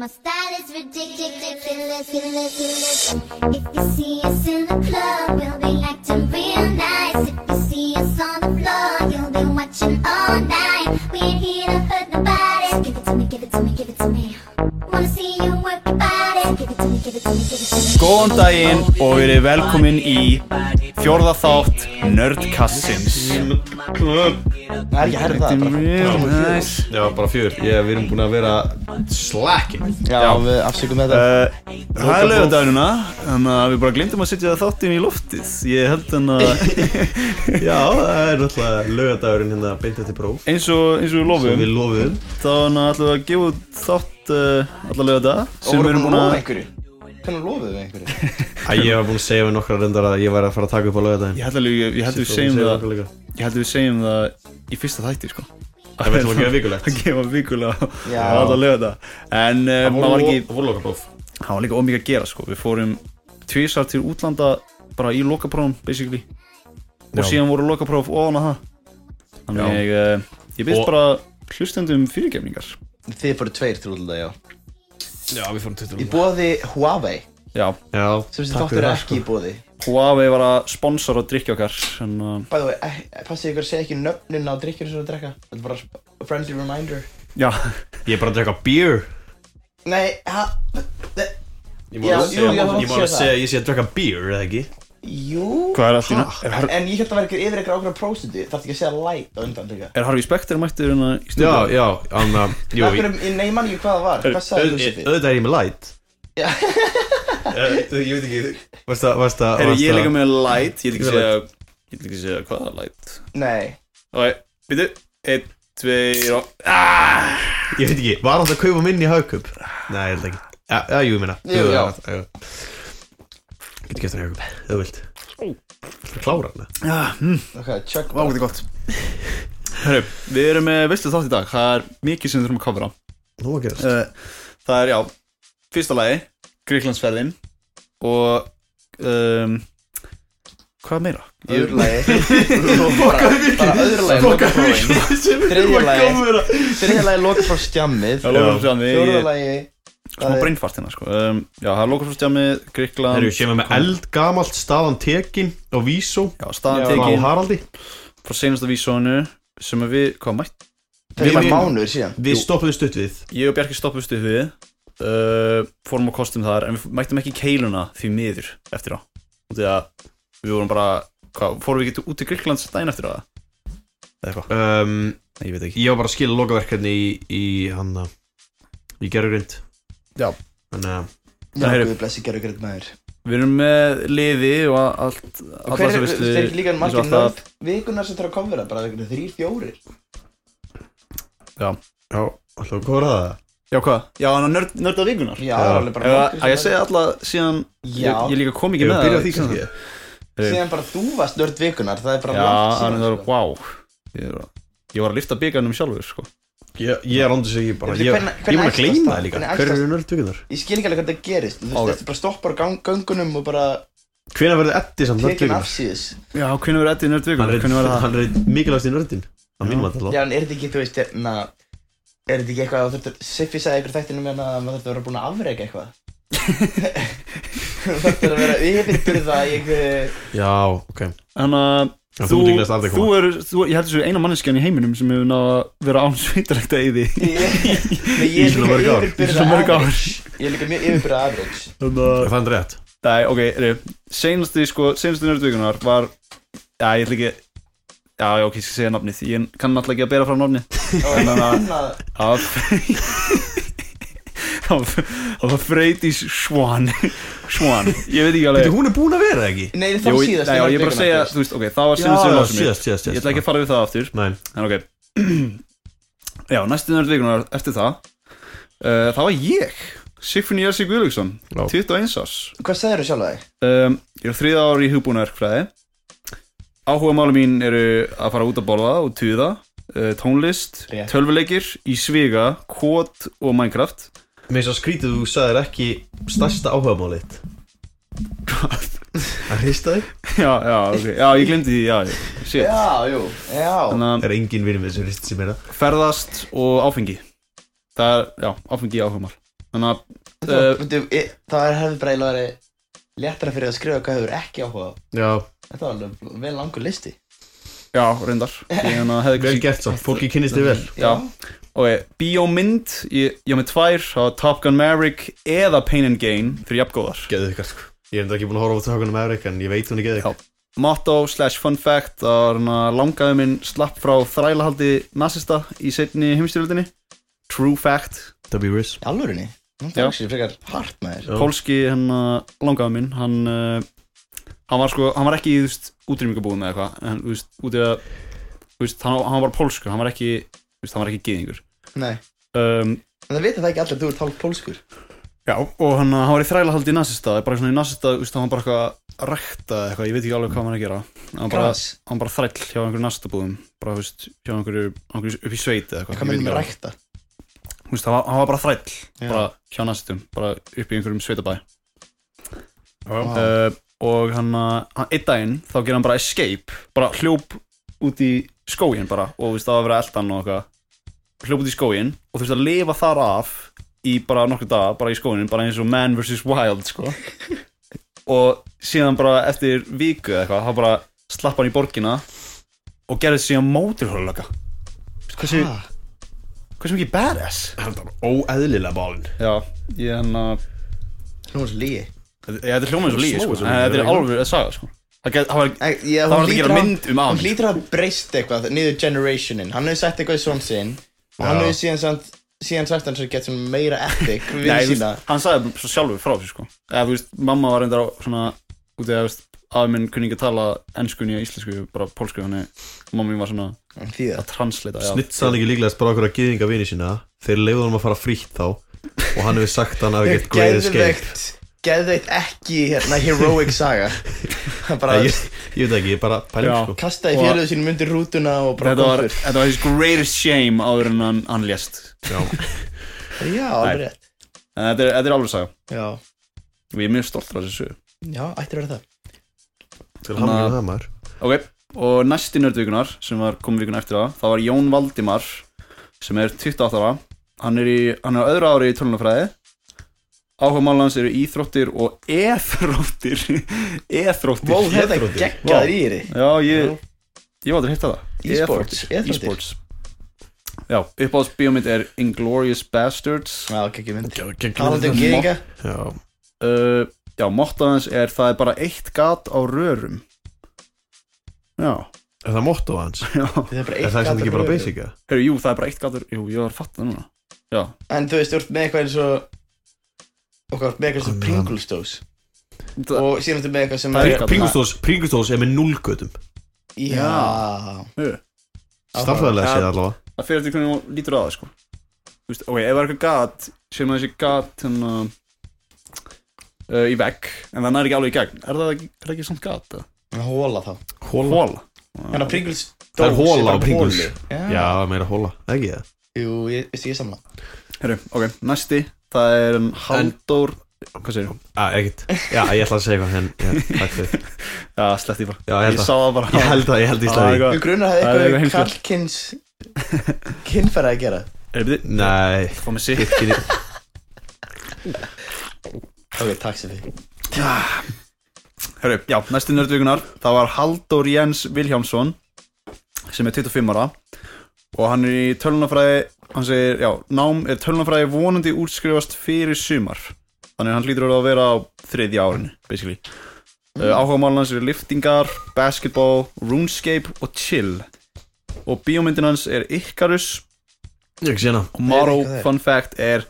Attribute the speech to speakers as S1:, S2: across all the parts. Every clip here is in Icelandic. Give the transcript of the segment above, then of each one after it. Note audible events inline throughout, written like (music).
S1: My style is ridiculous, ridiculous, ridiculous. If you see us in the club, we'll be acting real nice. If you see us on the floor, you'll be watching all night. We ain't here to hurt nobody. So give it to me, give it to me, give it to me. Wanna see you work your body. So give it to me, give it to me, give it to me.
S2: Góðan daginn og verið velkomin í fjórða þátt Nerdkassins
S3: Það er ekki að herða það bara
S2: Nice.
S4: Já, bara fjör. Ég, við erum búin að vera slacking.
S3: Já,
S2: Já.
S3: við afsökum þetta
S2: Uh, Það er lögadagurna en uh, við bara glemdum að setja þáttinn í loftið Ég held en
S4: (laughs)
S2: að
S4: Eh, Já, það er náttúrulega lögadagurinn hérna beint eftir próf.
S2: eins og, eins og við
S3: Um.
S4: Sem
S2: lofum
S4: við lofuðum.
S2: þá hann ætlum við að gefa út þátt uh, alla lögadag
S3: Og
S2: sem við erum búin að
S3: einhverju Hvernig lofuðu við einhverju?
S4: (laughs) Æ, ég var búin að segja við nokkra reyndar að ég væri að fara að taka upp á lögadaginn.
S2: Ég held að við, ég held að við segjum það Ég held að við segjum það í fyrsta þætti sko
S4: Það verður að gefa
S2: (laughs)
S4: vikulegt.
S2: að gefa vikulega
S3: Já.
S2: alla lögadag En uh, maður var ekki
S4: Vorloka próf.
S2: það var líka ómikið að gera sko. við fórum tvísar til útlanda bara í lokaprófum basically og
S4: Já.
S2: síðan voru lokapróf ofan að það þannig uh, ég byrst
S4: Og-
S2: bara hlustendum fyrirgefningar
S3: Þið fóru tveir til útlanda, já
S4: Já, við fórum 20
S3: Í bóði Huawei
S2: já,
S4: Já,
S3: Sem sem
S4: takk
S3: þáttur er
S4: fyrir það,
S3: ekki í bóði
S2: Huawei var að sponsora drikki okkar en, uh,
S3: By the way, eh, passið ykkur að segja ekki nöfnin á drikkjur sem þú drekka Þetta er bara a friendly reminder
S2: já,
S4: sko. Ég er bara að drekka björ.
S3: Nei, ha þe-
S4: Ég
S3: Já,
S4: má
S3: jú,
S4: alveg
S3: já, þú
S4: segja- ég má
S3: mátt
S4: alveg
S3: segja
S4: segja að ég sé að drekka björ, eða ekki?
S3: Jú
S2: hvað er allir er,
S3: En
S2: Har-
S3: en ég held að vera ykkur yfir ykkur ákveðna próstundi Þarf ekki að segja light á undan líka
S2: er Harvey Specter mættur hérna í
S4: Já,
S2: stundum
S4: já, anna, jú,
S3: Akkur, nei, ég man ekki hvað það var Hvað sagði þú
S4: auð-
S3: Sifi?
S4: auðvitað er ég með light.
S3: Já. (laughs)
S4: Eh, Ég veit ekki, varst það, varst það,
S2: er
S4: varst
S2: ég
S4: það-
S2: líka með light ég vil ekki
S4: Ég er
S2: segja ég vil ekki segja hvað er light
S3: Nei
S2: ok, býtu, 1, 2 og aaaah
S4: Ég veit ekki, var hann að kaupa minni í haugkup? Nei, ég held ekki Já, ja, jú, ég meina
S3: Jú, já.
S4: Getur gett hann í haugkup, ef þú vilt Það klára hann eða?
S2: Já, mm.
S3: Ok, check
S2: Vá, þetta er gott Herru, við erum með veislu þátt í dag Það er mikið sem við þurfum að kofra
S4: Nú að gerast
S2: uh, Það er, já, fyrsta lagi Gríklandsferðin Og um, Hvað meira?
S3: Öðru (laughs) lagi Bara bara öðru lagi
S4: (laughs)
S3: lokaprófin Þriðja lagi Þriðja lagi lokapróf stjammið
S2: Það er lokafrústjámi
S3: Fjóruða lagi
S2: Smá breynfart hérna, sko um, Já, það er lokafrústjámi, Gríkland
S4: Þeir eru kemur með eldgamalt staðan tekin og vísó
S2: Já,
S3: Já.
S2: staðan
S4: á
S2: tekin
S4: Haraldi
S2: frá senasta vísónu Sem að við, hvað mætt?
S3: Það er
S4: Við-
S3: bara mánuður síðan
S4: Við stoppuðum stutt við
S2: Ég og Bjarki stoppuðum stuð við uh, Fórum á kostum þar En við mættum ekki í keiluna því miður Eftir á Því að við vorum bara hvað, Fórum við ekki út í Gríklands daginn eftir á það? Eða eitthvað?
S4: um,
S2: Nei, ég veit ekki
S4: Ég var bara að skila lokaverkefni í, í hann uh, Í gerugrind
S2: Já.
S4: Þannig að
S3: Já,
S2: heyrðu.
S3: guð blessi gerðu greitt maður
S2: Við erum með liði og allt
S3: Og hver er,
S2: veislu,
S3: þeir eru líka
S2: eins og
S3: margir
S2: allt
S3: nörd Vikunar sem þarf að koma vera Bara einhvern veginn þrýr, fjórir
S4: Já, alltaf að kóra það
S2: Já, hvað? Já, hann er nörd, nördað vikunar
S3: Já, það er alveg bara
S2: Eða,
S3: nokkrir
S2: að ég
S3: sem
S2: segja alltaf síðan
S3: Já.
S2: ég, ég líka kom ekki
S4: Ég
S2: með
S4: var að byrja á því
S2: síðan
S4: kannski
S3: verða- Síðan bara þú varst nörd vikunar Það er
S2: það.
S3: bara
S2: Já,
S3: langt síðan,
S2: hann er
S3: sko.
S2: wow Ég, er, að- ég var að lifta byggarnum sjálfur sko.
S4: Ég, ég er andur sig ekki bara
S3: Ég
S4: Ég,
S3: veit
S4: ég,
S3: hvernig-
S4: ég mun
S3: hvernig
S4: að
S3: æxlast
S4: gleyma
S3: það?
S4: það líka
S3: Hvernig
S4: Hver
S3: æxlast-
S4: eru nördvíkunar?
S3: Ég skil ekki alveg hvernig það gerist Þú
S2: Ok.
S3: veist, þetta bara stoppar á gang- göngunum Og bara
S4: Hvenær verður Eddi samt
S3: tekin
S4: nördvíkunar?
S3: af síðis
S2: Já, hvernig verður Eddi nörd
S4: Hann
S2: vikunar?
S4: er,
S2: Hvernig verður það?
S4: hann er mikilvægst í nördin
S2: Já.
S4: Það mínum að tala
S3: Já, en er þetta ekki, þú veist, hérna Er þetta ekki eitthvað að þú þurftur Siffi sagði ykkur þættinu með að maður þurfti að vera búin að afrega
S2: (laughs)
S3: eitthvað Þú þurftur að vera yfirbyrða í einhver
S4: Já, ok
S2: Þannig að
S4: Já, þú
S2: þú,
S4: ert líklegast aldrei að
S2: þú
S4: koma.
S2: er, þú, ég held þessu eina manneskjan í heiminum sem hefur náða að vera án (laughs) sveitarlegt að eyði í
S3: Nei, ég
S4: Í
S3: er
S4: svona
S3: líka
S4: mörg ár.
S2: svo
S3: yfirbyrða
S2: mörg ár
S3: average Ég er líka mjög yfirbyrða average
S2: Þannig að
S4: Það er rétt
S2: Nei, ok, reyf, senasti, sko, senasti nördvíkunar var, já, ég ætla ekki, já, já, ok, ég skal segja nafnið, ég kann náttúrulega ekki að bera frá nafnið,
S3: Og
S2: En þannig að-
S3: annað
S2: það (laughs) var, það var- það var Freydís Svan, Svan, ég veit ekki alveg,
S4: Þetta hún er búin að vera eða ekki?
S3: Nei, þá
S2: Jú,
S3: síðast
S2: nei, já, ég er bara að segja,
S3: þú
S2: þú veist, ok, það var
S4: Já,
S2: senasti
S4: já,
S2: nördvíkunar,
S4: síðast, síðast,
S2: ég
S4: síðast
S2: ætla ekki að fara við það aftur,
S4: Nei,
S2: en ok, (clears throat) já, næsti nördvíkunar eftir það, uh, það var ég, Sigfinn Jersi Guðlaugsson,
S4: Já.
S2: 21 árs,
S3: Hvað sagðir þú sjálf að þig?
S2: um, Ég er á þriða ári í hugbúnaverkfræði Áhuga máli mín eru að fara út að borða og tuða uh, Tónlist,
S3: Rétt.
S2: tölvuleikir, í svega, kót og Minecraft (laughs)
S4: mér svo skrítið þú sagðir ekki stærsta áhugamálið þitt. Það hrista þig?
S2: Já, já, ok, já, ég glemdi því, já, ég- shit
S3: Já, jú, já
S2: Þannig
S4: Það er engin vinur með þessu hrist sem er það
S2: að ferðast og áfengi Það er, já, áfengi áhugamál Þannig að, eh,
S3: Uh, það er hefði bara eiginlega verið léttara fyrir að skrifa hvað hefur ekki áhuga á.
S4: Já,
S3: Þetta var alveg vel langur listi.
S2: já, reyndar Ég hann að hefði
S4: vel gert svo, fólki kynnist þið vel
S2: Já. Ok, bíómynd, ég, ég á með tvær á Top Gun Maverick eða Pain and Gain fyrir jafngóðar
S4: Geðið ykkur sko Ég er enda ekki búin að horfa á tökunum Evrik en ég veit hún er geðið
S2: Já. Motto slash fun fact að langaði minn slapp frá þrælahaldi nazista í setni heimstyrjöldinni True fact
S4: Það býr ris
S3: Í alvörinni? Það
S2: Já.
S3: er ekki frekar hart með þér.
S4: Já.
S2: Pólski hennar langaði minn hann, uh, hann var sko, hann var ekki í þú veist, útrýmingabúðum eða eitthvað en þú veist, út í að þú veist, hann, hann var pólsku, hann var ekki þú veist, hann var ekki gyðingur
S3: Nei.
S2: um,
S3: En það vita það ekki allir að þú ert hálf pólskur.
S2: Já, og hann, hann var í þrælahaldi í nazista bara svona í nazista, þú veist, hann var bara eitthvað að rækta eða eitthvað, ég veit ekki alveg hvað hann var að gera hann var bara,
S3: Gras.
S2: hann var bara þræll hjá einhverju nazistabúðum bara, þú veist, hjá einhverju, einhverju upp í sveit eða eitthvað, ég veit
S3: Hvað mennum
S2: ekki
S3: við
S2: alveg.
S3: rækta?
S2: Þú veist, hann var, hann var bara þræll,
S3: Já.
S2: bara hjá nazistum bara upp í einhverjum sveitabæ
S3: Vá.
S2: uh, og hann, uh, hann einn daginn þá gerði hann bara escape bara hljóp út í skógin bara og þú veist það var að vera eldan og eitthvað hljóp út í skógin og þú veist að lifa þar af í bara nokkur dag bara í skógin bara eins og man vs wild sko og síðan bara eftir viku eða eitthvað þá bara slapp hann í borgina og gerði síðan móturhörlöka hversu,
S3: Ha?
S2: hversu mikið badass
S4: Hann er bara óeðlilega bálinn
S2: já, ég hérna, hann að
S3: Hljóma svo lígi.
S2: þetta þetta er hljómað eins og lígi sko
S4: Smá eins og
S2: en
S4: lygi,
S2: þetta er
S4: er ekki?
S2: alveg að saga sko það get- það var
S3: Já,
S2: Það var að gera mynd um
S3: hann
S2: hann.
S3: hlýtur að breyst eitthvað niður generationin hann hefur sett eitthvað í svon sinn og hann
S4: Já.
S3: hefur síðan samt síðan sagt hann svo gett svona meira
S2: (laughs)
S3: epic við
S2: Nei, þú
S3: sína
S2: veist, hann sagði svo sjálfur frá þessu sko eða þú veist, mamma var reyndar á svona út í að, þú veist, afi minn kunni ekki að tala ennskunni og íslensku, bara pólsku þannig mamma mín var svona
S3: því
S2: að translita já.
S4: Snitsa hann ekki líklega bara okkur að gyðinga vini sína Þeir leiðu hann að fara frítt þá Og hann hefur sagt að hann hafi gett greið escape
S3: geðveikt geðveikt ekki hérna heroic saga
S2: (laughs)
S3: hann bara
S4: Ég, ég veit ekki, ég bara pæling
S2: Já.
S4: sko
S3: kastaði
S2: Og-
S3: fjöluðu sínum undir rútuna og bara
S2: þetta var,
S3: kom
S2: þetta var his greatest shame áður en hann, hann lést
S4: Já,
S3: fyrr. já, alveg
S2: Nei.
S3: rétt
S2: en þetta er, þetta er alveg saga
S3: já,
S2: og ég er mjög stoltur af þessu sögu.
S3: já, ættir að vera það
S4: til hann með það maður
S2: ok, og næsti nördvíkunar sem var komið vikuna eftir það, það var Jón Valdimar sem er 28 ára hann er, í, hann er á öðru ári í tölunafræði áhuga málans eru íþróttir og eþróttir (laughs) eþróttir
S3: wow, þetta
S4: Íþróttir.
S2: Vá.
S3: geggjaður í þér
S2: Já, ég, ég var aldrei hitt að það
S3: E-sports,
S2: E-sports
S3: e-þróttir.
S2: E-sports. Já, uppáðs bíómynd er Inglourious Bastards
S3: já, geggjum mynd
S4: Talandi
S3: talandi um geðinga
S4: Já,
S2: uh, Já, mottaðans er það er bara eitt gat á rörum Já, (laughs)
S4: er það motto hans?
S2: já
S3: það er bara
S4: Er
S3: eitt
S4: það
S3: gat
S4: sem
S3: á
S4: ekki bara
S3: rörum.
S4: basic eða?
S2: Heru, Jú, það er bara eitt gat á rörum Jú, ég var að fatta það núna Já,
S3: En þú veist, þú ert með eitthvað eins og okkar með eitthvað sem
S4: Annan.
S3: Pringles dós
S2: það,
S3: og síðan ertu með eitthvað sem
S2: Það er-
S3: er
S4: Pringustós, Pringustós er með nullgötum
S3: Já
S2: uh,
S4: Stafræðilega
S2: Já.
S4: séð allavega
S2: það fyrir eftir hvernig hún lítur á það sko. Þú veist, Ok, ef það er eitthvað gat sem að þessi gat hérna, uh, í vegg en það næri ekki alveg í gegn Er það, ekki- er það ekki samt gat? eða?
S3: En Hóla þá
S2: Hóla
S3: Þannig að Pringles dós
S4: Það er hola á
S3: bara
S4: Pringles.
S3: holu. Já
S4: Já, meira hóla, ekki það?
S3: Jú, ég veist ég er saman
S2: Herru, ok, næsti Það er um Halldór Hvað segir þú?
S4: Já, Ah, (laughs) ekkert Já, ég ætla að segja eitthvað en já, takk fyrir
S2: Já, sletti bara
S4: Já, ég Ah, held
S2: Ég
S4: að-
S2: sá það bara
S4: Ég held að, ég held að ég slæði
S2: Það
S3: Við grunar
S2: Það er
S3: hafði
S2: eitthvað
S3: eitthvað við
S2: heimsklegt.
S3: Karlkins kynfæra að gera
S2: Er þið?
S4: Nei
S2: Fá mig sitt
S4: Kynni
S3: Ok, takk sem því
S2: Herru, já, næsti nördvíkunar Það var Halldór Jens Vilhjámsson Sem er 25 ára Og hann er í tölunafræði Hann segir, já, nám er tölunafræði vonandi útskrifast fyrir sumar Þannig að hann hlýtur að vera á þriðja árin Basically
S3: Mm.
S2: uh, Áhuga málun hans eru liftingar, basketball, runescape og chill Og bíómyndin hans er Icarus
S4: Ég hérna. ekki sé hana
S2: og Morrow,
S3: Nei, hvað er?
S2: fun fact, er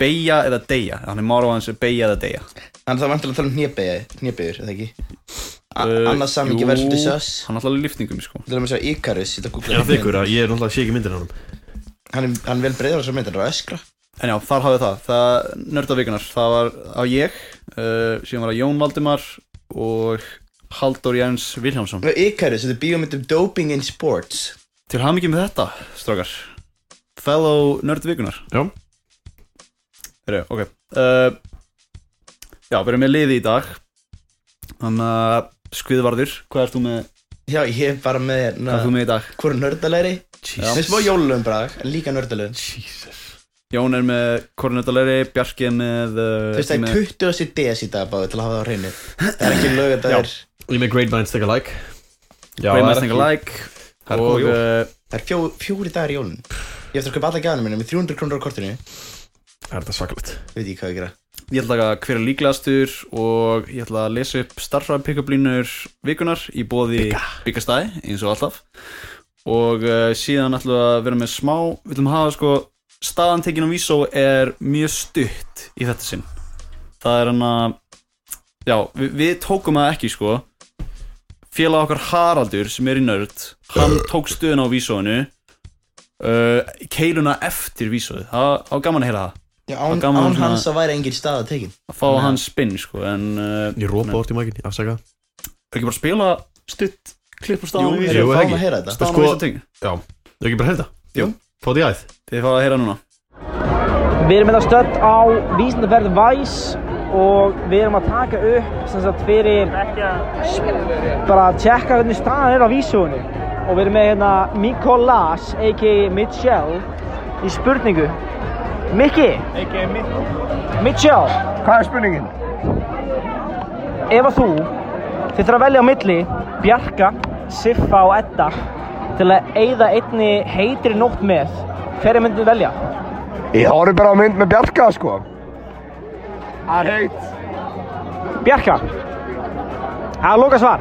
S2: beigja eða deyja, þannig Morrow hans er beigja eða deyja
S3: En það var vantilega að tala um hnébeyjur, hnébeyjur, eða ekki? A-
S2: Uh,
S3: Annars samingi
S2: jú,
S3: verður svolítið sös
S2: hann alltaf í liftingum sko
S3: Þú erum að sjá Icarus, ég ætla að googla
S4: Já,
S3: hann.
S4: þykkur að ég er náttúrulega sé ekki myndir hann
S3: Hann er hann er vel breyður á svo mynd, hann er að öskra
S2: en já, þar hafði það, það nördavikunar það var á ég uh, síðan var það Jón Valdimar og Halldór Jens Vilhjámsson
S3: Icarus, þetta er bíómynd um doping in sports
S2: til hafa mikið með þetta, strókar fellow nördavikunar
S4: Já.
S2: Heru, ok uh, já, við erum með liði í dag þannig að Skviðvarður, hvað ert þú með,
S3: Já, ég er bara með
S2: hvað
S3: hérna
S2: ert þú með í dag?
S3: Hvor nördalegri?
S4: Jesus
S3: Með smá jólulegum brag, en líka nördalegum
S4: Jesus
S2: Jón er með kornetaleri, Bjarki er með
S3: Þú veist, það er 20 þessi DS í dag bara til að hafa það á reyni Það er ekki lög að það
S2: Já.
S3: er
S4: Ég er með Great Minds Take a Like
S5: Já,
S2: Brain
S5: það er
S2: Mustang
S5: ekki-
S2: Like
S5: það er
S2: og
S5: góð jól.
S2: uh,
S3: Það er fjó, fjóri dagar í jólun Ég ætti að köpa alla gæðanum minna með 300 krónur á kortinu Ég
S4: Það er þetta svakalegt
S3: veit ekki hvað ég gera
S2: ég ætla að taka hver er líklegastur og ég ætla að lesa upp starfræði pick-up línur vikunar í bóði byggastæði eins og alltaf og uh, síðan ætlum við að vera með smá við ætlum að hafa sko staðan tekin á Vísó er mjög stutt í þetta sinn það er hann að já, við, við tókum það ekki sko félag okkar Haraldur sem er í nörd hann tók stöðuna á Vísóinu uh, keiluna eftir Vísóið, það það var gaman að heyra það
S3: Já,
S2: Það
S3: án,
S2: er gaman
S3: án
S2: svona-
S3: hans að væri engin stað að (laughs) tekin
S2: að fá hans spinn sko en uh,
S4: Ég rópa orðið í mækin, afsaka
S2: er ekki bara að spila stutt klipp og staðan á
S4: jú,
S2: vísu
S3: Fáum
S4: ekki.
S3: að heyra þetta
S2: staðan á
S4: sko-
S2: vísu ting
S4: Já Ég ekki bara að heyra þetta
S2: Jú.
S4: Fáðu í æð
S2: þið fáið að heyra núna
S6: Við erum hérna stödd á vísindaferð Væs og við erum að taka upp sem sagt fyrir bara að tjekka hvernig staðan er á vísugunni og við erum með hérna Mikolas a.k.a. Mitchell í spurningu Mikki a.k.a. Mitchell Hvað er spurningin? Ef að þú þið þarf að velja á milli Bjarka, Siffa og Edda til að eyða einni heitri nótt með hverja myndið velja?
S7: Ég horfði bara á mynd með Bjarka, sko. Það er heitt.
S6: Bjarka Það er loka svar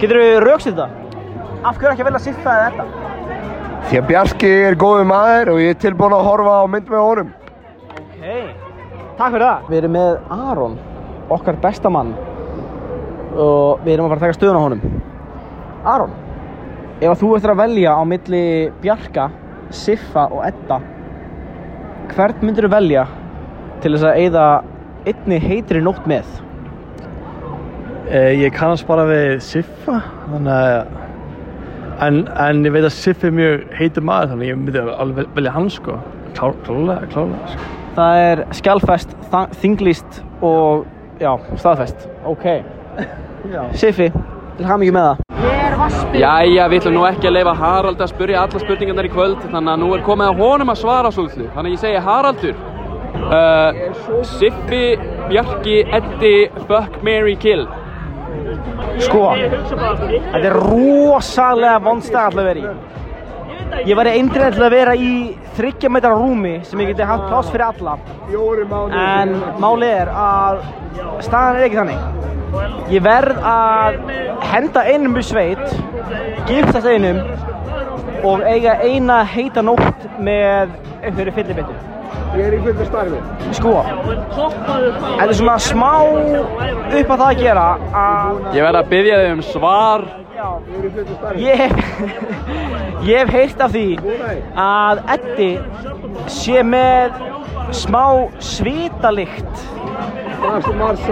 S6: Getur þú rauksið þetta? Af hverju ekki að velja siffa eða þetta?
S7: Því að Bjarki er góðu maður og ég er tilbúin að horfa á mynd með honum.
S6: Hei, takk fyrir það Við erum með Aron, okkar besta mann og við erum að fara að taka stöðun á honum Aron Ef að þú ættir að velja á milli Bjarka, Siffa og Edda Hvern myndir þú velja til þess að eyða einni heitri nótt með?
S8: Eh, Ég kannast bara við Siffa, þannig að en, en ég veit að Siffa er mjög heitur maður, þannig að ég myndi alveg vel- velja hann sko. Klár- Klárlega, klárlega sko.
S6: Það er skjálfest, þa- þinglýst og já, staðfest. Ok. Siffi, til ham ekki með það.
S9: Jæja, við ætlum nú ekki að leifa Harald að spyrja alla spurningarnar í kvöld þannig að nú er komið að honum að svara svolítið þannig að ég segi Haraldur uh, Siffi, Bjarki, Eddi, Buck, Mary, Kill
S6: Sko, þetta er rosalega vonstað alltaf verið í. Ég væri eindræðin til að vera í þryggja metra rúmi sem ég geti haft pláss fyrir alla. En málið er að staðan er ekki þannig. Ég verð að henda einum í sveit, giftast einum og eiga eina heita nótt með einhverju fyllibittu. Ég er í fullu starfi. Sko, þetta er svona smá upp að það að gera að
S9: Ég verð að byggja þau um svar
S6: Ég hef, ég hef (laughs) heyrt af því að Eddi sé með smá svitalikt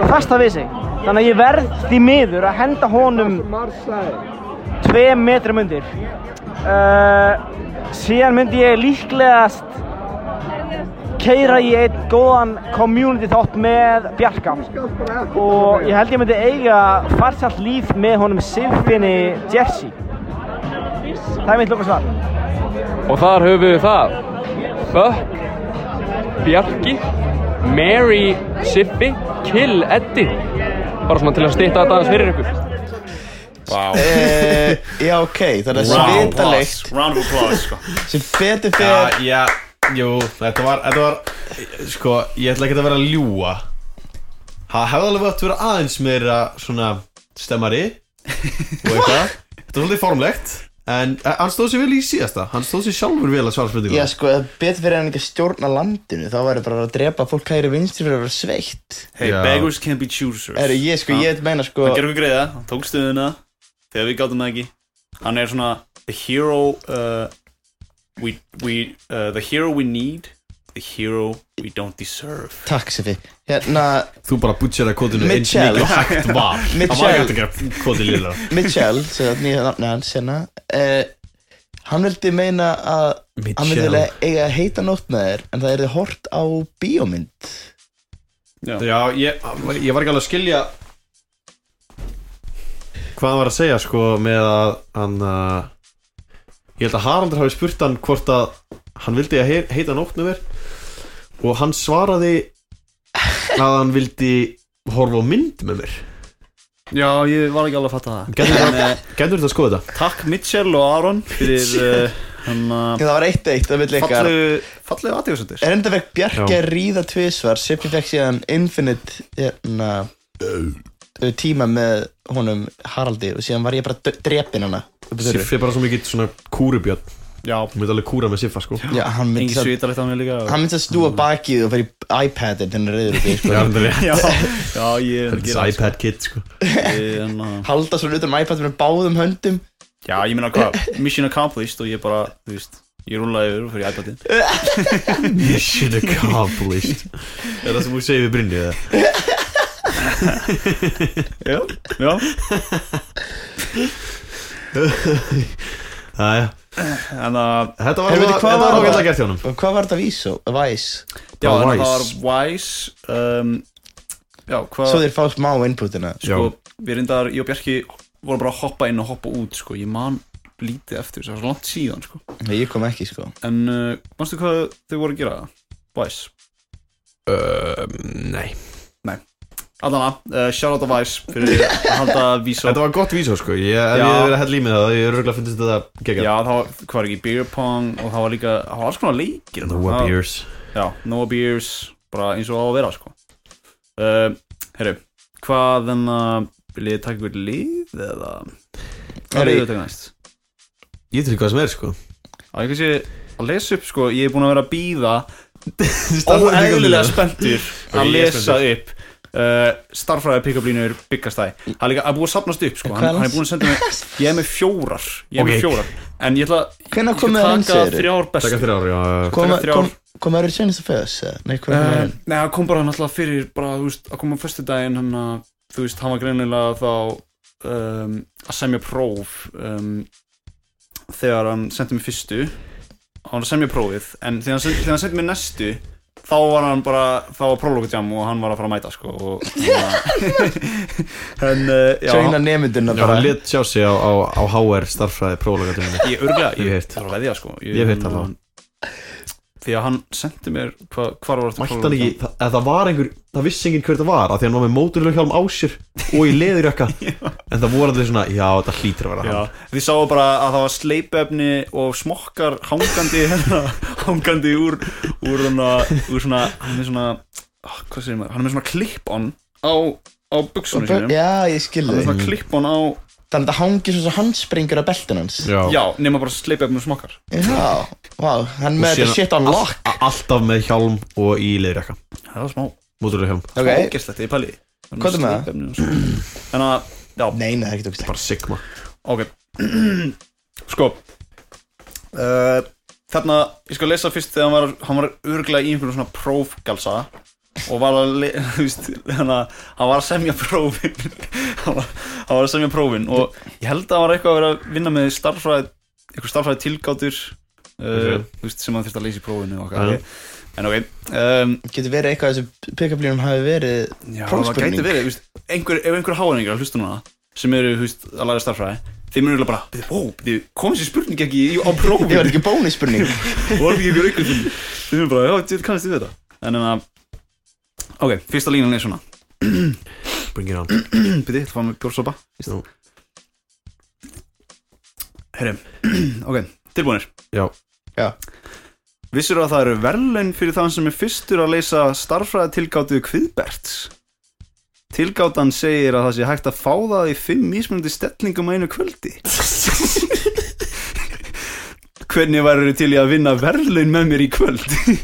S6: fasta við sig. Þannig að ég verð því miður að henda honum tveim metrum undir. Uh, síðan myndi ég líklegast keira í einn góðan community þátt með Bjarka og ég held ég myndi eiga farsalt líf með honum Siffinni Jesse Það er mitt lóka svar
S9: og þar höfum við það Buck, Bjarki, Mary, Siffi, Kill, Eddi bara svona til að stýta þetta aðeins fyrir ykkur
S3: Eh, Já, ok, þannig að svitalegt
S2: round of applause sko.
S3: sem betur
S4: Já,
S3: fyrir
S4: já, jú, þetta var, þetta var Sko, ég ætla ekki að vera að ljúa Það hefði alveg átt að vera aðeins meira svona stemmari Og eitthvað Þetta var svolítið formlegt En eh, hann stóð sér vel í síðasta Hann stóð sér sjálfur vel að svara spurningu
S3: Já, sko, ef betur fyrir hann ekki að stjórna landinu þá væri bara að drepa fólk hægri vinstri fyrir að vera sveitt
S2: hey,
S4: Já.
S2: beggars can be choosers
S3: Herru, ég sko, ég meina sko
S2: hann gerði okkur greiða, hann tók stöðuna þegar við gátum það ekki hann er svona the hero uh, we, we, uh, the hero we need the hero we don't deserve
S3: Takk, Sifi Hérna,
S4: Þú bara butchera kótinu eins
S3: Mitchell.
S4: mikið og hægt var Það var
S3: Mitchell.
S4: ekki hægt að gera kóti lilla (laughs)
S3: Mitchell, sem það nýja nafni hans hérna eh, Hann vildi meina að hann vildi
S4: Mitchell
S3: eiga- eiga að heita nótt með þér en það er þið hort á bíómynd
S4: Já, ég, ég var ekki alveg að skilja Hvað hann var að segja sko með að hann uh, Ég held að Haraldur hafi spurt hann hvort að hann vildi að he- heita nótnum er og hann svaraði að hann vildi horfa á mynd með mér
S2: Já, ég var ekki alveg að fatta það
S4: Gætur þetta að skoða þetta?
S2: Takk Mitchell og Aron fyrir (laughs) uh, hann
S3: Það var eitt eitt, það vil ykkar
S2: fallegu, fallegu aðtíðsendir
S3: En enda fekk Bjarki
S4: Já.
S3: að ríða tvisvar Sippi fekk síðan Infinite hérna, uh, tíma með honum Haraldi og síðan var ég bara dö- drepinn hana upp á þurru.
S4: Siffi er bara svo mikið svona kúrubjörn
S2: Já,
S4: Hún myndi alveg kúra með Siffa sko
S3: Já, hann myndi
S2: engin
S3: að
S2: svitalegt á mig líka og-
S3: hann myndi að stúa bakið og fyrir iPadin þennan reyður upp í sko.
S4: Já, þetta er rétt
S2: (laughs) Já, já, ég er að
S4: Þetta
S2: gera
S4: er iPad kid sko
S2: Ég- en, uh,
S3: (laughs) halda svo utan um iPad með báðum höndum
S2: Já, ég meina hvað, mission accomplished og ég bara, þú veist, ég rúlaði yfir og fyrir iPadin
S4: Mission accomplished (laughs) Er það sem hún segir við Brynju eða?
S2: Já, já
S4: Æja,
S2: En að,
S4: þetta
S3: Heyrðu,
S4: var alveg-
S3: veitir, hvað
S4: þetta var
S3: var
S4: ágætlega
S3: það?
S4: gert hjá honum
S3: og hvað var þetta víso? Vice?
S2: já,
S4: Það
S2: en
S4: var
S2: að það var
S4: Wise.
S2: wise um, Já, hvað
S3: Svo þeir fá smá inputina
S2: sko, við reyndar, ég og Bjarki vorum bara að hoppa inn og hoppa út, sko, ég man lítið eftir, það var svo langt síðan, sko
S3: Nei, ég kom ekki sko
S2: En, uh, manstu hvað þau voru að gera? Vice
S4: Um, Nei
S2: Allana, uh, shout out að Vice fyrir að halda vísa
S4: Þetta var gott vísó sko Ég hef
S2: Já.
S4: verið að hella í mig það Ég er örgulega að finnst þetta geggjað
S2: Já, það var, hvað er ekki, beer pong og það var líka, það var alls konar leikir þarna.
S4: Noah
S2: Það-
S4: Beers
S2: Já, no beers, bara eins og á að vera sko uh, Herru, hvað en að vil ég taka ykkur líf eða hvað er
S3: Herri,
S2: ég að taka næst?
S4: Ég til hvað sem er sko
S2: Á ég kannski að lesa upp sko, ég er búin að vera að býða
S4: Óeðlilega
S2: óeðlilega spenntur (laughs) að
S4: ég er
S2: lesa upp uh, starfræði pick-up-línur byggastæ það er líka að búið að safnast upp sko
S3: En
S2: hann,
S3: hvað er
S2: hann er búin að senda mig, ég er með fjórar ég er
S4: Ok.
S2: með fjórar, en ég ætla
S3: Hvenær
S2: ég
S3: komið
S2: ætla
S3: hann,
S2: að taka
S3: segirðu?
S2: þrjár
S4: Takk
S2: bestu
S4: fyrir ári og
S3: Kom,
S2: Taka þrjár.
S3: kom, kom að eru senast að fæðast? eða? Nei, hvað er
S2: Uh,
S3: það?
S2: nei, það kom bara náttúrulega fyrir bara, þú veist, að koma á föstudaginn hann að, þú veist, hann var greinilega þá um, að semja próf um, þegar hann sendi mér fyrstu hann var að semja prófið, en þegar hann, sendi, þegar hann sendi mér næstu þá var hann bara, þá var próflokutjám og hann var að fara að mæta, sko og (laughs) hann uh, já,
S3: Sveina hérna nemyndina
S4: Já,
S3: bara
S4: hann let sjá sig á, á, á HR starffræði próflagatunni
S2: ég örglega,
S4: Ég
S2: ég
S4: heyrt.
S2: þarf að veðja, sko
S4: Ég hef heyrt það þá.
S2: því að hann sendi mér, hva, hvar var þetta
S4: Mættan ekki, það, að það var einhver, það vissi enginn hver það var að Því að hann var með móturlöghjálm á sér og í
S3: (laughs)
S4: leðurjökka En það voru allir svona, já þetta hlýtur að vera
S2: Já,
S4: hann
S2: þið sáu bara að það var sleipefni og smokkar hangandi hérna, (laughs) hangandi úr úr, hana, úr svona hann er með svona, ah, hvað segir maður hann er með svona klipp-on á á buksunum sínum hann
S3: Já, ég skil
S2: er með
S3: þig
S2: svona klipp-on á,
S3: Þannig að það hangi svo svo handspringur á beltin hans
S4: Já,
S2: já, nema bara sleipefni og smokkar
S3: Já, vá, hann
S4: Og
S3: með þetta
S4: síðan
S3: shit on lock
S4: all- Alltaf með hjálm og í leðurjökka
S2: það var smá
S4: Móturlöghjálm
S3: Ok,
S2: ágæstlegt, ég pæli
S3: Hvað er með það?
S2: en að, já,
S3: nei, nei, það er ekki tókst
S4: Bara sigma
S2: ok (clears throat) sko uh, þarna, ég skal lesa fyrst þegar hann var, hann var örglega í einhverjum svona prófgalsa og var að le- (laughs) þú veist, hann, að, hann var að semja prófin (laughs) hann, var, hann var að semja prófin og ég held að hann var eitthvað að vera að vinna með starfræði, eitthvað starfræði tilgátur uh,
S4: Ok.
S2: þú veist, sem hann þurfti að leysa í prófinu og
S4: Já.
S2: okkar, en ok um,
S3: Getur verið eitthvað að þessu pick-up-línum hafi verið
S2: Já, það
S3: Prófspurning.
S2: gæti verið, þú veist, einhver, ef einhver háðingar að hlusta núna sem eru þú veist, að læra starffræði þeir munu örugglega bara, "Bíddu, ó, bíddu, kom þessi spurning ekki í- á prófum
S3: Þetta var ekki bónusspurning
S2: (laughs) var ekki ykkur ykkur þeir munu bara, já, þetta kannast við þetta en en að, ok, fyrsta línan er svona (clears throat)
S4: Bring it on
S2: byrði, það fann mig bjórsopa
S4: Nú.
S2: herri, (clears throat) ok, tilbúinir
S4: Já.
S3: Já.
S2: Vissirðu að það eru verðlaun fyrir þann sem er fyrstur að leysa starfræði tilgáttu kviðberts Tilgáttan segir að það sé hægt að fá það í fimm mismunandi stellingum á einu kvöldi (laughs) Hvernig værið til í að vinna verðlaun með mér í kvöld? (laughs)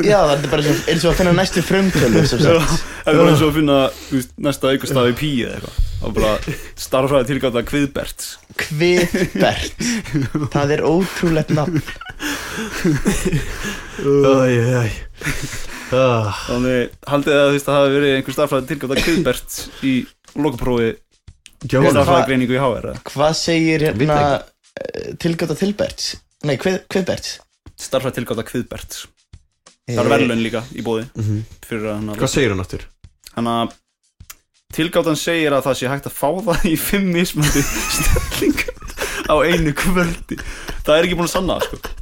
S3: Já, það er bara eins og- eins og að finna næstu frumtölu sem
S2: Já,
S3: sagt
S2: Það var eins og að finna þú veist, næsta eitthvað stafi pí E eða eitthvað og bara starfræði tilgáta kviðbert
S3: Kviðbert Það er ótrúlegt nafn
S4: Æj, (laughs) æj, Ah, æj
S2: þannig haldið þið að þú veist að það hafi verið einhver starfræði tilgáta kviðbert í lokaprófi starfræðigreiningu í HR eða?
S3: Hvað segir
S4: Veit
S3: hérna tilgjóta tilbert? Nei, kvið, kviðbert
S2: starfræði tilgáta kviðbert það er verðlaun líka í bóði
S4: Mhm.
S2: fyrir hann að
S4: Hvað segir hann aftur?
S2: Þannig að tilgáttan segir að það sé hægt að fá það í fimm mismöndi stellingum á einu kvöldi Það er ekki búin að sanna það sko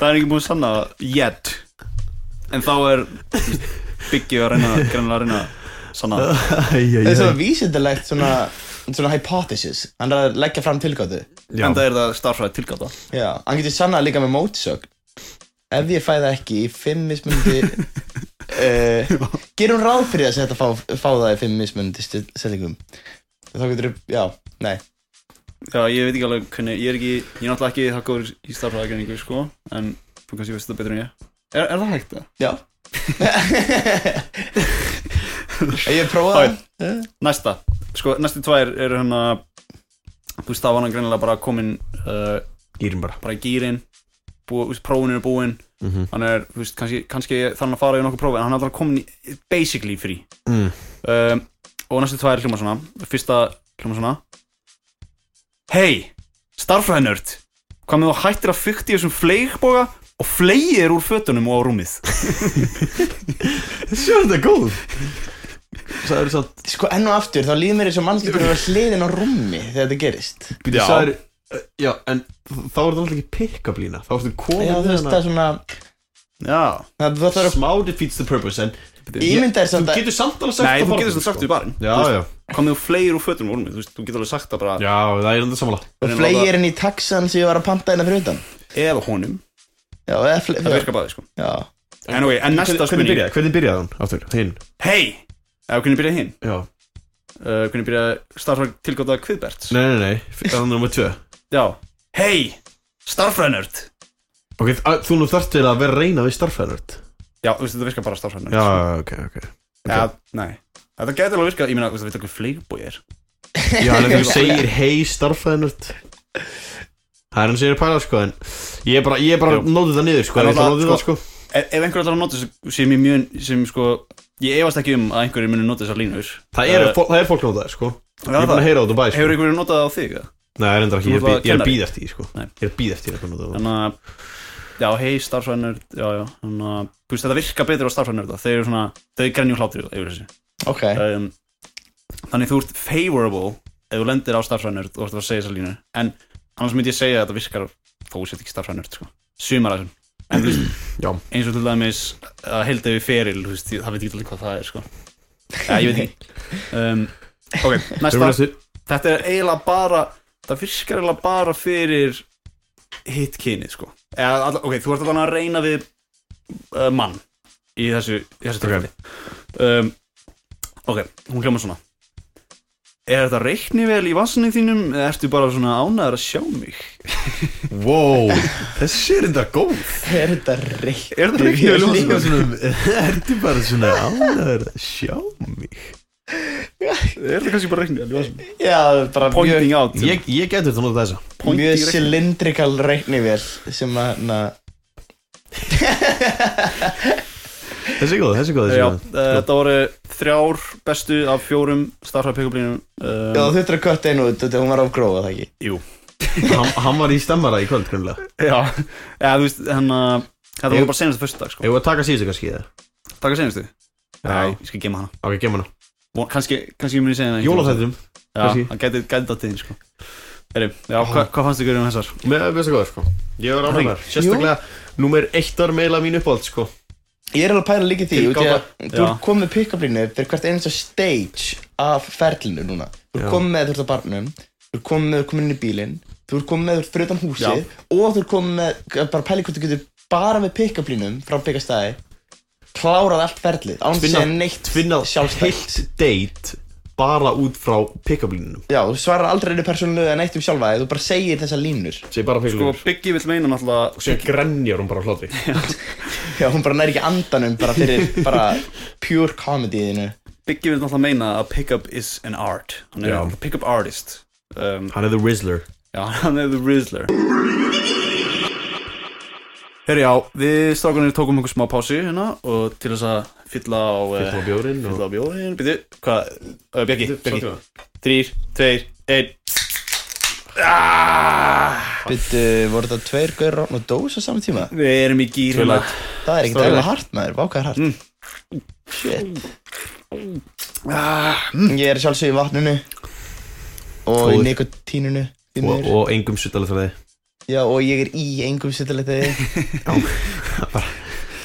S2: Það er ekki búin að sanna það Yet En þá er Biggi að reyna Greinlega að reyna að Sanna það
S3: Það er svona vísindilegt svona, svona hypothesis Hann er að leggja fram tilgáttu
S4: Já.
S2: En það er það starfræði tilgáta
S3: Já, hann getur sannað líka með mótsögn Ef ég fæ það ekki í fimm
S2: (laughs)
S3: mismunandi uh, Gerum ráð fyrir þess að þetta fá, fá það í fimm mismunandi stil- settingum Þá getur upp, já, nei
S2: Já, ég veit ekki alveg hvernig Ég er ekki Ég er náttúrulega ekki það góður í starfræðagreiningu sko En þú kannski veist þetta betur en ég Er, er það hægt það? (laughs)
S3: Já Ég prófaði það
S2: Næsta Sko, næstu tvær eru hérna Þú veist, þá var hann greinilega bara komin uh,
S4: Írum bara
S2: bara í gýrin prófin eru búin
S4: Mhm.
S2: hann er, þú veist, kannski, kannski þarf hann að fara í nokkuð prófi en hann er alltaf komin í, basically frí
S4: Mm.
S2: um, og næstu tvær hljóma svona fyrsta hljóma svona hei, starfræðinörd hvað með þú hættir að fykti þessum fleigboga og fleigir úr fötunum og á rúmið
S4: Sjóðu þetta er góð Það eru samt
S3: Sko enn og aftur, þá líður mér eins og mannskipur að hliðin á rúmi þegar þetta gerist
S4: Já, það er, já en þá er það alltaf ekki pick-up lína Þá ertu komin
S3: Já, þú veist, það er svona
S2: já,
S3: það- Þú ætlar að
S4: Smá defeats the purpose en
S3: ímynda þér
S4: Þú
S3: samt að
S4: getur samt alveg sagt
S2: nei,
S4: það
S2: þú
S4: bara-
S2: getur þetta sagt við barinn
S4: Já, já
S2: hvað með þú fleigir úr fötunum og á rúmið þú veist, þú getur alveg sagt það bara
S4: Já, það er enda samanlega
S3: Og flegir inn í taxan sem ég var að panta hérna fyrir utan
S2: eða honum,
S3: Já, eða flegir
S2: það virkar bæði sko
S3: Já
S2: en, okay, en næsta
S4: Hvernig-
S2: spurning,
S4: Hvernig byrjaði, hvernig byrjaði hún áttur? Hinn
S2: hei eða hvernig byrjaði hinn
S4: Já
S2: uh, hvernig byrja starfræk tilgátað Kviðberts
S4: Nei, nei, nei, það er nummer tvö
S2: já, hei, starfræðnörd
S4: Ok, þa- þú nú þarft til að vera að reyna við starffæðanöld
S2: já, þú veist, þetta virkar bara starfræðnörd
S4: Já, ok, ok
S2: ja, nei, þetta gæti alveg virkað ég meina, þú veist, það veit ekki fleigbúi er
S4: (laughs) Já, en þegar þú segir hei starffæðanöld Það er hann segir að pæla sko en Ég er bara, ég er bara
S2: Jú.
S4: nótið það niður sko
S2: En
S4: Ég ætla að nótið
S2: náttúrulega,
S4: það sko
S2: ef, ef einhver allar að nota þessu sem ég mjög, sem sko ég efast ekki um að einhverjir muni nota þessar línur
S4: Það er,
S2: Eh,
S4: fó- það er fólk nótið það sko Ég
S2: já,
S4: er búin að
S2: það-
S4: heyra á Dubai sko
S2: hefur einhverjir notað það á þig eða?
S4: Nei, það er endur
S2: Þú
S4: ekki, ég er
S2: ert
S4: bí-
S2: bara
S4: ég er
S2: kennari.
S4: býð eftir því sko
S2: Nei.
S4: Ég er býð eftir því að nota það
S2: þannig að já, hei, starfræðnörd, já, já þannig að, þú veist, þetta virkar betur á starfræðnörd þeir eru svona, þau grenju hlátur yfir þessu
S3: Ok,
S2: um, Þannig þú ert favorable ef þú lendir á starfsrænörd og ert að segja þessa línu en annars myndi ég segja að þetta virkar þó sétt ekki starfsrænörd sko. sumar af þessum en þú
S4: Já.
S2: veist, eins og til dæmis að held ef við feril, þú veist, ég- það veit ekki alveg hvað það er sko. ja, ég veit ekki um, Ok,
S4: Þurfum
S2: næsta
S4: næstu
S2: Þetta er eiginlega bara það virkar eiginlega bara fyrir hitt kynið sko. Eða, all, ok, þú ert alveg að reyna við uh, mann í þessu, í þessu
S4: Ok.
S2: tilfelli um, ok, hún hljóma svona er þetta reikni vel í vassinni þínum eða ertu bara svona ánæður að sjá mig
S4: Wow, (laughs) þessi er enda góð
S3: er þetta reitt?
S2: er þetta
S4: Ég
S2: reikni
S4: er
S2: vel í
S4: líka
S2: vassinni
S4: (laughs) svona Ertu bara svona ánæður að sjá mig
S2: er þetta kannski bara reikni vel í vassinni
S3: Já, það er bara mjög,
S2: pointing out
S4: Ég, ég getur þetta nota þessa
S2: pointing
S3: mjög
S2: reikni.
S3: cylindrical reiknivél sem að, na,
S4: Þessi er góð, þessi er góð, þessi
S2: Já,
S4: er
S2: uh,
S4: góð
S2: þetta voru þrjár bestu af fjórum starfhæð pekkablínum
S3: já þú
S2: um,
S3: þurftur að kötta einu út þetta hún var afgróða það ekki
S2: Jú
S4: hann, hann var í stemmara í kvöld grunnlega
S2: Já, eða þú veist, hérna Þetta
S4: Ég-
S2: var bara senastu fyrstu dag, sko
S4: Eða að taka síðustu kannski eða
S2: Takk að senastu
S4: Já.
S2: Ég skal gema hana
S4: Ok, gemma hana
S2: Von- Kannski, kannski ég muni segja hana
S4: Jólaþættum kannski.
S2: Já, það gæti, gæti það tíðin, sko Eri, já, hva, hvað fannst ykkur um þessar?
S4: Með besta góður sko Ég var
S2: Ekki?
S4: ánægðar Sérstaklega Númer eitt var meila mín uppáld sko
S3: Ég er alveg að pæla líka í því út í að
S4: Tilgáfa.
S3: þú
S2: Já.
S3: ert komið með pick-up-línu fyrir hvert einasta stage af ferlinu núna Þú ert
S4: Já.
S3: komið með þú ert á barnum Þú ert komið með þú ert komin inn í bílinn Þú ert komið með þú ert fyrir utan húsið og þú ert komið með, bara pæla í hvort þú getur bara með pick-up-línum frá pick-up-stæði klárað allt ferlið án þess að segja neitt
S4: Tvinnað
S3: sjálfstætt
S4: heilt date Bara út frá pick-up línunum
S3: Já, þú svarar aldrei einu persónulega eða neitt um sjálfa þig, þú bara segir þessar línur
S4: Segir bara pick-up
S2: Sko,
S4: línur
S2: Biggi vill meina náttúrulega
S4: Sér grenjar hún bara á hlátri
S3: Já, hún bara næri ekki andanum bara fyrir bara pure comedyinu
S2: Biggi vill náttúrulega meina að pick-up is an art Hann
S4: Já.
S2: er pick-up artist um,
S4: Hann er the Rizzler
S2: Já, (laughs) hann er the Rizzler Herri, já, við strákunir tókum einhver smá pási hérna og til þess að fylla á eh,
S4: Fylla á bjórinn og-
S2: Fylla á bjórin, býttu, hvað, uh, Björki, Björki
S4: Sáttu það?
S2: Þrýr, tveir, einn
S3: Bittu, voru þetta tveir gaur rán og dós á sama tíma?
S2: Við erum í gýr hérna
S4: Tvölægt.
S3: Það er ekkert
S2: Stórlega.
S3: eðlilega hart maður, vákaðar hart
S2: Mm.
S3: Shit Ah, mm. Ég er sjálfsög í vatninu Og í
S4: Góður.
S3: nikotíninu því
S4: Og,
S3: miður.
S4: og engum suttalega þræði
S3: Já, og ég er í engum sittaletiði
S2: (laughs)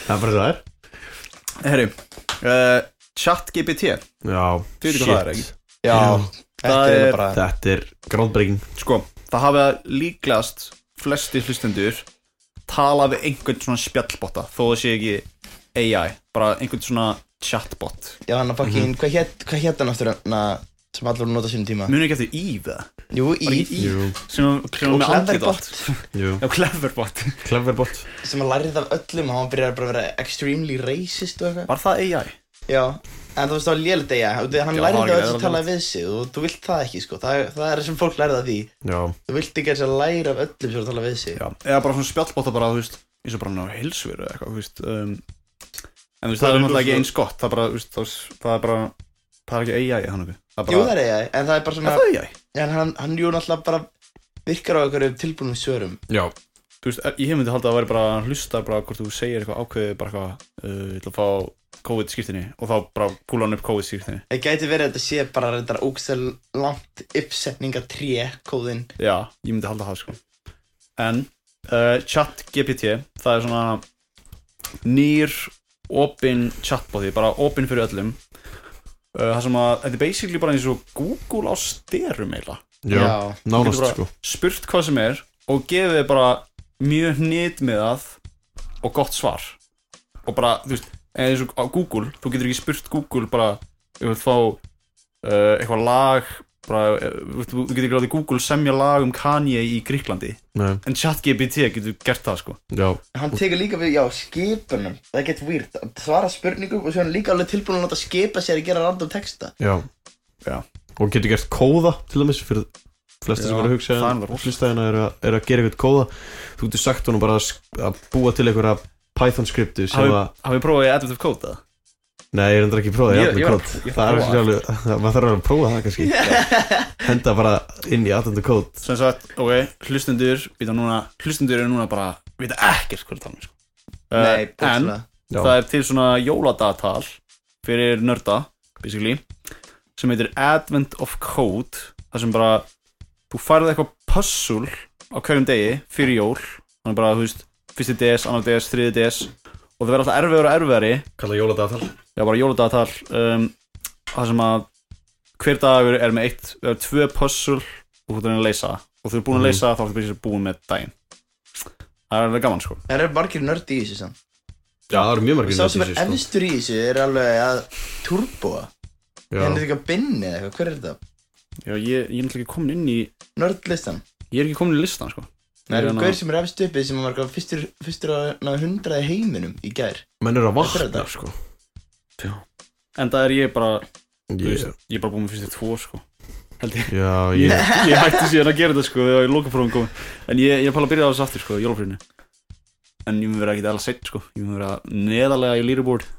S4: Það er bara svo það er
S2: Herri, uh, chat GPT
S4: Já,
S2: Þú veitir hvað það er, ekki?
S3: Já, þetta
S2: Það
S3: er
S2: er-
S3: bara
S4: Þetta er groundbreaking
S2: Sko, það hafa líklast flesti hlustendur tala við einhvern svona spjallbotta þó það sé ekki AI bara einhvern svona chatbot
S3: Já, hann að
S2: Mhm.
S3: fucking, hvað hét- hvað hétt hann aftur hann að- sem allir voru að nota sínum tíma?
S2: Munið ekki eftir Eve eða?
S3: Jú,
S2: Var
S3: í,
S2: ekki Eve sem sem var
S3: Og
S2: með andlit
S3: Cleverbot.
S2: allt
S4: Jú,
S2: Já, Cleverbot
S4: cleverbot
S3: sem að lærið af öllum og hann byrjar bara að vera extremely racist og eitthvað
S2: (laughs) Var það AI?
S3: Já, en þú veist það var lélit eiga, hann
S2: Já, það var ekki
S3: lærið af öllum
S2: eðlilegt.
S3: að tala við sig og þú vilt það ekki sko, það, það er sem fólk lærið af því
S4: Já,
S3: Þú vilt ekki að þess að læra af öllum sem er að tala við sig
S2: Já, eða bara svona spjallbotta bara, þú veist eins og bara ná heilsveru eða eitthvað, þú veist um, En þú veist, það er náttúrulega ekki eins gott það er bara, þú veist, það er- það er bara það er ekki AI hann okkur bara,
S3: Jú, það er eiga, en það er bara svona,
S2: Er það AI?
S3: en hann, hann jú náttúrulega bara virkar á einhverjum tilbúnum svörum
S4: já,
S2: þú veist, ég myndi halda að það væri bara hann hlustar bara hvort þú segir eitthvað ákveðið bara eitthvað, uh, ég ætla að fá COVID-skýrtinni og þá bara púla hann upp COVID-skýrtinni
S3: Það gæti verið að þetta sé bara reyndar ógstæl langt uppsetninga 3 kóðinn
S2: já, ég myndi halda það sko en uh, chat GPT það er svona nýr opin chatboti, bara opin fyrir öllum uh, það sem að, þetta er basically bara eins og Google á styrum eiginlega
S4: já, nánast
S2: Getur bara
S4: sko
S2: spurt hvað sem er og gefið þér bara mjög hnitmiðað og gott svar og bara, þú veist, eins og á Google þú getur ekki spurt Google bara ég vil fá uh, eitthvað lag bara, eh, þú veist, þú getur ekki látið Google semja lag um Kanye í Gríklandi
S4: Nei,
S2: en ChatGPT getur gert það sko
S4: já,
S3: Hann tekur líka við, já, skipunum Það gett weird, Hann svarar spurningum og svo er hann líka alveg tilbúin að láta skipa sér að gera random texta
S4: já
S2: Já.
S4: Og getur gert kóða til dæmis fyrir flesti
S2: Já,
S4: sem eru að hugsa um
S2: það er rosalegt.
S4: Hlustæðina eru að, er að gera eitthvað kóða Þú getur sagt honum bara að sk- að búa til einhverja Python skriptu sem að
S2: hafið prófaði Additive Code það?
S4: Nei, ég er endur ekki að prófa það,
S2: Ég-
S4: ég er
S2: ég var að
S4: alveg
S2: prófa- ég
S4: kótt Það er
S2: prófa
S4: ekki alveg, maður þarf alveg að prófa það kannski Henda bara inn í aðtöndu kótt
S2: sem sagt, ok, hlustendur býta núna, hlustendur eru núna bara vita ekkert hvað er talað um, sko. Eh,
S3: Nei,
S2: en
S3: bókslega
S4: Já,
S2: það er til svona jóladagatal fyrir nörda, basically sem heitir Advent of Code þar sem bara þú færði eitthvað puzzle á hverjum degi fyrir jól, þannig bara, þú veist fyrsti DS, annar DS, þriði DS og það verður alltaf erfiður og erfiðari
S4: kalla jóladatal
S2: já, bara jóladagatal um, þar sem að hver dagur er með eitt, er tvö puzzle og þú ert að reyna að leysa það. og þú ert búin að
S4: Mhm.
S2: leysa það, þá ertu basically búin með daginn það er alveg gaman, sko
S3: Það eru margir nörd í þessu samt
S4: Já, það eru mjög margir
S3: Sá sem er
S4: nördísir, sko.
S3: efstur í þessu er alveg að turbóa
S4: Já.
S3: Henni er ekki að binni eða eitthvað, hver er þetta?
S2: já, ég, ég er náttúrulega ekki komin inn í
S3: Nördlistan
S2: ég er ekki komin í listan, sko
S3: Það
S2: Ég
S3: eru
S2: er ná-
S3: gaur sem er efst uppið sem var eitthvað fyrstur, fyrstur á hundraði heiminum í gær
S4: menn eru að
S3: Þetta er
S4: vakna
S3: þetta.
S4: sko
S2: En það er ég bara, þú
S4: ég,
S2: veist, ég er bara búinn með fyrstu tvo sko Held ég
S4: já, ég,
S2: (laughs) Ég hætti síðan að gera þetta sko þegar ég loka prófum komið En ég, ég er bara að byrja á þessu aftur sko, jólafrýrinu En ég mun vera ekkert alveg sett sko Ég mun vera neðarlega í leaderboard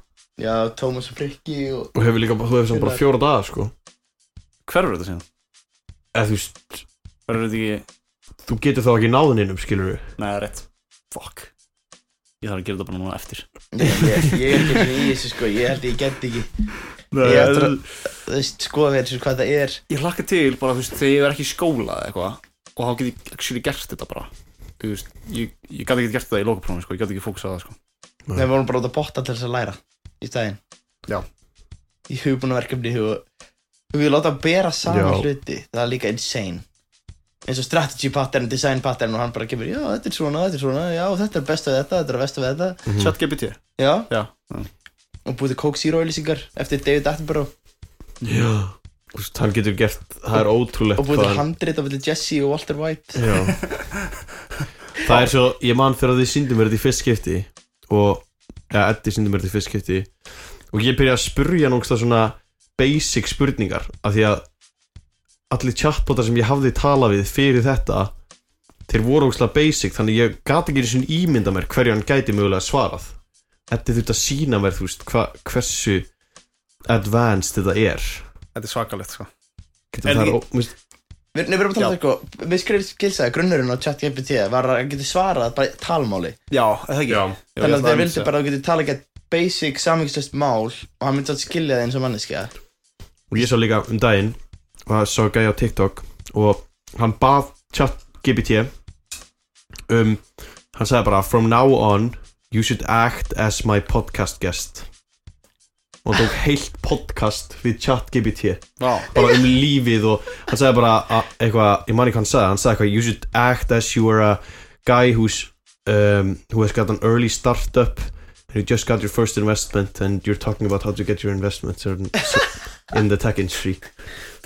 S3: Já, Tómas og Frikki og
S4: og hefur líka, þú hefur sem bara fjóra daga sko
S2: Hverfur þetta síðan?
S4: eða þú veist,
S2: Hverfur þetta ekki,
S4: þú getur þá ekki náðin innum skilur við
S2: neða, rétt Fuck Ég þarf að gera þetta bara núna eftir
S3: Ég, ég, ég er ekki í þessu sko, ég held ég get ekki
S2: Nei,
S3: Ég ætla-
S2: en-
S3: Þú veist, skoða fyrir þessu hvað það er
S2: Ég hlakka til bara, þú veist, þegar ég verð ekki í skóla eða eitthvað Og þá get ég actually gert þetta bara Þú veist, ég, ég gæti ekki gert þetta í loka sko Ég gæti ekki fókusað á það sko
S3: Nei, við vorum bara út að botta til þess að læra í staðinn.
S2: Já.
S3: Í hugbúnaverkefni og og við láta að bera saman
S4: Já.
S3: hluti. Það er líka insane. Eins og strategy pattern, design pattern og hann bara kemur, já, þetta er svona, þetta er svona, já, þetta er best af þetta, þetta er best af þetta.
S2: Chat GPT,
S3: Já,
S2: Mhm. já
S3: og búið til Coke Zero lýsingar eftir David Attenborough
S4: já, þú veist, hann getur gert það er ótrúlegt
S3: og búið til
S4: hvað Eh. hann-
S3: handrit af allir Jesse og Walter White.
S4: já það er svo, ég man þegar þið síndum mér þetta í fyrst skipti og, eða Eddi síndum mér þetta í fyrst skipti og ég byrja að spurja nógsta svona basic spurningar af því að allir chatbotar sem ég hafði talað við fyrir þetta þeir voru ógslag basic þannig ég gati ekki einu sinni ímynda mér hverju hann gæti mögulega svarað Þetta þurft að sína mér þú veist hva, hversu advanced þetta er
S2: Þetta er svakalegt sko
S4: Getur
S2: Er
S4: það
S2: ekki-
S4: er ó- þú veist,
S3: Við, nei, við erum að tala um þetta sko, við skrifum skilsaði, grunnurinn á chat GPT var að hann getur svarað bara talmáli.
S2: Já, er það ekki
S4: Já.
S2: Jú, ég
S3: Þannig að þeir
S2: ætlaði
S3: vildi
S2: segja.
S3: bara að þú getur talað ekki basic samvíkslöst mál og hann myndi að skilja það eins og manneskja
S4: og ég sá líka um daginn og það sá gæja á TikTok og hann bað chat GPT um, hann sagði bara From now on, you should act as my podcast guest og hann tók heilt podcast við ChatGPT
S2: Vá.
S4: bara um lífið og hann sagði bara a- eitthvað, ég man ekki hvað hann sagði, hann sagði eitthvað you should act as you are a guy who's um, who has got an early startup and you just got your first investment and you're talking about how to get your investments in, (laughs) in the tech industry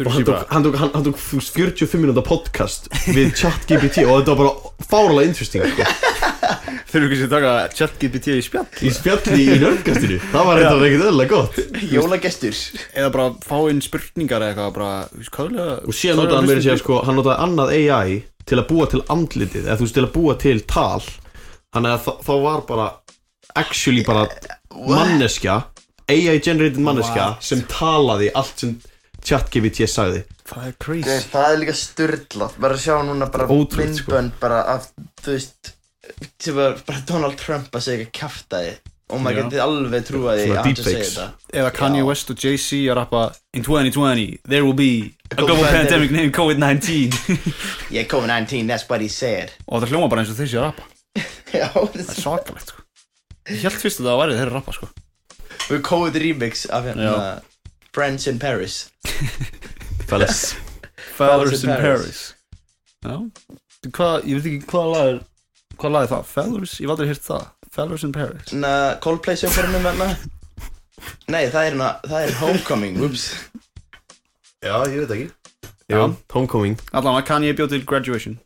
S4: og hann tók, hann tók, hann, hann tók 45 minúta podcast við ChatGPT og þetta var bara fárlega interesting sko.
S2: Þurfum ekki að taka ChatGPT í spjall
S4: í spjalli í nörgastinu það var eitthvað ekkert öðlega gott
S3: Jólagestur
S2: Eða bara fá inn spurningar eða eitthvað bara, þú veist, hvað vilja
S4: og síðan notaði hann verið sér sko hann notaði annað AI til að búa til andlitið eða þú veist til að búa til tal þannig að þa- þá var bara actually bara manneskja AI generated manneskja sem talaði allt sem ChatGPT sagði
S2: Það er crazy
S3: Nei, það er líka sturdlað bara að sjá núna bara
S4: Ótrúlegt, sko.
S3: myndbönd bara af þú veist sem var bara Donald Trump að segja eitthvað kjaftaði Oh og
S2: Já.
S3: maður getið alveg trúa því
S4: Svona
S3: að hann sé að segja
S4: deepfakes.
S3: þetta
S2: Eða Kanye
S3: Já.
S2: West og Jay-Z að rappa In 2020 there will be a global pandemic
S3: pandemic
S2: named COVID-19
S3: Yeah, COVID-19, that's what he said
S2: (laughs) Og það hljóma bara eins og þeir séu að rappa
S3: (laughs) Já,
S2: Það er svakalegt sko Ég held fyrst að það væri þeirra að rappa sko
S3: og COVID remix af hérna
S2: Já.
S3: Friends in Paris
S4: Fellas
S2: Feathers in
S3: in
S2: Paris Já Hvað, ég veit ekki hvað lag er Hvað lag er það? Feathers, ég hef aldrei hýrt það Feathers in Paris
S3: Na, Coldplay sjónfórnum hérna Nei, það er, hérna, það er Homecoming, whoops
S4: já ég veit ekki já, homecoming
S2: Allan að Kanye bjóð til graduation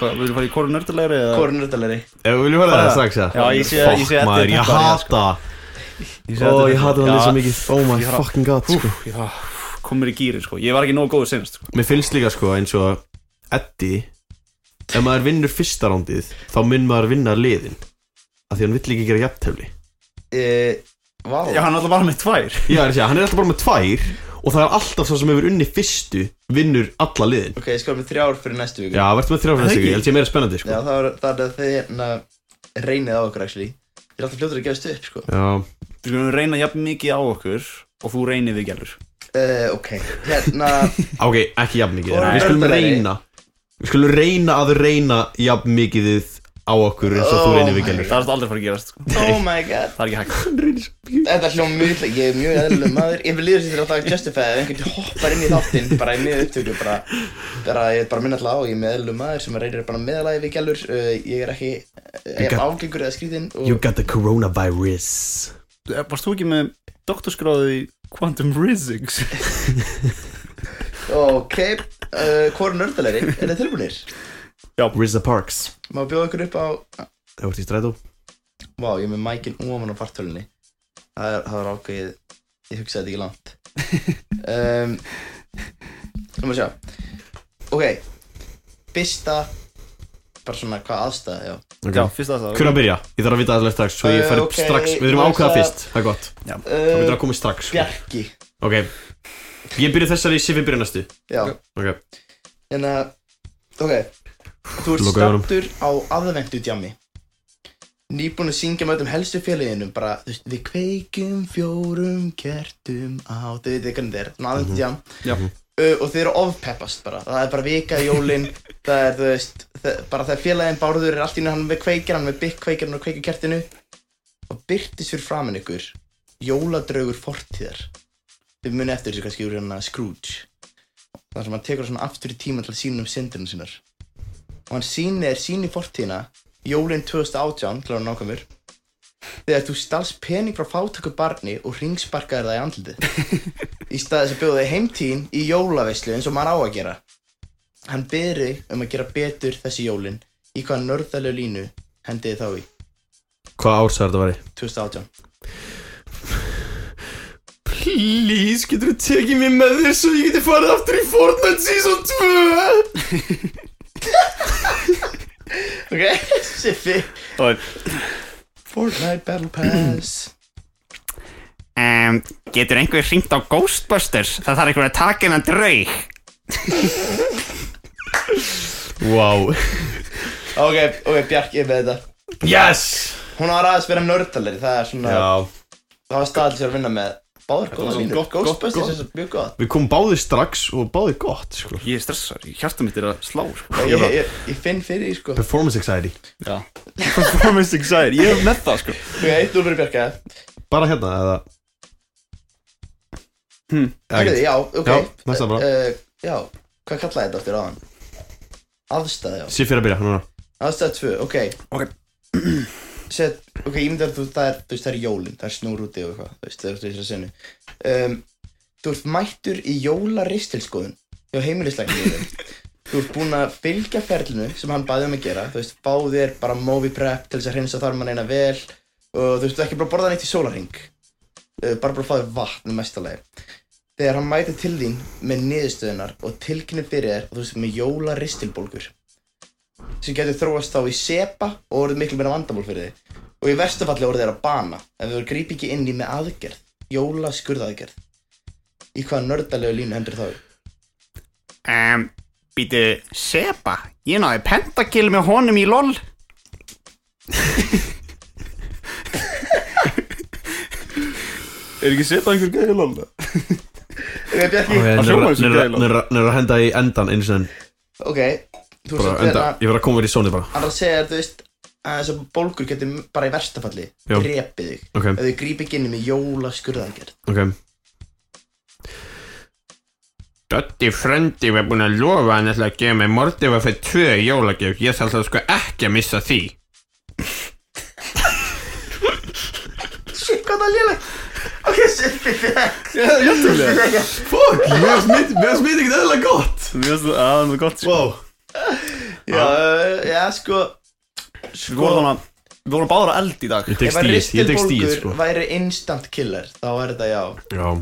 S2: Hvað, viljum við fara í koru nördulegri eða?
S3: Hvorn röttalegri
S4: Ef við viljum höra það strax eða?
S2: Já, ég sé- ég sé
S4: Fuck
S2: að þetta er
S4: maður, ég
S2: peppar,
S4: hata Ó, ég
S2: hérna.
S4: hata það svo mikið Oh my fucking god sko.
S2: mikið Komur í gýrin sko, ég var ekki nógu góður senast sko.
S4: Mér finnst líka sko eins og Eddie Ef maður vinnur fyrsta rándið Þá mun maður vinna liðin Af því hann vill ekki gera jafntefli
S3: uh, Vá
S2: Já, hann alltaf var með tvær
S4: Já, er að segja, hann er alltaf bara með tvær Og það er alltaf svo sem hefur unni fyrstu Vinnur alla liðin
S3: Ok, ég skal með þrjár fyrir næstu viku
S4: Já, verður með þrjáfæðan sig, ég held ég meira spennandi sko
S3: Já, það er það að þið hérna reynið á okkur actually Þið er alltaf fljótur að gefast upp, sko
S4: Já,
S2: Við skulum reyna jafn mikið á okkur og þú reynir við gerður
S3: uh, Ok, hérna
S4: ok, ekki jafn mikið
S3: Og
S4: Við skulum
S3: nördalegi.
S4: reyna Við skulum reyna að reyna jafn mikið á okkur eins og þú
S3: Oh
S4: reynir við
S3: my
S4: gælur
S2: Það er þetta aldrei fara að gerast sko.
S3: Oh my god
S2: Það er ekki hægt
S3: Þetta er hljóma mjög illa Ég er mjög eðlileg maður Ég vil líður sér alltaf að justify Ef einhvern hoppar inn í þáttinn Bara í miður upptöku Bara, bara ég er bara minna alltaf á Ég er mjög eðlileg maður Sem að reynir bara meðalagi við gælur uh, Ég er ekki Ég er
S4: got-
S3: ágengur eða skrýðinn
S4: You
S3: Og
S4: got the coronavirus
S2: (laughs) Eh, Varst þú ekki með doktorskráði í Quantum Physics?
S3: ok uh, Hvor nördalegri Er þið tilbúinir?
S4: Rizza Parks
S3: Má bjóða ykkur upp á
S4: Það vart í strætó
S3: Vá, ég er með mækinn óman á fartölunni Það er, það er ákveðið Ég hugsaði þetta ekki
S4: (laughs)
S3: langt um, Nú maður sjá Ok Bista Bara svona hvað aðstæða, já
S2: Já, fyrst að
S4: Hver
S2: það
S4: er að byrja? Ég þarf að vita aðeins strax Svo ég fer upp
S3: Eh, ok,
S4: strax Við þurfum að ákveða
S3: ætla-
S4: fyrst Það er gott Það myndir að
S3: Uh,
S4: koma strax sko.
S3: Bjarki
S4: Ok Ég byrja þessari Sifi byrja næstu
S3: Já,
S4: Ok
S3: en að Ok Þú ert
S4: Loka augunum.
S3: stattur á aðvendu djami Nýbúin að syngja með öllum helstu félaginum Bara, þú veist, við kveikjum fjórum kertum á Þau veitir hvernig þetta er, svona
S4: Mhm.
S3: aðvendu djam
S2: Já.
S3: uh, Og þau eru ofpeppast bara Það er bara vika í jólin Það er, þú veist, það, bara þegar félagin Bárður er allt í henni hann með kveikir Hann með bygg kveikir, hann með kveikir kertinu Og byrtist fyrir framin ykkur Jóladraugur fortíðar Þau muni eftir þessu kannski úr hérna Scrooge þar sem hann tekur svona aftur í tíma til að sína um syndurinn sínar og hann sýnir sín í fortíðina jólinn 2018 til að hann ákvæmur þegar þú stals pening frá fátöku barni og ringsparkaðir það í andlitið í staði þess að bjóða þig heimtíðin í jólaveislu eins og maður á að gera hann byrði um að gera betur þessi jólinn í hvaða nörðalegu línu hendiði þá í
S4: Hvað árs er þetta að veri?
S3: 2018
S4: Please, getur þú tekið mér með þér Svo ég geti farið aftur í Fortnite Season 2
S3: ok, (laughs) Siffi
S2: Það er
S3: Fortnite Battle Pass
S5: um, Getur einhver hringt á Ghostbusters? Það þarf einhver að taka hennan draug
S4: (laughs) Wow
S3: ok, ok, Bjarki er með þetta
S4: Yes
S3: hún var aðeins vera nördalegri það er svona
S4: Já
S3: það var staðil sér að vinna með báður góða
S2: var
S3: línur
S2: gott- gott-
S3: Ghostbusters
S2: gott.
S3: er svo mjög gott
S4: Við komum báðir strax og báðir gott sko.
S2: Ég er stressar, hjarta mitt er að slá sko.
S3: Ég,
S2: Ég
S3: ég,
S2: er
S3: ég, ég finn fyrir því sko
S4: Performance anxiety
S2: bara Performance anxiety, ég er með það sko
S3: Ok, eitt úr fyrir Bjarka
S4: Bara hérna eða
S2: Hmm.
S4: Eða
S3: Herðu,
S4: ekki.
S3: já, ok
S4: Já, næsta bara.
S3: Eh, Já, hvað kallaði þetta aftur áðan? Aðstæði, já
S4: Siff er að byrja núna
S3: Aðstæða tvö, ok
S2: Ok.
S3: (clears throat) Set, ok, ég myndi að þú, það er, þú veist, það er jólin, það er snúr úti og eitthvað, þú veist, það er þess að sinni um, Þú ert mættur í jólaristilskoðun hjá heimilislækningum Þú ert búinn að fylgja ferlinu sem hann bæði um að gera, þú veist, fá þér bara móvi prep til þess að hreinsa þarmann eina vel og þú veist, þú ert ekki bara að borða neitt í sólarhing uh, bara bara að fá þér vatn um mestalegi Þegar hann mæti til þín með niðurstöðunar og tilkynni fyrir þér og þú veist, með jólaristilbólgur sem getur þróast þá í sepa og orðið miklu meira vandamál fyrir þig og í versta falli orðið er að bana ef þú gríp ekki inn í með aðgerð jóla skurðaðgerð í hvaða nördalegu línu hendur þá í?
S5: um, Býtu, Seba Ég náði pentakill með honum í LOL
S2: Er ekki setað einhver gæði lóla?
S3: ok, Bjarki,
S2: Það hljómar eins og gæla.
S4: Nöður að henda í endan eins og enn
S3: ok þú
S4: Bara
S3: veist
S4: enda,
S3: hérna
S4: ég verð að koma verið í sónið bara
S3: hann er að segja þér, þú veist að þessar bólgur getur bara í versta falli
S4: Já.
S3: drepið þig
S4: Ok,
S3: ef þú gríp ekki inn í með jóla skurðaðgerð
S4: ok
S5: Doddi frendi var búin að lofa hann ætla að gefa mig mordi var fyrir tvö í jólagjöf Ég þarf það sko ekki að missa
S4: (laughs)
S5: því
S3: shit, hvað það er lélægt ok, Siffi fekk
S2: Jættulega
S4: Fuck, mér smiti ekkert eðla gott
S2: Mér finnst það aðeins gott sko
S4: Wow
S3: já, uh, já, sko
S2: Við vorum þannig Við vorum báður að eld í dag
S4: Ég tek
S3: ef að
S4: stíð, ég tek stíð
S3: ristilbólgur
S4: sko
S3: væri instant killer þá er þetta já
S4: Já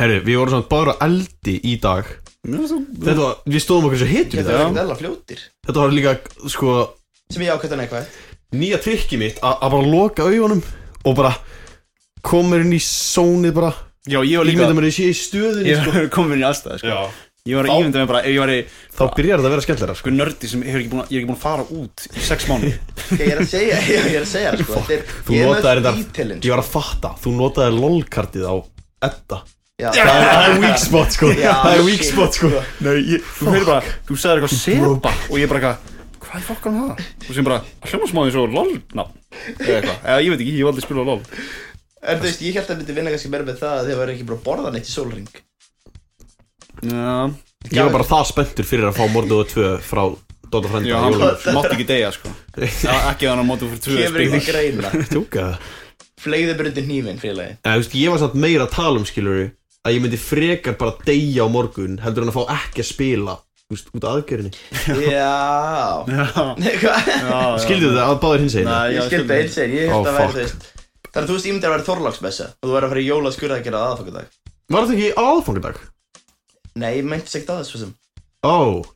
S4: Herru, við vorum samt báður að eldi í dag
S2: Mér finnst
S4: Þetta var, við stóðum okkur svo hitur í
S3: Þetta er
S4: dag
S3: ekkert eðla fljótir
S4: Þetta var líka, sko,
S3: Sem ég ákvæmt að neikvæð
S4: nýja trikki mitt að að bara loka augunum og bara koma mér inn í sónið bara
S2: Já, ég var líka
S4: Ímynda mér að ég sé í stöðinni
S2: (laughs) Ég
S4: sko.
S2: var komin inn í aðstæði sko
S4: Já
S2: Ég var að ímynda mér bara Ef ég var í
S4: Þá byrjar þetta að vera skemmtilega sko
S2: Sko nördi sem hefur ekki búin að Ég er ekki búin að fara út Í sex mánu
S3: Ég er að segja, (laughs) ég ég er að segja sko. Þetta er,
S4: Þú
S3: ég er sko.
S4: notaðir
S3: með
S4: þetta
S3: dítilinn
S4: Ég var að fatta, þú notaðir lolkartið á Edda
S3: Já,
S4: Það er- það er weak spot sko
S3: Já,
S4: Það er weak
S3: shit,
S4: spot sko
S3: sko.
S2: Nei, ég Þú hefur bara Þú sagðir eitthvað Seba Og ég bara eitthvað Hvað er fokkan það? Og sem bara Hljómasmáðin svo LOL nafn Eða eitthvað Eða ég veit ekki Ég hef aldrei spilað LOL
S3: (laughs) En þú veist, ég held að myndi vinna kannski meira með það að Þið væri ekki bara að borða neitt í sólring
S2: Já
S4: Ég var bara það spenntur fyrir að fá Mordóðu 2 frá Dóta
S2: Já,
S4: Frenda
S2: hann
S4: Jólumur
S2: mátti ekki deyja sko Já, Ekki að hann mátti fyrir tvö
S3: Kemur ekki til
S2: spila
S3: greina
S4: Tjókaða
S3: Fleigðu bara undir hnífinn, félagi
S4: Eða, þú veist, ég var samt meira að tala um, skilur að ég myndi frekar bara deyja á morgun heldur en að fá ekki að spila þú veist, út af aðgerðinni
S3: Já (laughs) Nei, hvað? (laughs)
S4: Skildu þetta að báðir hins einu?
S2: Nei, já,
S3: Ég skildi það eins og Ég
S4: Ó,
S3: held að væri,
S4: fuck.
S3: þú veist Þannig að þú veist, ég myndi að vera þorláksmessa Og þú væri að fara í jóla skurða að gera aðfangadag
S4: Var þetta ekki á aðfangadag?
S3: Nei, ég meinti segt aðeins, svo sem
S4: Ó,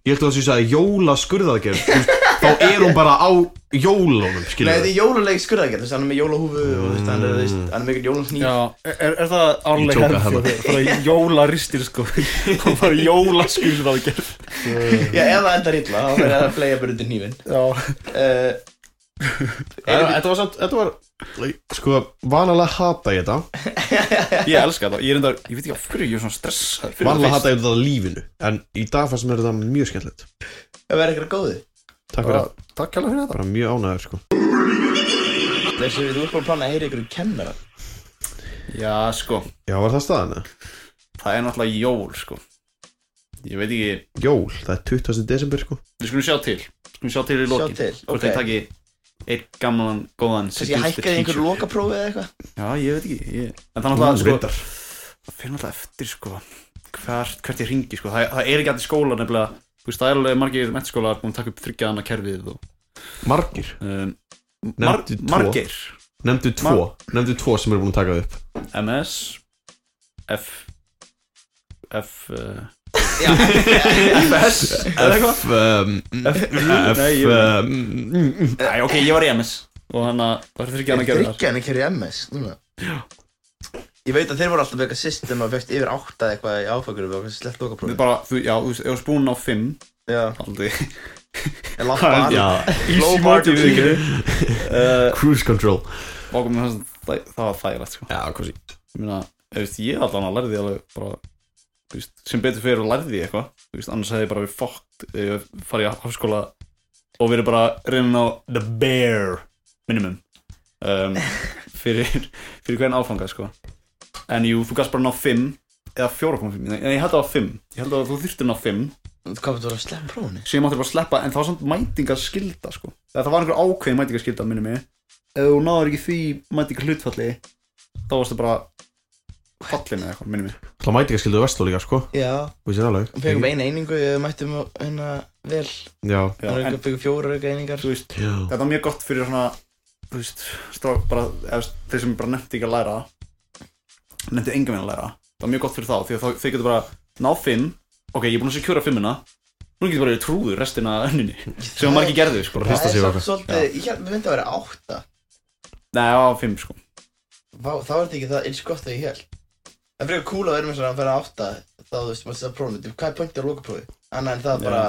S4: ég held að þessu að jóla skurðaðgerð þú veist, þá er hún bara á jólunum,
S3: Nei,
S4: skilur
S3: þetta er jóluleg skurða þú veist, hann er með jólahúfu og þú veist, hann er, þú veist, hann er með jólahníf
S2: Já, er, er það
S4: Ég
S2: árlega
S4: tók að
S2: hefð
S4: hafa.
S2: þjóðir? Bara jólaristir (laughs) sko Og bara jólaskur sem það við gerð
S3: Já, ef það endar illa, þá verður það að fleigja bara undir hnífinn
S2: Já
S3: uh,
S4: Þetta var samt, þetta var sko, vanalega hata ég þetta
S2: Ég elska það, ég er enda, ég veit ekki af hverju ég er svona stressað fyrir
S4: vanalega
S2: það
S4: hata ég þetta á lífinu en í dag fannst mér þetta mjög skemmtilegt
S3: Það verður eitthvað góði
S4: Takk fyrir
S2: fyrst.
S4: það,
S2: Takk kæla fyrir þetta
S4: bara mjög ánægður sko
S3: Þessi við, þú ert bara að plana að heyra ykkur um kennara
S2: Já, sko,
S4: Já, var það staðan? eða?
S2: það er náttúrulega jól sko Ég veit ekki,
S4: Jól, það er 20. desember sko
S2: við skulum sjá til Við skulum sjá til í lokin
S3: Sjá til,
S2: Hvort
S3: ok.
S2: ég taki einn gamlan, góðan
S3: Kannski
S2: seduce the
S3: hækkaði einhver
S2: teacher.
S3: lokaprófi eða eitthvað
S2: Já, ég veit ekki ég... En það er
S4: Ú,
S2: náttúrulega, sko,
S4: reyndar.
S2: það fyrir náttúrulega eftir sko hvert, hvert ég ringi sko það, það er ekki allir skólar nefnilega þú veist það er alveg margir mentaskólar búin að taka upp þryggjaðana kerfið og
S4: Margir
S2: um, mar,
S4: Nefndu tvo.
S2: margir
S4: Nefndu tvo, nefndu tvo sem eru búin að taka upp
S2: MS F F uh, FS eða eitthvað
S4: F, um, F, F
S2: Nei, ég-
S4: um,
S2: Nei, ok, ég var í MS og hann að það er þryggjaðana kerfið
S3: Þryggjan er kerið MS núna Ég veit að þeir voru alltaf með eitthvað system og fekst yfir átta eða eitthvað í áfangurum og eitthvað slett
S2: Við
S3: lokaprófi
S2: bara, þú, já, þú veist, ef þú spún á 5
S3: Já,
S2: aldrei,
S3: ég lappa
S2: Já.
S3: að
S2: easy
S3: bar to
S2: motive uh, (laughs)
S4: Cruise control
S2: og það, það var þægilegt sko
S4: Já, hvað sé
S2: Ég meina, Þú veist, ég allan að lærði alveg bara þú veist, sem betur fyrir að lærði ég eitthvað Þú veist, annars hefði ég bara við fokkt ef ég farið í háskóla og verið bara reynin á the bare minimum (laughs) um, fyrir, fyrir hvern áfanga sko. en jú, þú gast bara ná 5 eða 4.5, nei ég held að það var 5 ég held að þú þyrftir ná 5
S3: Þú komið þú að slepp prófni
S2: sem ég mátti bara sleppa en það var samt mætingaskylda sko. Eða það var einhver ákveðin mætingaskylda minni mig ef þú náður ekki því mætinga hlutfalli þá varstu bara fallin eða eitthvað minni mig
S4: Það mæti ekki að skildu vestló líka sko
S3: Já,
S4: Við sér alveg
S3: við fengum eina einingu, við mættum á- hérna vel
S4: Já
S2: Já,
S3: Það
S2: en,
S3: eru fengum fjórar auka einingar
S2: þú veist,
S4: Já
S2: þetta var mjög gott fyrir svona þú veist, strá, bara, eða, þeir sem bara nefndi ekki að læra nefndi enga veginn að læra það var mjög gott fyrir þá því að þá- þau getur bara náð fimm ok, ég er búin að sekjura fimmina nú getur bara verið trúður restina af önninni sem
S3: Það-
S2: margir gerðu sko.
S4: Bara hrista sig
S3: Það
S4: og
S3: er samt
S4: eitthvað
S3: svolítið, ég held, við myndum að vera átta
S2: Nei, það var fimm sko
S3: Vá, þá er þetta ekki það eins gott þegar ég held En frekar cool að vera með svona að vera átta Þá þú veist, maður sér að prófni, Þú- hvað er pointið á lokaprófi? Annað en það
S2: Já.
S3: bara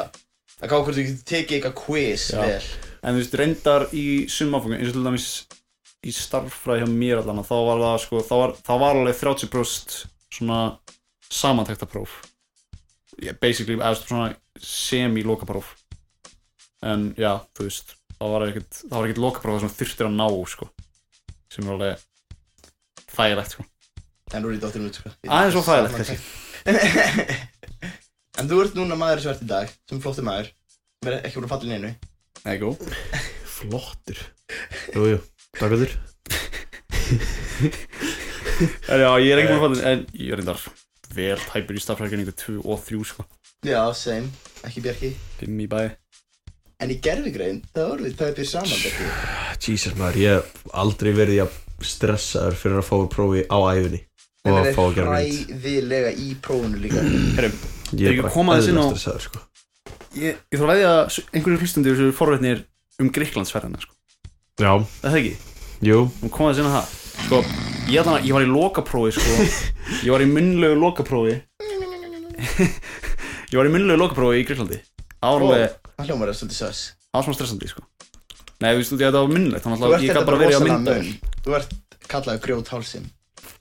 S3: að gá hvort þú getur tekið eitthvað quiz
S2: Já.
S3: vel
S2: En þú veist, reyndar í sumafangum, eins og til dæmis í starffræði hjá mér allan, að þá var það sko, þá var, þá var alveg 30% svona samantektapróf. Yeah, basically, eða svona semi-lokapróf. En já, þú veist, þá var ekkert, þá var ekkert lokapróf það sem þurftir að ná, sko. Sem er alveg þægilegt, sko.
S3: En nú er ég dóttirinn út, sko
S2: Aðeins og þægilegt, kannski.
S3: kannski (laughs) En þú ert núna maður svart í dag, sem flótti maður Sem er ekki búin að falla í neinu
S2: Nei, gó.
S4: Flottur Jú, jú Takk fyrir
S2: En já, ég er ekki búin að falla, en Eh, ég er reyndar vel tæpur í starffræðingu 2 og 3, sko.
S3: Já, same, ekki Bjarki
S2: 5 í bæði.
S3: En í gerfigrein, það voru við, það er byrð saman, Bjarki
S4: Ah, Jesus maður Ég hef aldrei verið að stressaður fyrir að fá úr prófi á æfinni Og
S3: Það
S4: að
S3: er
S4: fá að gera mynd
S3: hræðilega í prófinu líka
S2: Herrum,
S4: Ég
S2: Þeir
S4: er
S2: koma
S4: bara
S2: aðeins inn á-
S4: eðlilega stressaður sko
S2: Ég, ég þarf að veðja að einhverju hlustandi þessu forvétnir um Greiklandsferðina sko.
S4: Já
S2: Er Það ekki,
S4: Jú
S2: hún kom aðeins inn á það sko, ég, allan, að- ég var í lokaprófi
S3: (laughs)
S2: sko. Ég var í munnlegu lokaprófi (laughs) Ég var í munnlegu lokaprófi í Greiklandi Árlega, oh.
S3: Það hljómar er svolítið sös
S2: það var svona stressandi sko. Nei, þú veist, þú veist, þetta var munnlegt Þannig
S3: Þú
S2: að
S3: ert
S2: ég
S3: þetta
S2: gæti bara
S3: bara
S2: verið að
S3: rosalega
S2: mynda
S3: mun Þú ert kallaður grjóthálsin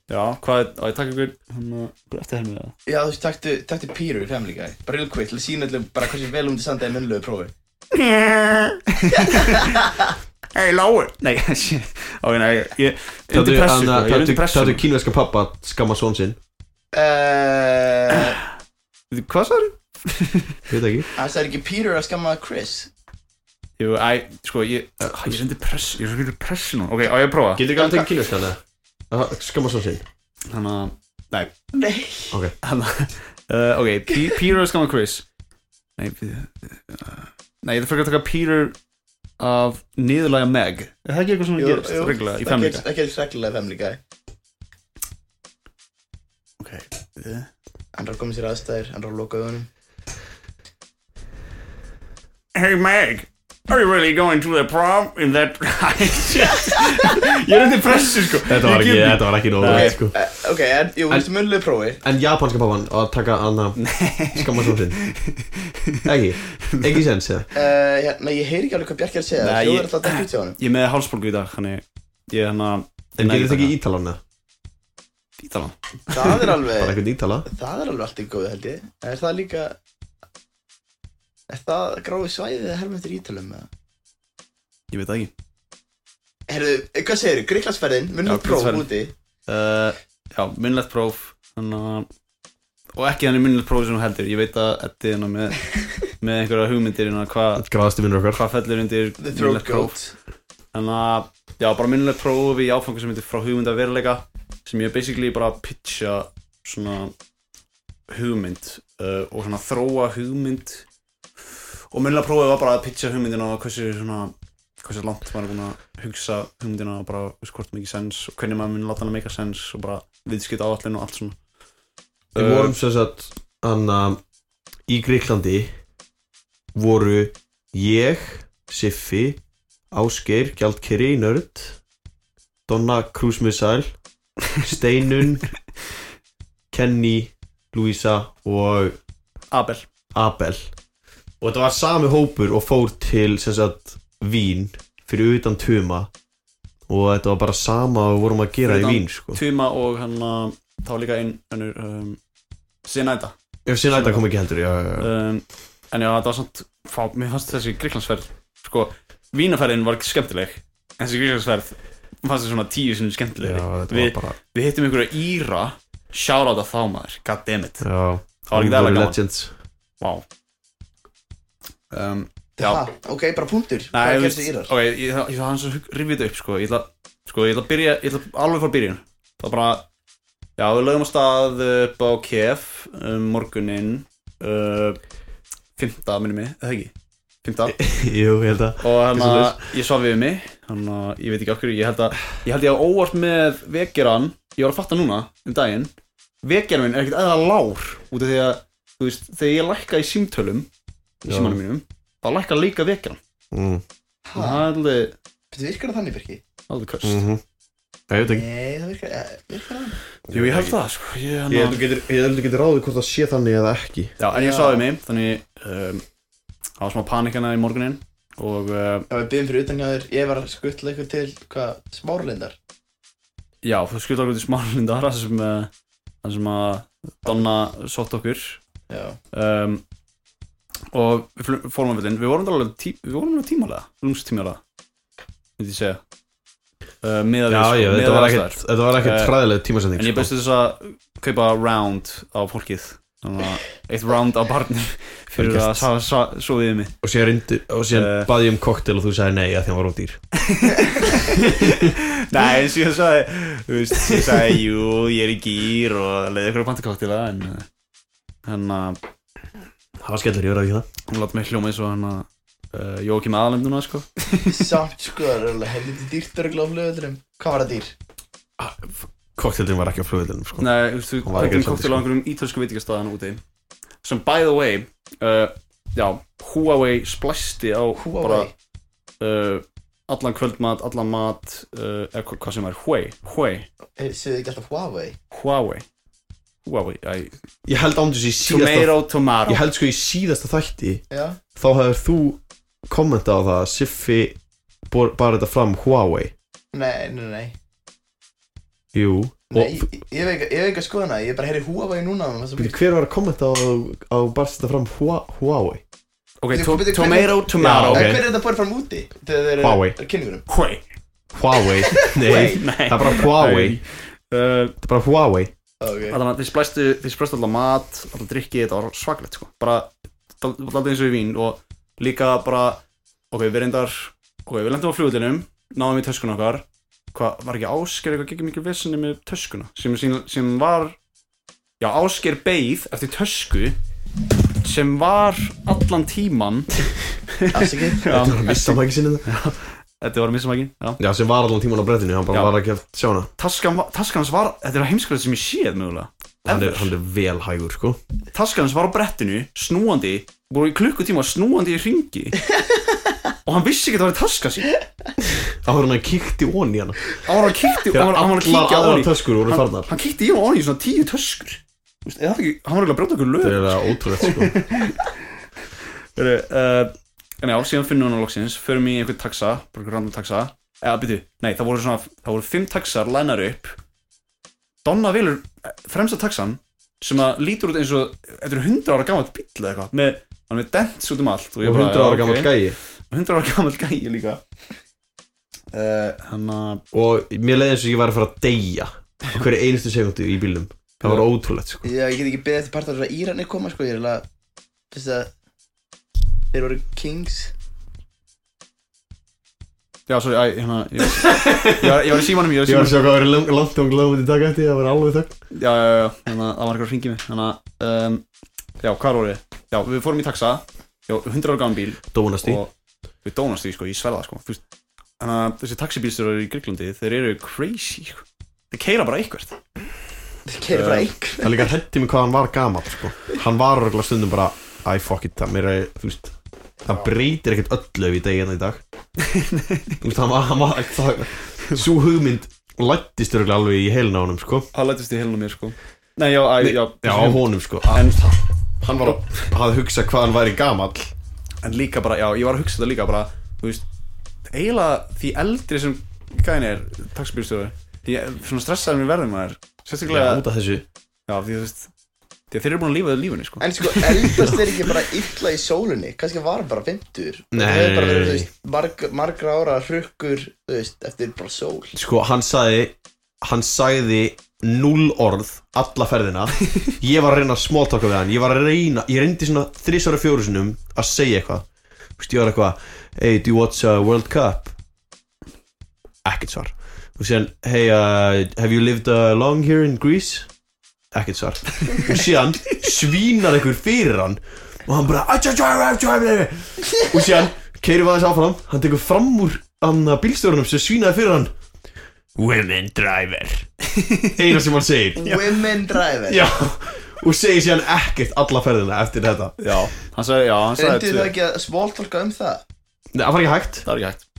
S2: Já, hvað, er- á ég takk ykkur hérna, hvað er eftir henni það?
S3: Já, þú veist, taktu, taktu Píru í Family Guy Bara real quick, til að sína allir bara hversu vel um til sandaði munnlegu prófi (laughs)
S2: Hei, Lái Nei, (laughs) shit. á ég, nei, ég- ég er
S4: Tættu
S2: undir pressu, sko, ég er undir pressu
S4: Tættu kínverska pappa að Skamma svon sinn
S3: Eh, (coughs)
S2: Hvað sagði?
S4: (laughs) Veit ekki
S3: Það er ekki Píru að skamma Chris
S2: Jú, æ, sko, ég, ég er undir pressu Ég er undir pressu núna, ok, á ég að prófa
S4: Getur ekki að teka kínverskan eða? Skamma svon sinn
S2: Þannig að
S3: Nei
S2: Hanna, (laughs) uh, ok, P Peter er skamma Chris Nei, uh, nei ég þarf frekar að taka Peter af niðurlega Meg Er það ekki eitthvað sem
S3: Jú,
S2: gerist
S3: jú,
S2: reglulega í
S3: það
S2: Family
S3: gerist-
S2: Guy?
S3: Það gerist reglulega í Family Guy
S2: Ok, eh,
S3: Hann er að koma sér aðstæðir, hann er að loka augunum
S2: Hey Meg, are you really going to the prom in that (laughs) Ég er undir pressu sko
S4: Þetta var
S2: Ég
S4: ekki,
S2: gef-
S4: þetta var ekki nógu
S2: Nei.
S4: vel, sko.
S3: Eh, Ok, en, jú,
S4: En-
S3: þú veist, munnlegu prófi
S4: En japanska pappan að taka annað skamma svo sinn Ekki, ekki sens eða
S3: Eh, Hérna, ég heyri ekki alveg hvað Bjarki er að segja
S2: Nei,
S3: Þú
S2: ég-
S3: er alltaf að dækja út hjá
S2: (laughs)
S3: honum
S2: Ég er með hálsbólgu í dag, þannig ég er hérna hann að
S4: En getur þetta ekki ítalan eða?
S2: Ítalan
S3: Það er alveg
S4: Bara eitthvað ítala
S3: Það er alveg allt í góðu held ég Er það líka Er það gráði svæðið eða helmyndir ítalum eða?
S2: Ég veit það ekki
S3: Herðu, hvað segir þú? Gríklandsferðin,
S2: Já,
S3: munum próf
S2: Grikklandsferðin.
S3: úti
S2: uh, Já, minnlegt próf Þannig að Og ekki þannig minnlegt próf sem þú heldur Ég veit að Eddi er hérna með Með einhverja hugmyndir hérna Hvað
S4: Gráðasti vinnur okkar
S2: hva fellur undir
S3: The Throat
S2: munnlegt próf
S3: Goat
S2: Þannig að Já, bara minnlegt próf í áfangu sem heitir Frá hugmynd að veruleika Sem ég er basically bara að pitcha Svona Hugmynd uh, Og svona þróa hugmynd Og minnlegt prófið var bara að pitcha hugmyndina Og hversu svona hversu langt maður er búin að hugsa hugmyndina og bara veist, hvort mikið sens og hvernig maður mun láta hana meika sens og bara viðskipta áallin og allt svona
S4: Við
S2: Uh,
S4: vorum sem sagt Anna Í Greiklandi Voru ég Siffi Ásgeir Gjaldkeri Nörd Donna Cruise Missile Steinun Kenny Louisa og
S2: Abel
S4: Abel og þetta var sami hópur og fór til sem sagt Vín fyrir utan Tuma og þetta var bara sama og við vorum að gera
S2: Fyrir utan
S4: í Vín sko.
S2: Tuma hérna, og hann að þá var líka einn önnur um, Sinæta
S4: Ef síðan þetta kom ekki heldur, já, já, já.
S2: um, en já, það var samt fá, mér fannst þessi Gríklandsferð sko, Vínaferðin var skemmtileg en þessi Gríklandsferð mér fannst þessi svona tíu sinni
S4: Já,
S2: skemmtilegri
S4: þetta
S2: við,
S4: var bara
S2: við hittum einhverja Íra Shoutout að þá maður, goddammit
S4: Já,
S2: Það var ekki það gaman
S4: Legends (laughs)
S2: Vá um, Já.
S3: Ha, ok, bara punktur
S2: Nei,
S3: Hvað
S2: þú
S3: gerst
S2: veist,
S3: þið írar?
S2: ok, ég þarf að hans að rifja þetta upp, sko Ég ætla, sko, ég ætla að byrja, ég ætla alveg frá byrjun Það var bara, já, við lögum á stað upp á KF um, morguninn uh, Fymta, minni mig, eða ekki Fymta
S4: Jú, ég held að
S2: Og hann að
S4: svoleiðis.
S2: ég svaf yfir mig Hann að, ég veit ekki okkur, ég held að Ég held ég að óvart með vekjaran Ég var að fatta núna, um daginn Vekjaran minn er ekkert eða lár Út af því að, þú veist, þegar ég lækka í símtölum Í
S4: Já.
S2: símanum mínum Þá lækka líka vekjaran
S4: mm,
S2: Og Það er alveg
S3: Þetta virkar það þannig, Birki?
S2: Alveg köst
S4: mhm. Það ég veit ekki
S3: Nei, það virkar, eh, virkar það þannig
S2: Jú, ég held það, sko Ég,
S4: Ég held
S2: hana...
S4: þú getur, ég held þú getur ráðið hvort það sé þannig eða ekki
S2: Já, en ég
S3: Já.
S2: svaði mig Þannig um, Það var smá panikana í morgunin Og uh,
S3: Já, við byrjum fyrir utan hjá þér Ég var að skuttla ykkur til, hvað, smárlindar
S2: já, þú skutt okkur til smálindar Það sem uh, Það sem að Donna sótt okkur
S3: Já
S2: um, Og við fl- fórum á villin Við vorum alveg tí, Við vorum alveg tímalega Lungstímalega Myndi ég segja uh, Miðað
S4: Já,
S2: við, sko,
S4: já,
S2: miðað
S4: þetta
S2: við
S4: var
S2: aðstæður.
S4: ekkert Þetta var ekkert
S2: Eh,
S4: træðileg tímasetning
S2: En ég
S4: sko.
S2: bauðst til þess að kaupa round á fólkið Þannig að eitt round á barni (laughs) fyrir að
S4: Velgert.
S2: sa- sa- sofiðið mig
S4: Og síðan, reyndi, og síðan
S2: Eh.
S4: bað ég um koktel og þú sagði nei að því hann var ódýr
S2: Nei, eins og ég sagði Þú veist, ég sagði, jú, ég er í gýr og leiði ykkur að panta koktila en eh, hann að
S4: Það var skellur, ég verði ekki það
S2: hún látt mig hljóma eins og hann að uh, Jókim aðalenduna, sko
S3: (laughs) Samt, sko, það er alveg helviti dýrt örgla á flugöldurum Hvað var það dýr?
S4: Koktelin var ekki á flugveldinum sko.
S2: Nei, þú veist, þú
S4: Hún var
S2: hættum
S4: ekki svolítið,
S2: koktila á
S4: sko.
S2: einhverjum ítölsku veitingastæðan úti sem, by the way uh, já, Huawei splæsti á bara
S3: Huawei
S2: uh, allan kvöldmat, allan mat uh, eða hva- hvað sem er, Huawei Huawei,
S3: Eh, Segðu ekki alltaf Huawei
S2: Huawei Huawei, æ,
S4: Ég held ándjus í síðasta
S2: tomato, tomato
S4: Ég held sko í síðasta þætti
S3: Já
S4: Þá hefur þú kommentað á það að Siffi bor, bar þetta fram Huawei
S3: Nei, nei, nei
S4: Jú
S3: Nei,
S4: Og
S3: ég, ég veit ekki- ég veit ekki að skoða hana, ég bara heyri Huawei núna og það
S4: Býtu, hver var að kommenta á að barst þetta fram Hua, Huawei?
S2: ok,
S3: Bíddu,
S2: to
S3: bíddu,
S2: tomato, tomato
S4: ok.
S3: En hver er þetta búið fram úti? Þegar þeir
S4: Huawei.
S3: eru kynningurum
S2: Huawei
S4: Huawei? Nei,
S2: (laughs) Nei
S4: það er bara Huawei
S2: uh,
S4: Það er bara Huawei
S3: okay.
S2: Þannig að þeir splæstu, þeir splæstu alltaf mat, alltaf drikki, þetta var svaklegt sko Bara, alltaf eins og í vín og líka bara, ok, við reyndar, ok, við lendum á flugullinum, náðum í töskuna okkar Hvað, var ekki Ásker eitthvað geggjum mikil vissinni með töskuna? Sem, sem, sem var, já, Ásker beið eftir tösku sem var allan
S4: (laughs)
S2: tíman
S3: Afsakið
S2: Já,
S4: Missa maður ekki sinni það?
S2: þetta var missamækin, já
S4: Já, sem var allan tíman á brettinu, hann bara
S2: Já.
S4: var ekki að sjá hana
S2: Taskan, va- taskan hans var, þetta er heimskulegt sem ég séð mögulega
S4: hann er,
S2: Ever.
S4: hann er vel hægur, sko
S2: taskan hans var á brettinu, snúandi voru í klukkutíma snúandi í ringi og hann vissi ekki að það var í taska sín
S4: Það var hann að kíkti ón í hana
S2: hann var að kíkti hann var hann var að
S4: allar
S2: kíkja á
S4: aðrar
S2: hann í-
S4: töskur voru
S2: hann,
S4: farnar
S2: hann kíkti í og hann í svona tíu töskur Þú veist, eða það ekki, hann var eiginlega að brjóta okkur lög
S4: Það er eiginlega ótrúlegt, sko
S2: Heyrðu, uh, en já, síðan finnum við hann á loksins förum í einhvern taxa, bara einhvern random taxa eða byrju, nei, það voru svona það voru fimm taxar lænar upp Donna velur eh, fremsta taxan sem að lítur út eins og þetta er 100 ára gamalt bíll eða eitthvað með, hann er dents út um allt
S4: Og
S2: ég bara,
S4: 100
S2: já,
S4: ára
S2: ok.
S4: gammal gæi
S2: 100 ára gammal gæi líka Eh, Þannig að
S4: Og mér leiði eins og ég væri að fara að deyja á hverju einustu segundu í bílnum Það var ótrúlegt, sko
S3: Já, ég get ekki beðið eftir partar að Íranir koma, sko, ég er alveg Fyrst að Þeir voru kings
S2: Já, sorry, æ, hérna Ég, ég, var, ég var í símanum, ég var í
S4: Ég var að
S2: símanum
S4: sjá hvað verið langt og glöðum í dag eftir Það var alveg þögn
S2: Já, já, já, þannig að það var eitthvað að hringja í mig Þannig að, um, já, hvað voru ég? Já, við fórum í taxa Já, 100 ára gammal bíl
S4: Dónast í
S2: Og við dónast því, sko, ég sverða það, sko Þú veist, Þannig að þessi taxibílstjórar í Gríklandi Þeir eru crazy, sko Þeir keira bara eitthvert
S3: Þeir keirir bara einhver
S4: Það líka hendi mig hvað hann var gamall, sko Hann var örgulega stundum bara Æ, fuck it, það mér er, þú veist Það breytir ekkert öllu ef ég degi hérna í (laughs) dag Þú veist, hann var, hann var það, Sú hugmynd lættist örgulega alveg í helin á honum, sko
S2: Það lætist í helna mér, sko Nei, já, æ, já,
S4: Já, á honum, sko
S2: En,
S4: Hann var að hafði hugsað hvað hann væri gamall
S2: en líka bara, já, ég var að hugsa þetta líka bara Þú veist, eiginlega því eldri sem gæin er taxibílstjóri ég, svona stressaður mér verður maður sérstaklega,
S4: Út
S2: já,
S4: af þessu
S2: því þú veist því að þeir eru búin að lífa þau lífunni sko.
S3: En sko, eldast er ekki bara illa í sólunni Kannski var hann bara 50
S4: Nei.
S3: Það hefur bara verið, þú veist, marg, margra ára hrukkur, þú veist, eftir bara sól
S4: Sko, hann sagði Hann sagði null orð Alla ferðina Ég var að reyna að smáltaka við hann Ég var að reyna Ég reyndi svona þrísvara fjórusunum Að segja eitthvað Þú veist, ég var eitthvað Hey, do you watch uh, World Cup? Ekkert svar Og síðan Hey, uh, have you lived uh, long here in Greece? Ekkert svar Og síðan Svínar einhver fyrir hann Og hann bara "Ajá, ajá, ajá, ajá, ajá." Og síðan Keiri var þess áfram Hann tekur fram úr Hann uh, bílstjórnum sem svínaði fyrir hann Women driver (laughs) Eina sem hann segir
S3: Women driver
S4: Já Og segir síðan ekkert alla ferðina eftir þetta
S2: já, hann sagði, já, hann sagði
S3: Reyndu
S2: tvö.
S3: þau ekki að smóltólka um það?
S4: Nei, það var ekki hægt
S2: það er ekki hægt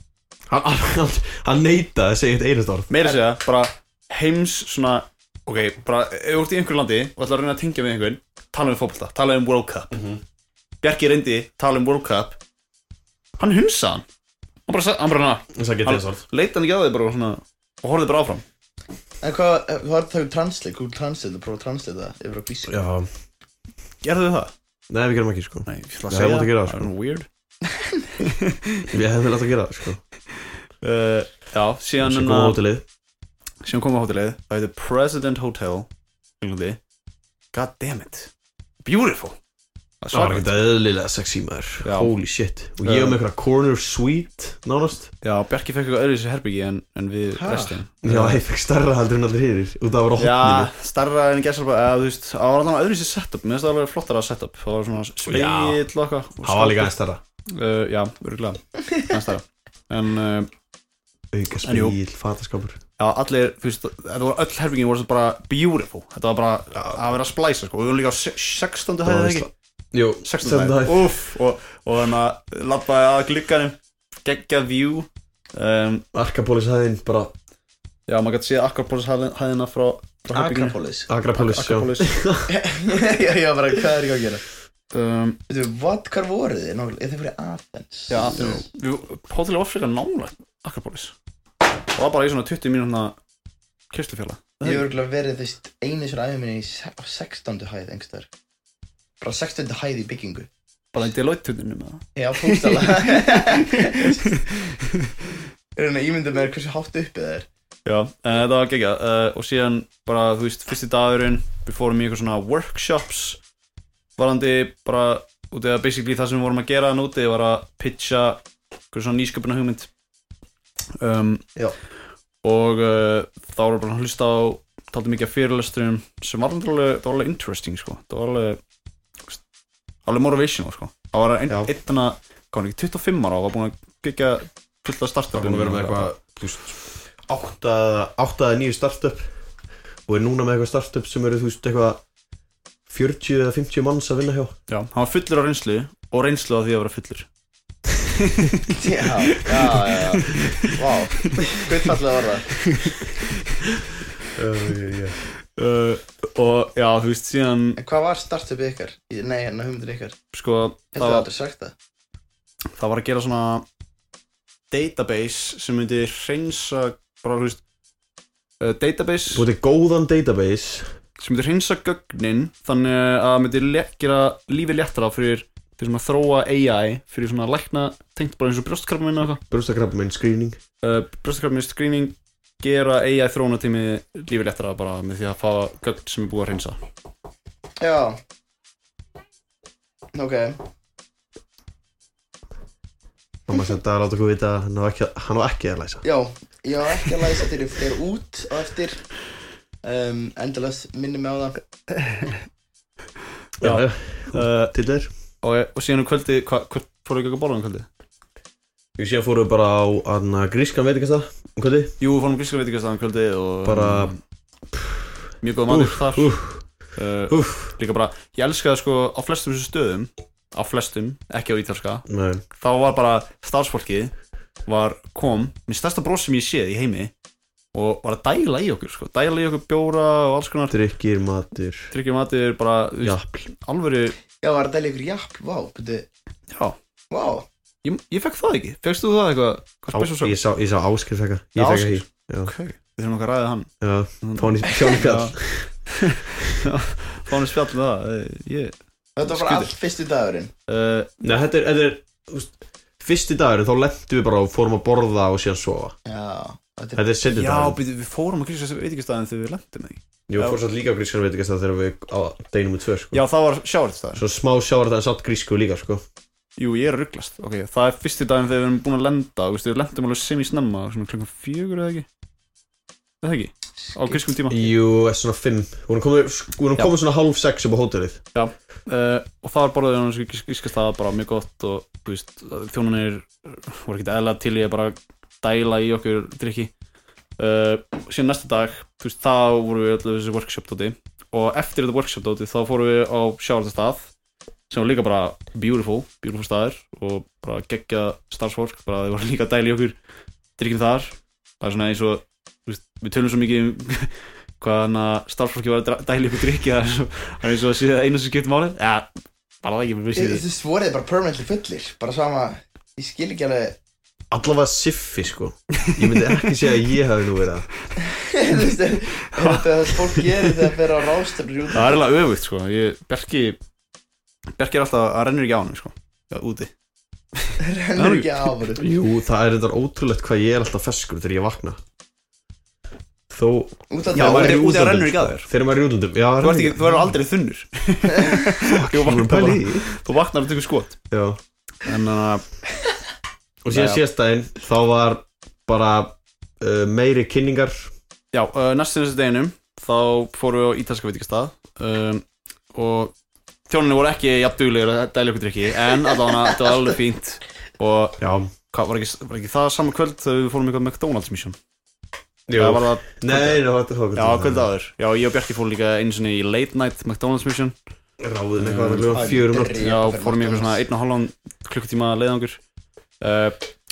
S4: Hann, hann, hann neitaði að segja eitt einast orð
S2: meira segja, bara heims svona ok, bara, ef þú ert í einhverju landi og ætlar að reyna að tengja við einhvern, tala um fótbolta tala um World Cup Bjarki reyndi, tala um World Cup hann hunsa hann hann bara, sa- hann bara, hann,
S4: Hann sagði eitt einast
S2: hann
S4: orð
S2: leita hann ekki að þig bara svona, og horfði bara áfram
S3: En hvað, hvað er það um translate? Google Translate, prófa að translate það yfir á bísku
S4: Já
S2: gerðu þau það?
S4: Nei, við gerum ekki sko
S2: Nei, ég ætla
S4: Nei, það mátti gera það,
S2: það
S4: sko.
S2: er nú weird
S4: Við hefum vel að gera það sko
S2: uh, Já, síðan,
S4: Svo
S2: en,
S4: góða
S2: að-
S4: hótelið
S2: síðan komum við á hótelið Það heitir President Hotel Englandi. God damn it Beautiful Ah. Það er
S4: Það var
S2: svakalegt.
S4: ekkert eðlilega sexy maður
S2: Já.
S4: Holy shit Og ég hef með eitthvað corner suite nánast
S2: Já, Bjarki fekk eitthvað öðru í herbyggi en, en við
S3: Ha?
S2: restin
S4: Já, ég fekk stærra heldur en allir hinir Og það var á
S2: Já,
S4: hotninu
S2: starra en gæsalba eða þú veist, það var alltaf öðru sér setup Mér finnst það alveg flottara setup Það var svona speill
S4: Já.
S2: og eitthvað og
S4: Það var
S2: skápur.
S4: líka aðeins stærra
S2: uh, Já, örgulega En starra En uh,
S4: Auka
S2: En jú.
S4: spil, fataskapur
S2: Já, allir, þú veist, þetta voru öll herfingin voru svo bara beautiful Þetta var bara að vera að splæsa, sko Við vorum líka á se- 16.
S4: Það
S2: hæðið
S4: var
S2: ekki
S4: veist- Jú,
S2: 16.
S4: hæð.
S2: hæðið Úff, og, og þannig að labbaði að glugganum Geggja view um,
S4: Arkapolis hæðin bara
S2: Já, maður gæti séð Akropolis hæðin- hæðina frá, frá herberginu.
S3: Acropolis
S4: Akrapolis já.
S2: Akropolis
S3: Já, já, bara hvað er ég að gera?
S2: um,
S3: Veitum við, what, hvar voruð þið? nákvæmlega? Eða þið fyrir Athens
S2: Já, Athens. við, hótelið var frekar nálægt Akropolis Og það var bara í svona 20 mínúna kyrslufjalla
S3: Ég hef örgulega verið þvist einu sér æfum minni í se- á 16. hæð engstar Bara 16. hæð í byggingu
S2: Bara í Deloitte-tuninu með það
S3: Já, bókstaflega Ég er að ímynda mér hversu hátt uppið það er
S2: Já, uh, það var geggja uh, og síðan bara, þú veist, fyrsti dagurinn við fórum í eitthvað svona workshops varandi bara út eða basically það sem við vorum að gera hann úti var að pitcha eitthvað svona nýsköpuna hugmynd um,
S3: Já.
S2: og uh, þá vorum við bara að hlusta á taldi mikið af fyrirlesturum sem var alveg, það var alveg interesting sko það var alveg þú veist, alveg motivational sko það var ein,
S4: Já.
S2: einn að, hvað var hann ekki, 25 ára og var búin að gegja fullt að starta
S4: Það er búin að vera með eitthvað þú veist, átta átta eða nýju startup og er núna með eitthvað startup sem eru þú veist eitthvað 40 eða 50 manns að vinna hjá
S2: Já, hann var fullur á reynslu og reynslu á því að vera fullur
S3: Já, já, já, já Vá, hvað fallega var það
S4: uh, yeah, yeah.
S2: uh, Og já, þú veist, síðan
S3: En hvað var startupið ykkar? Í- Nei, hérna hugmyndir ykkar
S2: sko, það,
S3: Þetta er
S2: var,
S3: aldrei sagt það
S2: það var að gera svona database sem myndi reynsa bara, þú veist uh, database
S4: Búið til góðan database
S2: sem myndi reynsa gögnin þannig að myndi le- gera lífi léttara fyrir þeir sem að þróa AI fyrir svona lækna tengt bara eins og brjóstkrafminn og eitthvað
S4: brústakrabba minn screening
S2: uh, brjóstkrafminn screening gera AI þróunatími lífi léttara bara með því að fá gögn sem er búið að reynsa
S3: Já Ok
S4: mamma sem þetta láta okkur vita að hann á ekki, hann á ekki að læsa
S3: Já, ég var ekki að læsa til ég fer út á eftir um, Endalast minni mig á það
S2: Já.
S4: já,
S2: uh,
S4: til þér
S2: og, og síðan um kvöldi, hvað, hvað fóruðu ekki að borða um kvöldi?
S4: Við séum fóruðu bara á anna, grískan veitingasta um kvöldi
S2: Jú, við fórum gríska veitingastæðan um kvöldi og mm,
S4: bara
S2: mjög góða matur þar
S4: úff,
S2: uh,
S4: úff
S2: líka bara, ég elskaði sko á flestum þessu stöðum á flestum, ekki á ítalska
S4: Nei,
S2: þá var bara starfsfólkið var, kom, minn stærsta brós sem ég séð í heimi og var að dæla í okkur sko, dæla í okkur bjóra og alls konar
S4: drikkir, matur
S2: tryggjum matur, bara, þú veist,
S4: Japl
S2: alvöru
S3: Já, var þetta líkur japp, vá, beti,
S2: já,
S3: vá
S2: ég, ég fekk það ekki, fekkst þú það eitthvað, hvað spesum svo?
S4: Ég sá, ég sá áskil fekka
S2: Já,
S4: Ég fekka
S2: Ásgeir.
S4: hér
S2: ok, Við þurfum okkar að ræða hann
S4: Já, Tony, Tony
S2: (laughs)
S4: Fjall
S2: Fáni spjall um það eh, Ég
S3: Þetta var bara
S2: Skrítið.
S3: allt fyrstu dagurinn
S2: uh,
S4: Nei, þetta er, þetta er þú veist, Fyrsti dagurinn, þá lentum við bara og fórum að borða og síðan sofa
S3: Já, þetta er
S4: Þetta er sendið
S2: Já,
S4: dagurinn
S2: býtu, við fórum að grísa veitingastæðin þegar við lendum því
S4: Jú, fór satt líka á grískan veit ekki að þegar við á deginum og tvö sko.
S2: Já, það var sjávartstæðin
S4: Svo smá sjávar þetta en satt grísku líka sko.
S2: Jú, ég er að rugglast Ok, það er fyrsti daginn þegar við erum búin að lenda Vistu, við lendum alveg sem í snemma Svona klukkan fjögur eða ekki Er Það ekki? Á kriskum tíma
S4: Jú, er svona fimm Við erum komin, við erum
S2: Já.
S4: komin svona hálf sex upp á hótelið
S2: uh, og þar borðaði hann gís, gískast það bara mjög gott og þú veist, þjónunir voru ekkert eðla til ég að bara dæla í okkur drikki uh, síðan næsta dag, þú veist, þá voru við öllu þessu workshop dóti og eftir þetta workshop dóti þá fórum við á sjáaldastað sem var líka bara beautiful, beautiful staður og bara geggja starfsfólk bara þau voru líka að dæla í okkur drikkinu þar, það er svona eins og þú veist, við tölum svo mikið um (laughs) hvað hann að starfsfólki var að dra- dæla í okkur drikki það er svo Það er eins og að sé það eina sem skiptir máli Já, bara það ekki, við vissið því
S3: Þessi svorið bara permanently fullir Bara sama, ég skil ekki alveg (laughs)
S4: Allavega siffi sko Ég myndi ekki segja að ég hafi nú verið að
S3: Þú veist, er- er Þetta það sem fólk gerir þegar það fer á rástefnur í útlöndum?
S2: Það er alveg öfugt, sko ég, Bjarki, Bjarki er alltaf, hann rennur ekki á hann, sko Já, úti
S3: Það er ekki áfæru
S4: Jú, það er þetta ótrúlegt hvað ég er alltaf ferskur þegar ég vakna Þó
S3: Út af
S2: Já,
S3: það
S2: maður er
S4: í
S2: úti að
S4: útlöndum,
S2: rennur ekki að
S4: sko.
S2: þér
S4: Þegar maður er í útlöndum Já,
S2: Þú ert ekki, þú er aldrei
S4: (laughs)
S2: þunnur Þú vaknar
S4: pæli
S2: bara-
S4: í
S2: Þú vaknar og tekur skot
S4: Já
S2: En uh, að,
S4: Og síðan
S2: Já, já.
S4: síðast daginn þá var bara uh, meiri kynningar
S2: já, uh, næstu þessu deginum Þá fórum við á ítalska veitingastað um, Og þjóninni voru ekki jafn duglegir að dæla ykkur drikki En allavega, þetta var alveg fínt Og
S4: Já
S2: hvað, var, ekki, var ekki það sama kvöld þegar við fórum í eitthvað McDonald's mission
S4: Jú
S2: Það var það
S4: Nei, það var þetta
S2: Já, kvöld áður. Já, ég og Bjarki fórum líka einu sinni í Late Night McDonald's Mission.
S4: Ráðin eitthvað að lögum fjörum nátt
S2: Já, fórum í eitthvað svona einn og halvan klukkutíma leiðangur. Uh,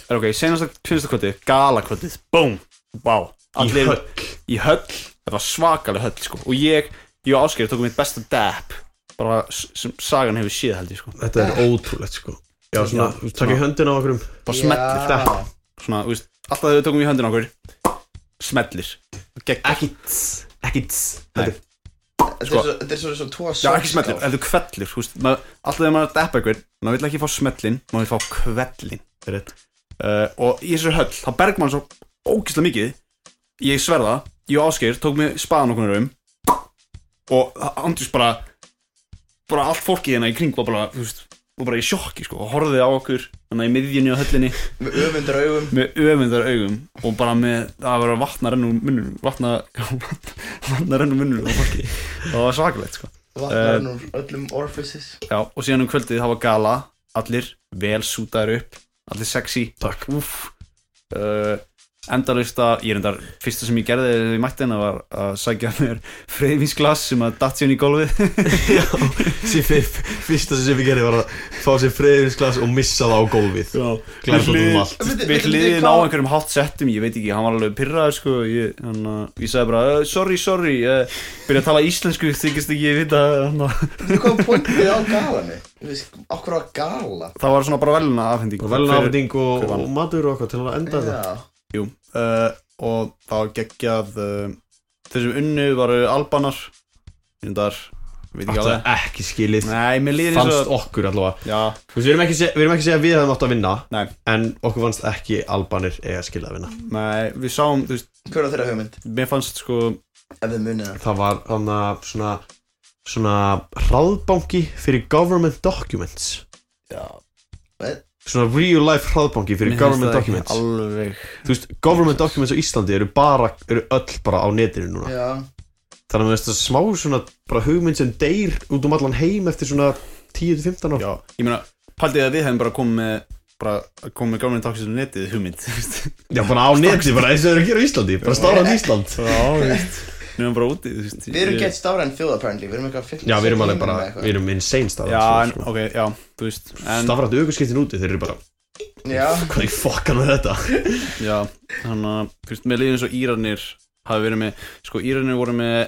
S2: er ok, senasta tvinnsta kvöldi, gala kvöldið, búm, vá.
S4: Í
S2: Allir
S4: höll
S2: Í höll, þetta var svakalega höll, sko. Og ég, ég og Ásgeir tókum mitt besta dab, bara s- sem sagan hefur séð held ég, sko.
S4: Þetta er ótrúlegt sko Já, svona,
S2: Já,
S4: takk í höndin á okkurum
S2: Bara smellir, dab. Svona, þú veist, alltaf þegar við tókum í höndin okkur, smellir. Gekk,
S4: Ekki tss, ekki tss Þetta er (laughs)
S2: sko.
S3: Þetta er svona svona tvo
S2: Já, ekki smellir, heldur kvellir, þú veist, maður, alltaf þegar maður er að deppa einhvern, maður vill ekki fá smellin, maður vill fá kvellin.
S4: Rétt.
S2: Uh, og í þessari höll, þá berg mann svo ógislega mikið, ég sverða, ég og Ásgeir tók mig spaðan okkur um og Andrjus bara, bara allt fólkið hérna í kring var bara, þú veist, var bara í sjokki, sko, og horfið á okkur, þannig í miðjunni á höllinni,
S3: Með öfundar augum
S2: með öfundar augum og bara með að vera vatna renn úr munnum, vatna, (laughs) vatna renn úr munnum á fólki, það var svakalegt, sko.
S3: Vatnar úr öllum orifices
S2: Já, og síðan um kvöldið það var gala Allir vel sútaður upp Allir sexy Takk Úff uh, Endalist að Ég er endar Fyrsta sem ég gerði þegar ég mætti hennar var að sækja mér freyfinsglas sem að datt síðan í gólfið
S4: Siffi, fyrsta sem Siffi gerði var að fá sér freyðinsglas og missa það á gólfið
S2: (laughs) Já
S4: Glært út um allt
S3: Veitu-
S2: Við
S3: veitu
S2: hliðin á
S3: hvað-
S2: einhverjum hálft settum Ég veit ekki, hann var alveg pyrraður sko Ég, hann, uh, ég sagði bara, uh, sorry, sorry uh, Byrja að tala íslensku, þykist ekki ég vita eh, hann,
S3: Þú kom punktið á galanu Þú veist, okkur á gala
S2: Það var svona bara veluna afhending
S4: Velna afhending og,
S2: hver vann?
S4: og matur og eitthvað til að enda þetta
S3: Já
S2: Jú, uh, og það var geggjað uh, Þeir sem unnu varu albanar Þindar, veit ekki
S4: Þetta
S2: alveg
S4: er ekki skilið
S2: Nei, mér líður eins
S4: Fannst
S2: og
S4: okkur allavega
S2: Já,
S4: Þú veist, Við erum ekki að segja- við erum ekki að segja að við hefum átt að vinna
S2: Nei.
S4: En okkur fannst ekki albanir eiga að skilja að vinna
S2: nei, við sáum, þú veist,
S3: Hver á þeirra hugmynd?
S2: mér fannst sko
S3: Ef þið munið það
S4: Það var þannig að svona Svona hraðbanki fyrir government documents
S2: Já,
S4: Svona real life hraðbanki fyrir government documents
S2: Alveg
S4: Þú veist, government documents á Íslandi eru bara Eru öll bara á netinu núna
S3: Já
S4: Þannig að mér finnst það smá svona bara hugmynd sem deyr út um allan heim eftir svona 10-15 ára
S2: Já, ég meina, paldið að við hefum bara komið með bara komið með gaman takk sem netið hugmynd (laughs) þú veist.
S4: Já, bara á neti, bara eins og þeir eru að gera á Íslandi Bara stárað Ísland
S2: Já, þú veist Nú erum bara úti, þú veist
S3: Við erum
S2: Ég-
S3: gett stára en þjóð apparently Við erum eitthvað fyrir
S4: Já, við erum alveg bara, við erum insane
S2: Já,
S4: stafrætt
S2: en,
S4: sko.
S2: ok, já, þú veist En,
S4: Stafrættu augurskiptin úti, þeir eru bara
S3: Já
S4: Hvað er fokkan með þetta?
S2: já, þannig að, þú veist, mér líður eins og Íranir hafi verið með Sko, Íranir voru með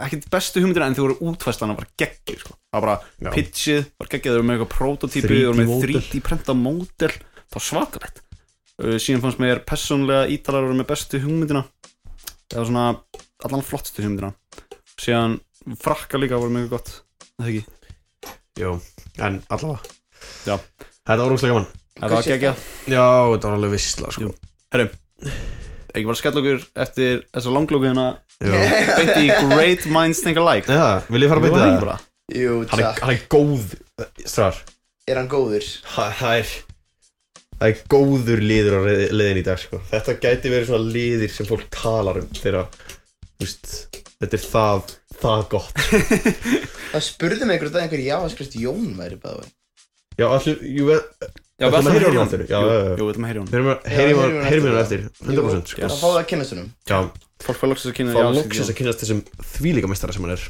S2: ekkert bestu hugmyndir en þau voru útfæslan að bara geggju sko. það var
S4: Já.
S2: bara pitchið, var geggjað þau voru með eitthvað prototípi,
S4: 3D
S2: þau voru með
S4: módel.
S2: 3D prenta módel, það var svakalegt uh, síðan fannst mér persónlega ítalar voru með bestu hugmyndina það var svona allan flottstu hugmyndina síðan frakka líka voru mjög gott það ekki,
S4: Jú, en allavega
S2: Já.
S4: Þetta var rúslega gaman
S2: það var geggja
S4: Já, þetta var alveg visla sko
S2: Jú. ekki bara skell okkur eftir þessa hérna. langlókuðina
S4: Jú. Já,
S2: beint í Great Minds Think Alike
S4: vil ég fara
S2: Jú,
S4: að beita
S2: það
S4: það?
S2: er bara-
S3: Jú,
S4: Hann er,
S3: takk
S4: hann er góð Strar
S3: Er hann góður?
S4: það, það er Það er góður liður á reiði- leiðin í dag sko Þetta gæti verið svona liðir sem fólk talar um Þegar að, þú veist Þetta er það, það gott
S3: Það spurði mig einhverjum dag einhver já að skrifst Jón væri bæði
S4: Já, allir, jú veit
S2: Já, við ætlum
S4: Ætlum að
S2: að heyra hún eftir
S4: heyra honum aftur. Já, já, já.
S2: Jú, við ætlum að heyra hún
S4: Heyrum
S3: heyrum hann
S4: að heyrum hann
S3: eftir.
S4: eftir 100% sko
S3: Það fáið að kynna sunnum
S4: Já,
S2: Fólk var loksins að kynna
S4: fá
S2: já,
S4: loksins að kynast þessum þvílíka meistara sem hann er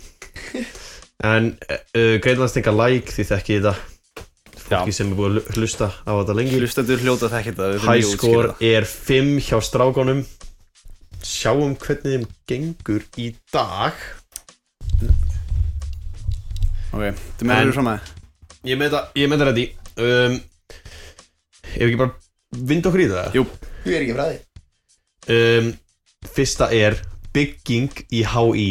S4: (laughs) en uh, Greitlandstinga like því þekki þetta fólki sem er búið að hlu- hlusta á þetta lengi
S2: Hlustendur hljóta þekki þetta þetta er mjög
S4: Highscore
S2: útskýrað.
S4: er 5 hjá strákonum sjáum hvernig þeim gengur í dag
S2: Ok, þú með
S4: En-
S2: erum fram að
S4: ég með þetta reddi um, ef ekki bara vind okkur í það
S2: Jú.
S3: Þú er ekki frá því
S4: um, fyrsta er bygging í HÍ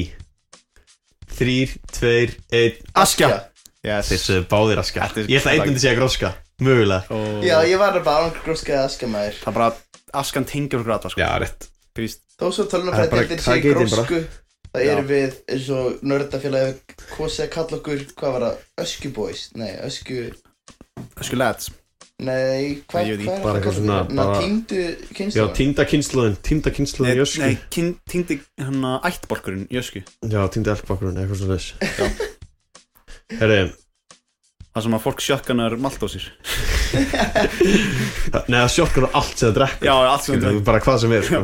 S4: 3, 2, 1
S2: Askja
S4: Þeir
S2: Yes
S4: sögðu báðir aska
S2: Þetta er-
S4: Ég ætla einnig til að segja gróska Mögulega
S2: Og-
S3: Já, ég var bara án gróskaði askamaður
S2: Það er bara Askan tengjur okkur alla sko
S4: rétt
S2: Príst
S3: Þó svo
S4: Það er bara-
S3: tölunafræðdeildin
S4: það
S3: sé
S4: geitin bara.
S3: grósku Það erum við eins og nördafélagi hefur kosið að kalla okkur, hvað var það, Öskjuboys? Nei, Öskju,
S2: Ösku lads
S3: nei, hva,
S2: Nei, ég veit
S3: hvað
S2: ekki,
S3: er
S4: bara
S3: það að
S4: eitthvað
S3: kalla
S4: svona,
S3: okkur? Ná,
S4: bara-
S3: týndu
S4: Já,
S3: kynnslóðan?
S4: týnda kynnslóðin Týnda
S2: Nei,
S4: kynnslóðin í ösku
S2: nei, hérna kyn- týndi hann að ættbólkurinn í ösku
S4: Já, týnda elkbakkurinn Eitthvað svona þess Herri
S2: Það sem að fólk sjökkanar maltósir
S4: Nei, það sjokkar á allt sem það drekkur
S2: Já, allt sem
S4: Skilur,
S2: þetta
S4: Bara hvað sem er sko.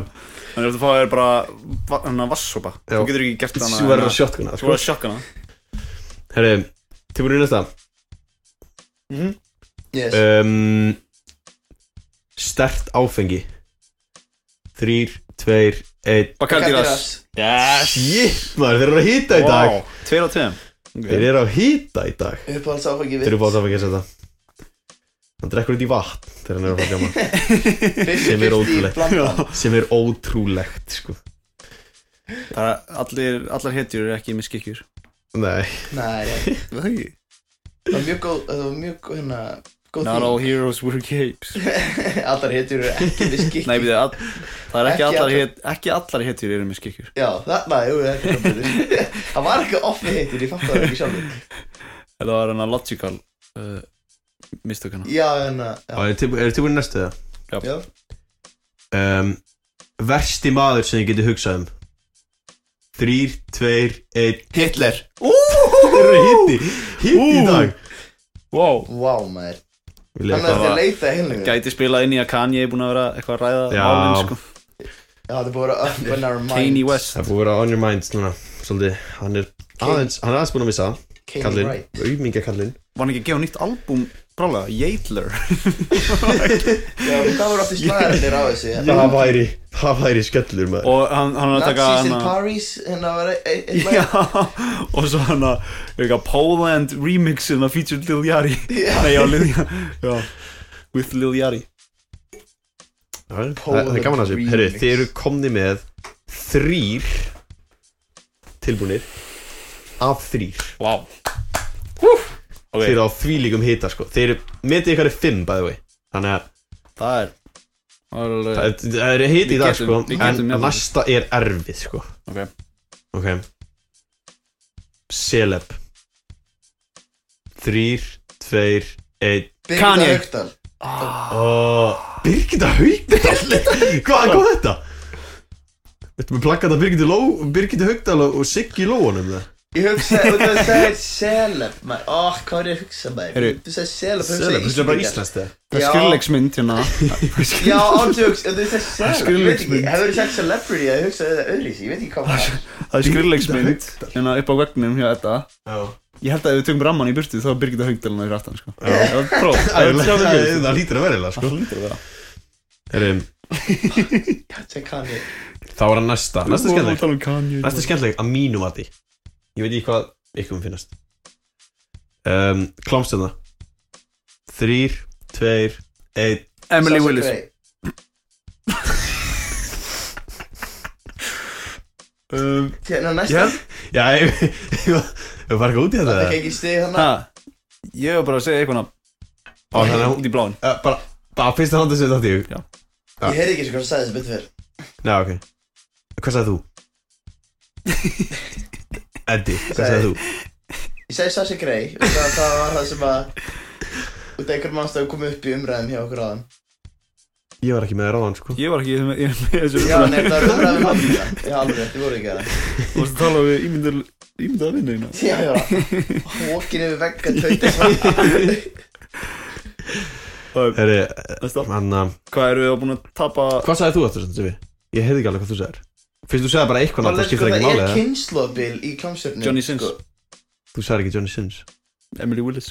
S2: Þannig að þú fáið er bara va- Hann að vassopa
S4: Já.
S2: Þú getur ekki gert hana hérna.
S4: Svo verður það sjokkuna
S2: Þú
S4: sko.
S2: verður að sjökkana
S4: Herri Tilbúinu í næsta
S3: Yes,
S4: um, Stert áfengi 3, 2, 1
S2: Bakaldiras Yes
S4: Shit, maður, þeir eru að hýta í dag
S2: Tveir á tveim
S4: Þeir eru að hýta í dag
S3: uppáhalds áfengi
S4: Þeir
S3: við
S4: eru báðið að fengja þetta Hann drekkur út í vatn þegar hann er að fara gaman sem
S3: 50-50
S4: er
S3: í
S4: ótrúlegt.
S3: blandan
S4: (laughs) sem er ótrúlegt sko
S2: Það er allir, allar hetjur eru ekki með skikkjur
S4: Nei
S3: Nei, nei.
S2: Það er ekki
S3: það var mjög góð, það var mjög góð, hérna, góð
S2: Not all
S3: þýðing.
S2: heroes wear capes
S3: Allar hittur eru ekki við skikki
S2: Nei, byrja, all, það er ekki,
S3: Ekki
S2: allar,
S3: allar.
S2: het, ekki allar hetjur eru með skikkjur
S3: Já, þarna, jú, þetta er betur Það var ekki ofni hittur, ég fatt það ekki sjálfur
S2: Það var hann að logical uh, mistök hana
S3: Já, hérna, já,
S4: Er þið tilbúin næstu það?
S3: já
S4: Um, versti maður sem þið getur hugsað um 3, 2, 1
S2: Hitler
S4: Þeir eru hitti Hitti í dag
S2: wow.
S3: Vá, maður
S4: Vil
S3: Þannig að
S4: ég eitthvað-
S3: þetta er leitað heilnum Já,
S2: Gæti spilað inn í að Kanye er búin að vera eitthvað að ræða
S4: Já.
S2: málin sko.
S3: þetta er búið að vera up in our mind
S2: Kanye West
S4: Það er búið að vera on your minds núna Svolítið Hann er aðeins Hann er aðeins búin að missa
S3: Kanye
S4: Kallinn
S3: Wright.
S4: Auðmingja kallinn
S2: Var hann ekki að gefa nýtt albúm brálega? Jadler
S3: (laughs) Já, það voru
S4: (laughs)
S3: aftur slagarinnir á þessu hérna.
S4: Það væri Það væri skellur maður
S2: Og hann, hann er að taka
S3: Nazis in
S2: hana- (laughs)
S3: Paris, hérna var e- e- eitt
S2: Já,
S3: lag
S2: og svo hann að eitthvað Poland remixin að feature Lil Yari
S3: (laughs)
S2: Nei, já, Lil Yari já. With Lil Yari
S4: Það er- það er gaman að þessu Herru, þið eru komni með Þrýr Tilbúnir Af þrýr
S2: Wow
S4: Þeir eru á þvílíkum hita sko Þeir eru Metið ykkar er fimm by the way Þannig að
S2: Það er Það er alveg
S4: það er- það eru hiti í
S2: Við
S4: dag
S2: getum-
S4: sko
S2: við getum
S4: En
S2: jafnað.
S4: næsta er erfið sko
S2: Ok.
S4: Ok Celeb Þrýr Tveir Einn
S3: Birgitta
S2: Kanye.
S3: Haukdal
S4: Oh, Birgitta Haugdal Hvaðan kom þetta? Þetta með plakkata Birgitta, Ló, Birgitta Haugdal og og Siggi Lóanum það
S3: Ég hugsaði, þú veist, það er selef maður Ó, hvað er ég að hugsa maður?
S2: Heyrðu,
S3: Þú sagði selef,
S4: Celeb, þetta er bara íslenskt það
S2: Það er
S3: Já.
S2: skrilllegsmynd hérna
S3: Já, ándjóks, þú veist það er self Ég veit ekki,
S2: Skrýmixmynd.
S3: hefur þú sagt celebrity að hugsa þetta öðruvísi, ég veit ekki hvað það er
S2: Það er skrilllegsmynd hérna upp á vegnum hjá þetta Ég held að ef við tökum ramman í burtu þá er Birgitta Haugdalina í ráttan sko. Já, próf Það er sjá
S4: Það
S2: það
S4: er- það hlýtur að vera eða sko
S2: byrjun
S4: Heyrðu,
S3: Þetta er kanni
S4: Þá er hann næsta, næsta skemmtileg
S2: tala um Kanye
S4: Næsta skemmtileg að mínu mati Ég veit ekki hvað ykkur finnast um, Klámstönda Þrýr, tveir, einn
S2: Emily Willis
S4: um,
S3: Hérna
S4: Já,
S3: næsta
S4: já ég (laughs) Við fara ekki út í þetta
S3: Það
S4: eða?
S3: er ekki stig hann
S2: Ha, ég var bara að segja eitthvað nafn
S4: Á, þannig að hún
S2: út í bláin
S4: eh, Bara, bara fyrsta handið sem þetta ég
S2: Já.
S4: Já.
S3: Ég heyrði ekki eins og hvað það sagði þessi betur fyrr
S4: Já, ok Hvað (laughs) sagði þú? Eddi, hvað sagði
S3: Sagði-
S4: þú?
S3: Ég segi Sassi Grey Það, það var það sem að Út af einhverjum ástæðu komið upp í umræðum hjá okkur áðan
S4: Ég var ekki með ráðan, sko
S2: Ég var ekki ég, ég, ég, ég,
S3: Já, nei, það er um umræðum handla Já, alveg, þið voru ekki að það
S2: Þú varst að tala við ímyndar Ímyndar að vinna hérna
S3: Já, já Hókin yfir vegga tauta
S4: (laughs)
S3: svona.
S2: Það er-
S4: Herri,
S2: Næsta.
S4: hann að
S2: Hvað eru við búin að tapa
S4: Hvað sagði þú aftur sem við? Ég heyrði ekki alveg hvað þú sagðir Fyrst þú sagði bara eitthvað
S3: Það
S4: nátt,
S3: er
S4: það
S3: sko,
S4: skiptir ekki
S3: það
S4: máli
S3: er
S4: eða?
S3: kynnslóðabil í sko. klámsöfnum
S2: Johnny Sins
S4: Þú sagði ekki Johnny Sins
S2: Emily Willis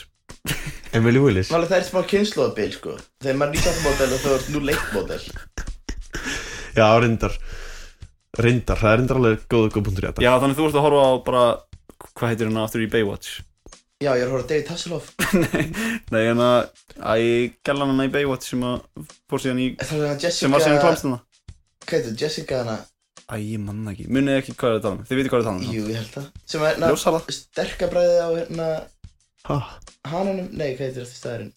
S4: Emily Willis
S3: Málega það er smá kynnslóðabil sko Þegar maður er nýtjáttamódel og þau eru nú leikmódel
S4: Já, reyndar Reyndar, það er reyndar alveg góð, góð punktur í þetta
S2: Já þannig þú varst að horfa á bara Hvað heitir hérna aftur í Baywatch
S3: Já, ég er að horfa á David Hasselhoff
S2: Nei hérna Æ, gælan hana í Baywatch sem að Fór síðan í
S3: Það er hann Jessica
S2: Sem var síðan klámst hana
S3: Hvað heitir, Jessica hana
S2: Æ, ég manna ekki Munið ekki hvað er að tala um Þið veitir hvað er að tala um
S3: Jú, ég held það Sem er hérna
S2: Ljósala
S3: sterkabræði á hérna
S4: Ha?
S3: Hananum, nei, hvað heitir eftir staðarinn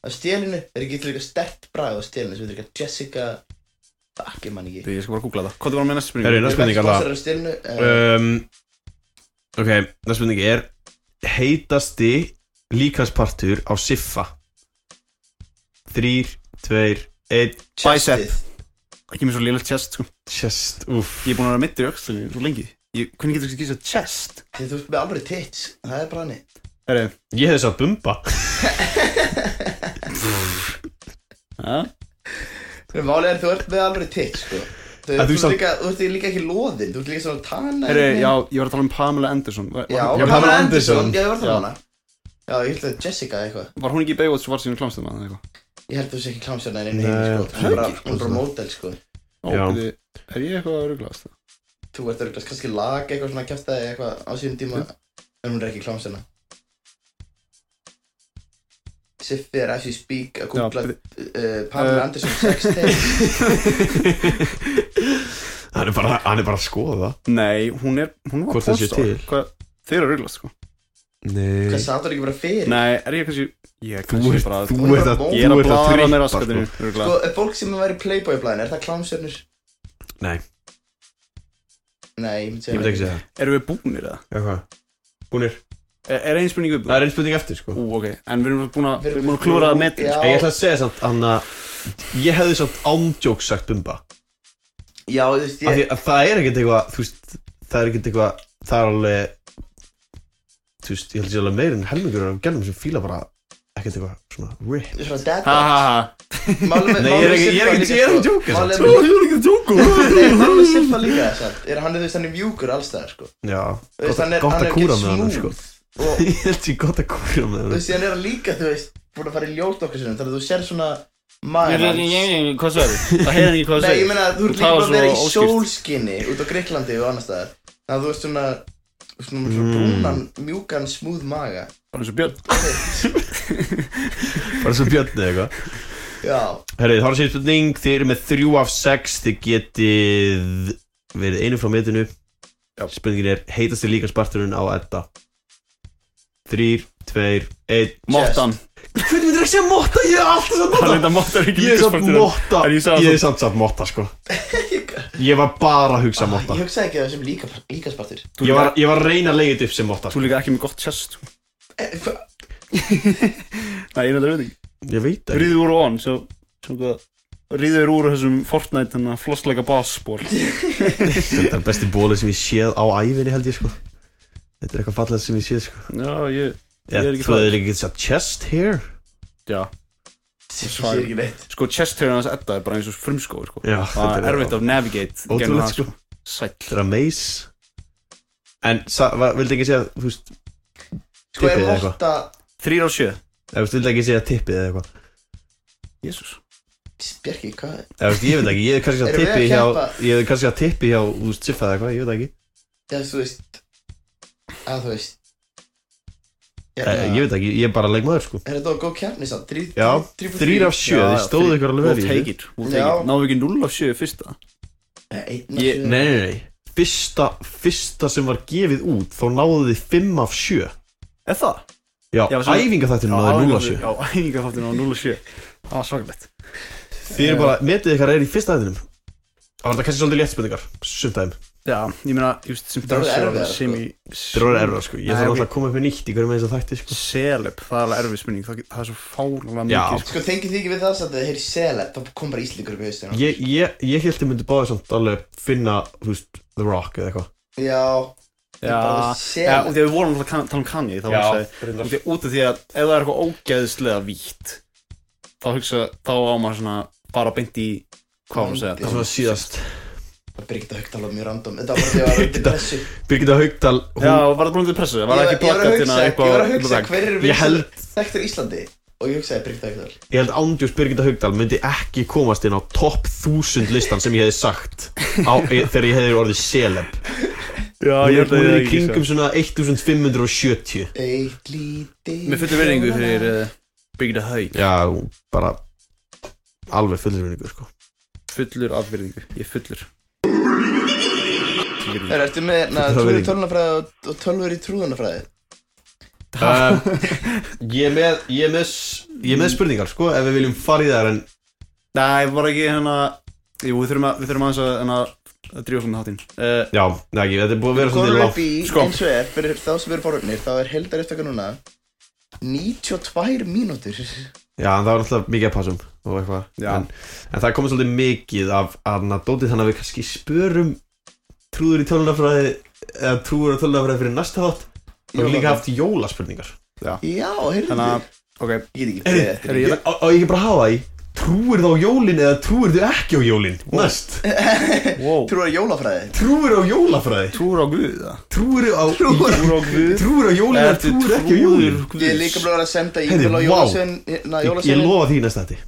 S3: Á stélinu, er ekki til líka stert bræði á stélinu sem heitir eitthvað Jessica Fuck, ég man ekki
S2: Ég skal bara googla það Hvað er bara með næstu
S4: Herri,
S2: spurning?
S4: næst spurning alveg
S3: Sponsorar á stélinu uh,
S4: um, Ok, næst spurning er Heitasti líkanspartur á siffa Þrýr, tveir, einn
S2: bicep.
S3: chestið.
S2: Ekki með svo lélega chest sko
S4: Chest, úff
S2: Ég er búin að vera mittur í öxlinni svo lengi ég, Hvernig getur þú ekki að chest?
S3: Því Þú veist með alveg tits, það er bara hannig
S2: Herri
S4: Ég hefði sagt bumba
S2: Ha?
S3: Fyrir málið er þú ert með alveg titt sko Þú,
S4: En
S3: þú,
S4: þú
S3: ert
S4: samt-
S3: líka, þú ert líka ekki loðinn, þú ert líka svona tana
S2: Herri, já, ég var að tala um Pamela Anderson Var-
S3: já,
S4: Já,
S3: Pamela
S4: Pamela
S3: Anderson,
S4: Anderson.
S3: já, ég var það
S2: Já.
S3: hana Já, ég held að Jessica eða eitthvað
S2: Var hún ekki í Baywatch og var síðan klámstöðum að eitthvað?
S3: Ég held að þú sé ekki klámsjörna
S4: Nei,
S3: einu heim
S4: ég
S3: sko Hún er bara,
S4: ekki.
S3: hún er bara mótel sko
S2: Ó,
S4: Já.
S2: byrju, Er ég eitthvað að rugglast?
S3: Þú ert örglast kannski lag eitthvað svona kjaftaði eitthvað á sínum tíma En hún er ekki klámsjörna Siffi er as you speak að googla
S2: byrju.
S3: uh, Pamela
S2: Eh.
S3: Anderson sex tape
S4: Hann er bara, hann er bara að skoða það
S2: Nei, hún er, hún var
S4: Hvort það sé
S2: postar.
S4: til.
S2: Hvað, þeir eru að rugglast, sko
S4: Nei
S3: Hvað satt hún ekki bara fyrir?
S2: Nei, er ég kannski Ég er
S4: Þú
S2: kannski
S4: ert,
S2: bara
S4: þú
S3: Hún er
S4: ert
S3: bara
S4: að,
S3: bóð.
S2: Ég er
S4: þú
S2: að
S4: ert að
S2: blara með
S4: trippa
S2: raskatinu
S4: sko.
S3: Sko,
S2: Ruggla
S3: ef fólk sem væri playboy-blæðin, er það klámsjörnur?
S4: Nei,
S3: Nei, ég myndi
S4: ég
S3: segja
S4: veit ekki segja það
S2: Erum við búinir eða?
S4: Já, hvað? Búnir
S2: Er, er einn spurning upp?
S4: Það er einn spurning eftir, sko
S2: Ú, ok En við erum búin að, sko.
S3: Við
S2: við
S3: erum
S2: erum búin að
S3: búin-
S2: klúra að metin
S3: Já.
S4: En ég ætla að segja samt, hann að Ég hefði samt ándjók sagt bumba
S3: Já, þú veist,
S4: Af
S3: ég,
S4: því að það er ekkert eitthvað þú veist, það er ekkert eitthvað það er alveg þú veist, ég held að sé alveg meir en helmingur af gælum sem fíla bara ekkert eitthvað svona rip
S3: svona dad
S2: Ha, ha, ha
S3: Málið með-
S4: Nei,
S3: málið með
S4: ég er ekki- ég er
S3: Silva
S4: ekki-
S3: líka,
S4: ég er ekki
S3: sko.
S4: djóka,
S3: Málið
S4: samt.
S3: með-
S2: Ég er ekki að djóku
S3: Nei, málið með Silva líka samt. Er hann, þú veist, hann er mjúkur alls staðar, sko
S4: já,
S3: Þú veist,
S4: gott,
S3: hann er-
S4: gott
S3: hann
S4: að
S3: er
S4: kúra
S3: ekki
S4: með hann sko.
S3: smooth.
S4: (laughs)
S3: Og,
S4: ég held ég gott að kúra með
S3: þú
S4: hann
S3: veist, hann er hann líka, þú veist Búin að fara í ljót okkur sinum, þannig að þú sér svona Magan hans
S2: Hvað svo er þið? Það heyrði ekki hvað
S3: Nei, ég meina, þú ert líka
S2: talar
S3: bara að vera
S2: svo
S3: í
S2: óskýrt.
S3: sólskinni Út á Greiklandi og annars staðar Þannig að þú veist svona Svona svona
S4: Mm.
S3: brúnan, mjúkan, smúð maga
S2: Bara eins og Björn
S4: bara svo björn eða eitthvað
S3: Já,
S4: herri, þá er sér spurning, þið eru með þrjú af sex þið getið verið einu frá metinu spurningin er, heitast þið líka sparturinn á edda þrýr, tveir, einn
S3: (laughs)
S2: Mottan
S4: hvernig myndir ekki segja motta, ég er alltaf samt
S2: Hann enda Mottan er ekki
S4: Ég er samt
S2: líkasparturinn.
S4: motta
S2: En ég sagði
S4: Ég er
S2: samt-
S4: samt samt motta
S2: (laughs)
S4: sko Ég var bara að hugsa motta
S2: Ah,
S3: ég hugsaði ekki að það sem líka, líka spartur
S4: Ég var, ég var að reyna að leiða þetta upp sem motta sko.
S2: Þú er líka ekki með gott chest sko.
S3: Eh, Hvað
S2: Nei, ég reyndar veit ekki
S4: Ég veit það
S2: Ríður úr og on Svo, svo hvað Ríður úr þessum Fortnite Þannig að flossleika basból
S4: Þetta er besti bóli sem ég séð á ævinni held ég sko Þetta er eitthvað fallað sem ég séð sko
S2: Já, ég Ég er
S4: Ég
S2: ekki
S4: Þú
S2: farið.
S4: hefði líka getið sagt chest hair
S2: Já
S3: Sér ekki neitt
S2: Sko, chest hair hans Edda er bara eins og frumskóður sko.
S4: Já,
S2: Það er erfitt
S4: eitthvað
S2: að navigate gegnum það,
S4: Ótrúlegt sko
S2: Sæll
S4: Þetta er að meis En sa- va- vildi ekki segja, þú veist
S3: Sko er
S4: Tippið eða eitthvað
S3: motta
S2: Þrýr á sjö
S4: Eða þú veist, vildi ekki segja tippið eða eitthvað
S2: Jésús
S3: Bjarki, hvað
S4: Eða þú veist, ég veit ekki, ég hefði kannski að
S3: Erum við að
S4: tippi hjá
S3: keppa?
S4: Ég hefði kannski að tippi hjá, þú veist, Siffa eða eitthvað, ég veit það ekki
S3: eða þú veist að þú veist
S2: Hérna.
S4: Eh, Ég veit ekki, ég er bara leikmaður sko
S3: er hérna, þetta góð kjarni samt Þrý-
S4: Já,
S3: þrír-
S4: þrýr af sjö, þið stóðu ykkur alveg vel
S2: We'll
S4: í
S2: take
S4: þessu
S2: it We'll take
S3: Já.
S2: it Náðu ekki 0 á sjö fyrsta
S3: Nei, Eh, einn af
S2: Ég-
S3: sjö.
S4: Nei, nei, nei, fyrsta, fyrsta sem var gefið út þá náðu þið 5 af 7
S2: Er það?
S4: Já,
S2: Já, sem-
S4: æfingaþættinu náðu 0 af 7
S2: Já, æfingaþátturinn náði 0 af 7 Það var svakalegt
S4: Þið eru bara, metið ykkar er í fyrsta þættinum Það var þetta kannski svolítið léttspurningar Sumtæðum,
S2: Já, ég meina, ég veist, sem
S3: eru
S2: dansi
S3: erfiðar, sko.
S2: sem í
S4: þeir eru erfra sko Ég
S2: Nei, ok.
S4: þarf alltaf að koma upp með nýtt í hverjum eins og þætti sko
S2: Seleb, það er alveg erfið spurning Það, það er svo fálega
S4: Já.
S2: mikið sko.
S3: Sko tengið þið ekki við það samt að þið heyri seleb Þá kom bara íslingur upp í haustina
S4: Ég, ég, ég held ég myndi báði samt alveg finna, þú veist, The Rock eða eitthvað
S3: Já
S2: Já,
S3: Sko, bara
S2: já
S3: seleb.
S2: og því að við vorum alltaf að tala um Kanye þá var það
S4: reyndar.
S2: út, út af því að ef það er eitthvað ógeðslega vítt þá hugsa, þá á maður svona bara beint í hvað var að segja
S4: Það er
S2: tala um-
S4: svona síðast
S3: Það Birgitta Haug talaði mjög random Þetta var bara því að ég var undir pressu
S4: Birgitta Haugdal, hún
S2: Já, var það búin til pressu? Var það
S3: Ég
S2: ekki
S3: var-
S2: plakat
S3: Ég var
S2: hérna
S3: að hugsa, ég
S2: eitthvað
S3: var að hugsa hver eru
S4: Ég held-
S3: vinsælir þekktur í Íslandi Og ég hugsaði Birgitta Haug
S4: Ég held ándjós Birgitta Haugdal myndi ekki komast inn á topp 1000 listan sem ég hefði sagt á, e, þegar ég hefði orðið seleb
S2: Já,
S4: Hún er- hún er í
S2: ekki
S4: kringum svona 1570
S3: Eitt lítið
S2: Með fullu verðingu fyrir uh, Byggda Haug
S4: Já, hún bara alveg fullurvinningur sko
S2: Fullur af verðingu, ég er fullur
S3: Það ertu með
S4: Fullur af
S3: trúður
S4: virðingu.
S3: tölunafræði og- og tölvur í trúðunafræði
S4: um, Ég er með, ég er með, s- ég er með spurningar sko ef við viljum fara í það en
S2: Nei, var ekki hérna Jú, við þurfum, að, við þurfum aðeins að, hérna, að drífa okkur með háttinn uh,
S4: já, nei, ekki, þetta er búið að vera
S3: Góður
S4: svona
S3: upp í,
S2: sko.
S3: eins og er, fyrir þá sem eru forvögnir, þá er heldarupptöku núna 92 mínútur
S4: Já, en það var náttúrulega mikið að passum og eitthvað
S2: Já.
S4: en, en það komið svolítið mikið af aðna dótið þannig að við kannski spörum trúður í tölunafræði eða trúður á tölunafræði fyrir næsta þátt og við líka haft jólaspurningar
S3: Já, heyrðu
S2: Þannig að, ok
S3: Ég get ekki fyrir þetta
S2: Heyrðu, ég-
S4: Ég- Á á ég ekki bara að hafa það í Trúir þú á jólin eða trúir þú ekki á jólin? Næst
S2: Wow
S3: Trúar í jólafræði
S4: Trúir á jólafræði
S2: Trúur á Guð, það
S4: Trúir á
S2: Trúur á Guð
S4: Trúir á jólin eða trúir ekki á jólin?
S3: Ég er líka bara að senda
S4: Heyrðu,
S3: e-mail á
S4: vá.
S3: jólasvein Na,
S4: Ég, ég
S3: jólasveinin
S4: lofa því í næsta þetta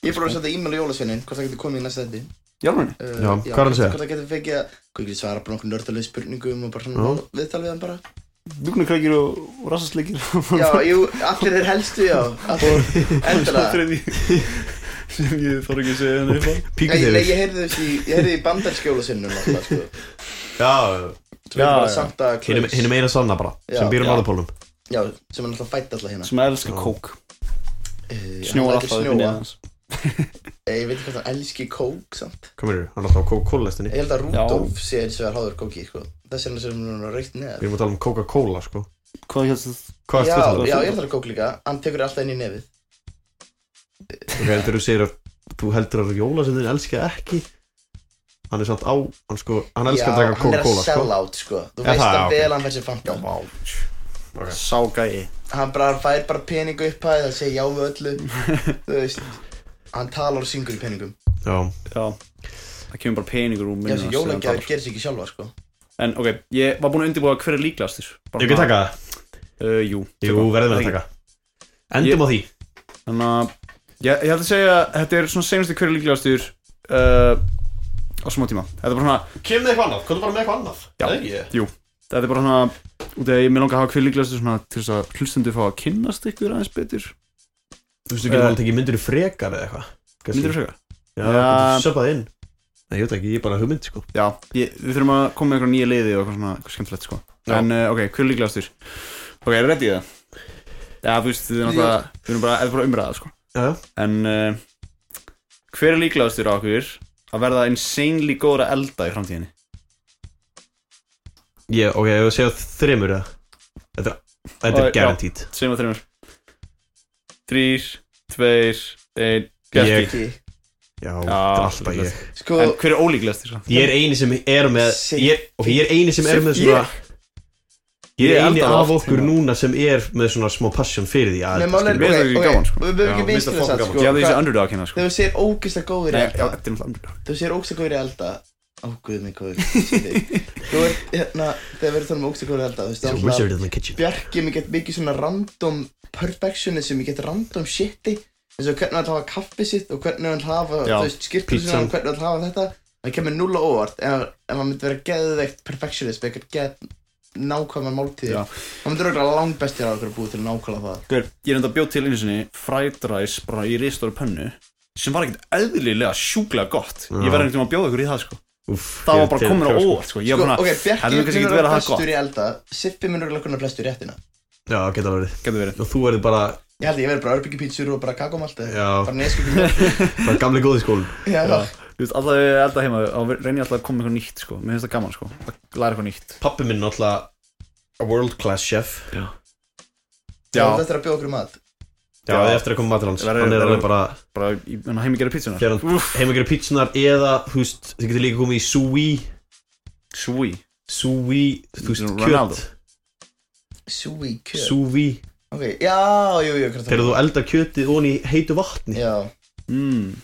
S3: Ég er bara að senda e-mail á jólasveinin Hvort það getur komið í næsta þetta
S2: Jálmunni
S3: uh,
S4: Já, hvað er hann að segja?
S3: Hvort það getur fekið að Hvað getur svara bara nokkuð nördalega spurningum Og bara svona
S4: Já.
S3: viðtal við hann bara
S2: Dugnarkrækir og, og rassasleikir
S3: Já,
S2: (laughs)
S3: jú, allir er helstu, já Allir, endilega (laughs)
S2: Sem ég þarf ekki að segja henni upp á
S4: Píku
S3: Nei, nei,
S4: þeir
S3: ég heyrði þessi Ég heyrði í bandarskjólasveinum alltaf, sko
S4: Já,
S3: Sem er
S2: Já,
S3: bara
S2: já.
S3: Santa
S4: hinn
S3: Claus
S4: er meira sanna bara
S3: Já.
S4: Sem býr um á
S3: Já.
S4: norðapólum
S3: Já, sem er alltaf fætt alltaf hérna
S2: Sem elskar kók
S3: Eh,
S2: Snjóar
S3: hann lætur
S2: alltaf upp í
S3: snjóa.
S2: neðans
S3: Eh, Ég veit ekki hvað það elski kók samt
S4: Hvað meður, hann er alltaf á Coca-Cola-lestinni
S3: Ég held að Rudolf sé eins og er háður kóki sko. Þess vegna sem hún er reykt
S4: Við
S3: neðar
S4: erum að tala um Coca-Cola sko
S2: Hvað hérst það?
S3: Já,
S4: Hvað er þetta?
S3: já, ég held að kók líka Hann tekur alltaf inn í nefið
S4: Ok, en þegar þú segir að þú heldur að jólasendin elska ekki Hann er samt á, hann sko, hann elskar að
S3: Já,
S4: taka
S3: Hann
S4: Coca-Cola
S3: er að
S4: sko
S3: sell out sko. Þú
S4: Já,
S3: veist
S4: það,
S3: það
S4: ok.
S3: vel hann fær sér fanta
S2: Ságæi
S3: Hann bara hann fær bara peningu upphæð Hann segir já við
S2: (laughs)
S3: öllu Þú veist Hann talar og syngur í peningum
S4: Já,
S2: Já Það kemur bara peningur úr
S3: Já,
S2: munna
S3: þessi jólagjafir gerir sig ekki sjálfa sko.
S2: En ok, ég var búin að undirbúa hver er líklegastur Bara
S4: Ég ekki
S2: svona-
S4: taka það?
S2: Uh, jú,
S4: Jú, verðum við að taka Endum á því
S2: Þannig að ég, ég held að segja að þetta er svona senastu hverju líklegastur uh, á smá tíma Þetta er bara svona,
S4: Kemur þið eitthvað annað, komdu bara með eitthvað annað
S2: Já.
S4: Eða ekki?
S2: jú Þetta er bara svona, út af að ég með langa að hafa hverju líklegastur svona til þess að hlustundu fá að kynnast ykkur aðeins betur
S4: Þú veist, þú getur
S2: Eh.
S4: alveg tekið myndir í frekar eða eitthvað Kannski.
S2: Myndir þú segja?
S4: Já,
S2: Já.
S4: getur söpað inn Nei, ég veit ekki, ég er bara hugmynd sko
S2: Já, ég, við þurfum að koma með eitthvað nýja liði og eitthvað svona eitthvað skemmtilegt sko
S4: Já.
S2: En uh, ok, hverju líklegastur? Ok, er ready í það? Já, þú veist, þið er náttúrulega, við erum bara, þetta er bara umræða sko
S4: Já, já
S2: En uh, hver er líklegastur á okkur að verða insanely góður að elda í framtíðinni?
S4: Ég, ok, ég vil segja þreymur eða Þetta, er- þetta
S2: Og-
S4: er
S2: já.
S4: garantít
S2: Sveima þreymur Þrýr, tveir, einn
S4: Ég-
S2: Bjarki
S3: Ekki.
S4: Já, þetta er alltaf
S2: líklegast.
S4: ég
S3: Sko,
S2: En hver er ólíklegastur? samt?
S4: Ég er eini sem er með
S3: Shit.
S4: ég, Ok, ég er eini sem er með
S2: Shit,
S4: svona Ég
S2: Ég
S4: er eini
S2: elda
S4: af
S2: oft,
S4: okkur
S2: sko.
S4: núna sem er með svona smá passion fyrir því að
S3: Nei, málið
S4: elda,
S3: er-
S2: Mér finnst það ekki
S3: ok,
S2: gaman, sko.
S3: og Við bögum ekki
S4: Já, mér finnst það
S3: vinstinu
S4: fucking
S3: satt
S4: gaman.
S3: sko.
S2: Ég hafði þessi
S3: Hvað-
S2: underdog hérna sko
S3: Þegar þú segir ógeðslega góður í
S2: Nei, já,
S3: elda
S2: þetta er náttúrulega underdog
S3: Þú sér ógstakur í elda Ó, guð minn góður
S2: (laughs)
S3: Þú er, hérna, þegar við erum talað um ógstakur í elda Þú veist,
S4: skilur.
S3: alltaf
S4: Wizard in the kitchen
S3: Bjarki, mér get mikið svona random perfectionism, ég get random shiti eins og hvernig hann ætla að hafa kaffi sitt og hvernig hann ætla að hafa,
S2: Já,
S3: þú veist, skýrtu
S4: pizzan.
S3: sinna og hvernig hann ætla að hafa þetta það kemur null á óvart en ef hann myndi vera geðveikt perfectionist eitthvað geð nákvæmar máltíðir
S2: Já.
S3: hann myndi vera langbestir á okkur að búið til að nákvæmlega það
S2: Hver, Ég er enda að bjóð til einu sinni fried rice bara í ristóru pönnu sem var ekkert eðlilega sjúklega gott Ég
S4: Já.
S2: verði einhvern veginn að bjóða ykkur í það sko það var bara komin á óvart sko. Ég var
S3: Sko,
S2: bara,
S3: ok,
S2: það
S3: Bjarki
S2: er kannski ekki verið að hafa
S3: flestur
S2: gott
S3: í elda Sippi munur örugglega kunna flestur í réttina
S4: Já, geta verið
S2: Gæti verið.
S4: Og þú verður bara,
S3: Ég held að ég verði bara örbyggjupítsur og bara kakómalt eða
S4: Já.
S3: Bara
S2: (laughs)
S3: neskupítsur
S4: bara gamli góði skólum
S3: Já,
S2: Þú veist, alltaf við elda heima þá reyni ég alltaf að koma eitthvað nýtt sko. Mér finnst það gaman sko. að læra eitthvað nýtt
S4: Pappi minn náttúrulega a world class chef
S3: já Þetta er að bjóða okkur í mat
S4: Já,
S2: Já.
S4: já. eftir að koma matur hans
S2: Verður-
S4: Hann er
S2: verður-
S4: alveg bara
S2: bara í menna heimi gera hérna. pítsuna
S4: Hér hann heima gerir pítsunar Eða, þú veist, þið getur líka komið í sous vide
S2: Sui
S4: Sous vide, þú veist,
S2: Ronaldo.
S4: kjöt
S3: Súi kjöt
S4: Sous vide
S3: Ok, já, jú, jú, hvað er það?
S4: Þegar þú eldar kjötið ofan í heitu vatni
S3: Já,
S2: mm.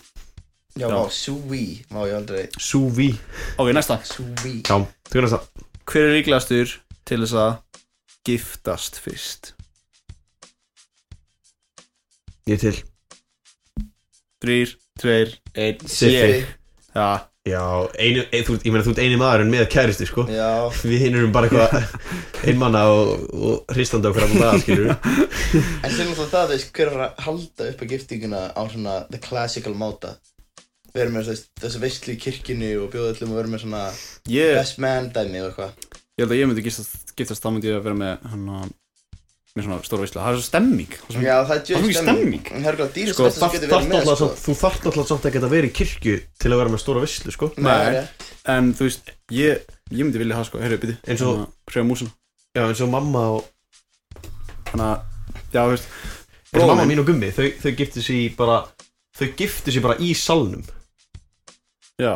S3: já, vá, súi Má ég aldrei
S4: Sous vide
S2: Ok, næsta
S3: Súi
S4: Já, þú veist það
S2: Hver er líklegastur til þess að giftast fyrst?
S4: Ég til
S2: Þrýr, tveir, einn
S4: Siffi
S2: Já,
S4: Já, einu, ein, þú, ég meina þú ert eini maðurinn með kæristi sko
S3: Já,
S4: Við hinn erum bara eitthvað (laughs) einmanna og, og hristandi okkur allan dag skilur (laughs)
S3: en sem alltaf það, þú veist, hver er að halda upp að giftinguna á svona the classical máta Við erum með þess, þessu veistlu í kirkjunni og bjóða öllum og við erum með svona
S2: ég,
S3: best man dæmi og eitthvað
S2: ég held að ég myndi giftast, giftast þá myndi ég að vera með hann að með svona stóra veisla, það er svo stemming Það er svo-
S3: Já, það er
S2: Það er
S3: djöð
S2: mikið stemming.
S3: En það er eitthvað dýrist
S4: sko,
S3: besta sem
S4: þarft
S3: getur
S4: þarft
S3: verið með,
S4: alltaf
S3: sko
S4: samt, þú þarft alltaf samt ekki að vera í kirkju til að vera með stóra visslu sko
S3: Nei,
S2: Nei.
S3: rétt.
S2: En þú veist, ég, ég myndi vilja hafa sko, heyrðu, byrju
S4: Eins og-
S2: Pröfa músina
S4: já eins og mamma og
S2: Þannig að, já, þú veist
S4: eins og
S2: Bróðir
S4: mamma
S2: minn.
S4: mín og gummi þau, þau giftu sér í bara þau giftu sér bara í salnum
S2: Já,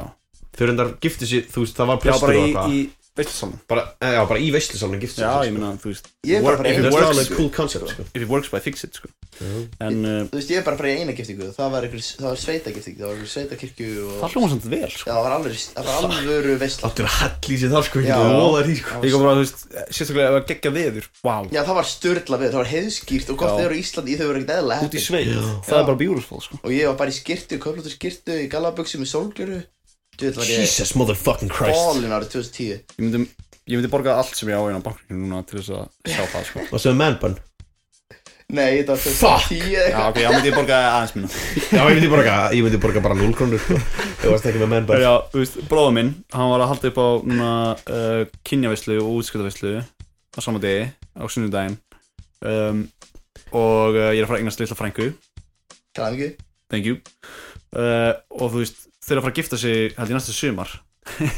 S4: þau reyndar giftu sér þú veist það var
S2: já
S4: prestur
S2: bara
S4: og
S2: í,
S4: eitthvað
S2: í veislusalum
S4: bara, eh, já bara í visslu salnum giftu
S2: Já,
S4: sér
S2: ég meina, þú veist
S3: Ég er bara að fara í
S4: það
S3: eina
S4: er
S2: works,
S4: alveg
S3: giftingu.
S4: cool concept sko
S2: If it works by fix it, sko En uh,
S3: Þú veist, ég er bara að fara í eina giftingu Það var einhver, það var sveita giftingu Það var einhver sveita kirkju og
S2: það hljóma samt vel, sko
S3: Já, það var alveg, það var alvöru veistla
S4: áttur að hell í sér þar sko
S3: Já.
S4: og loða því sko
S2: Líka bara, þú veist, eh, sérstaklega ef að gegja veður Vá,
S3: Já, það var störla við, það var heiðskýrt og gott
S2: Já.
S3: þeir eru í Íslandi, þau voru ekkert eðla
S2: út í
S3: heppin
S2: sveit Það
S3: Já.
S2: er bara beautiful, sko
S3: Og ég var bara í skirtu, köflóttur skirtu, í galaböksu með sólgjöru Þú veit, var ég
S4: Jesus motherfucking Christ
S3: bólin árið 2010
S2: Ég myndi, ég myndi borga allt sem ég á einu á bankinu núna til þess að sjá það, sko
S4: og sem mennbann
S3: Nei, þetta var 2010 eða
S2: Já,
S3: eitthvað
S2: ok, já, myndi ég borga aðeins minna
S4: já ég myndi borga ég myndi borga bara 0 krónur sko ef það ekki með mennbann
S2: Já, þú veist, bróður minn, hann var að halda upp á núna uh, kynjavislu og útskjötavislu á sama degi, á sunnudaginn um, Og uh, ég er að fara að eignast litla frængu,
S3: Það er ekki
S2: thank you uh, Og þú veist, þeir eru að fara að gifta sig, held ég næsta sumar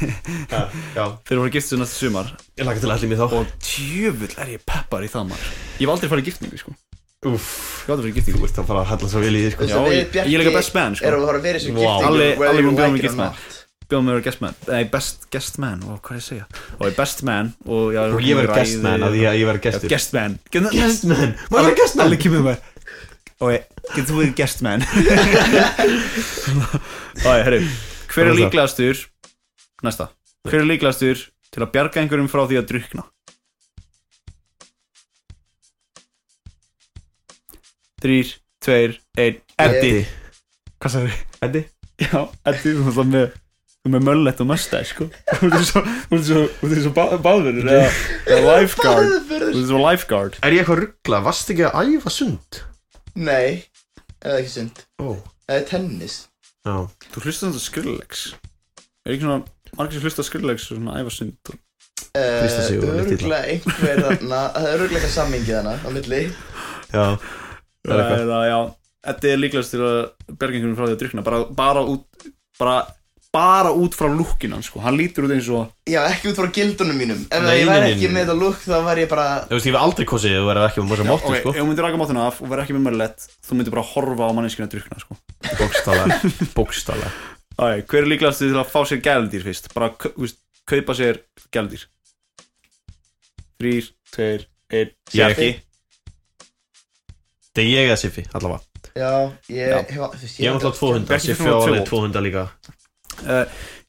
S4: já
S2: Þeir eru að fara að gifta sig næsta sumar
S4: ég laka til að allir mér þá
S2: Og djöfull er ég peppar í það maður Ég hef aldrei farið í giftingu sko Ég
S4: uff
S2: hef aldrei farið í giftingu
S4: þú ert að fara að halla svo vel í því sko
S2: Já, ég- ég er líka best man, sko.
S3: Erum við að fara að vera í þessu
S4: Vá.
S3: giftingu
S2: Alli-
S3: whether
S2: Alli
S3: you
S2: mun bjóða
S3: like
S2: mig
S3: it or
S2: gift man.
S3: not?
S2: Bjóðum við að vera guest man Nei, best guest man Og hvað er ég að segja Og ég best man Og, já,
S4: og ég verð gestmenn að því að ég verð
S2: Já,
S4: gestur
S2: guest man Get-
S4: gestmenn maður verð gestmenn
S2: Alli kemur með Ok, getur þú verið guest (laughs) man Æ, herru Hver er
S4: Hvað er það?
S2: líklegastur Næsta Hver er líklegastur Til að bjarga einhverjum frá því að drukna Þrýr, tveir, einn Eddi Hvað sagði
S4: Eddi
S2: Já, Eddi, þú veist það með Þú með möllett og mustæð, sko (laughs) Þú veist svo, þú veist svo, þú veist svo bá, báðurur Eða, eða lifeguard Þú veist svo lifeguard
S4: Er ég eitthvað ruggla? Vast ekki að æfa sund?
S3: Nei, er það ekki sund
S4: Ó
S3: Það er tennis
S4: Já
S2: Þú hlustar þetta skurlegs Er ekki svona Margir sem hlustar skurlegs og svona æfarsund og...
S4: Krista
S3: Uh,
S4: Sigurðardóttir.
S3: Öruglega einhver þarna Það er öruglega eitthvað sammingi þarna á milli
S4: Já Það er eitthvað.
S2: Eða, já Eddi er líklegast til að berga einhvern frá því að drukna bara, bara út Bara bara út frá lúkkinan sko, hann lítur út eins og
S3: Já, ekki út frá gildunum mínum Ef
S4: Nei,
S3: ég
S4: nei,
S3: væri
S4: nei,
S3: ekki
S4: nei.
S3: með þetta lúk þá væri ég bara
S4: Þú veist, ég hef aldrei kosið Þú verður ekki með mjög sko. móttu,
S2: ef þú myndir raka mátina af og verð ekki með mörlett þú myndir bara horfa á manneskinu að drukna sko.
S4: sko Bókstala Bókstala
S2: Æ, hver er líklegast til að fá sér gælendýr fyrst bara, kau- þú veist, kaupa sér gælendýr þrýr, tveir, einn
S4: Ég ekki. Þegar ég eða Siffi, allavega
S3: Já, ég
S2: Já.
S3: hef þú veist,
S4: Ég hef alltaf tvo hundar
S2: Bjarki
S4: Siffi
S2: fyrir
S4: á
S2: tvo.
S4: alveg tvo hundar líka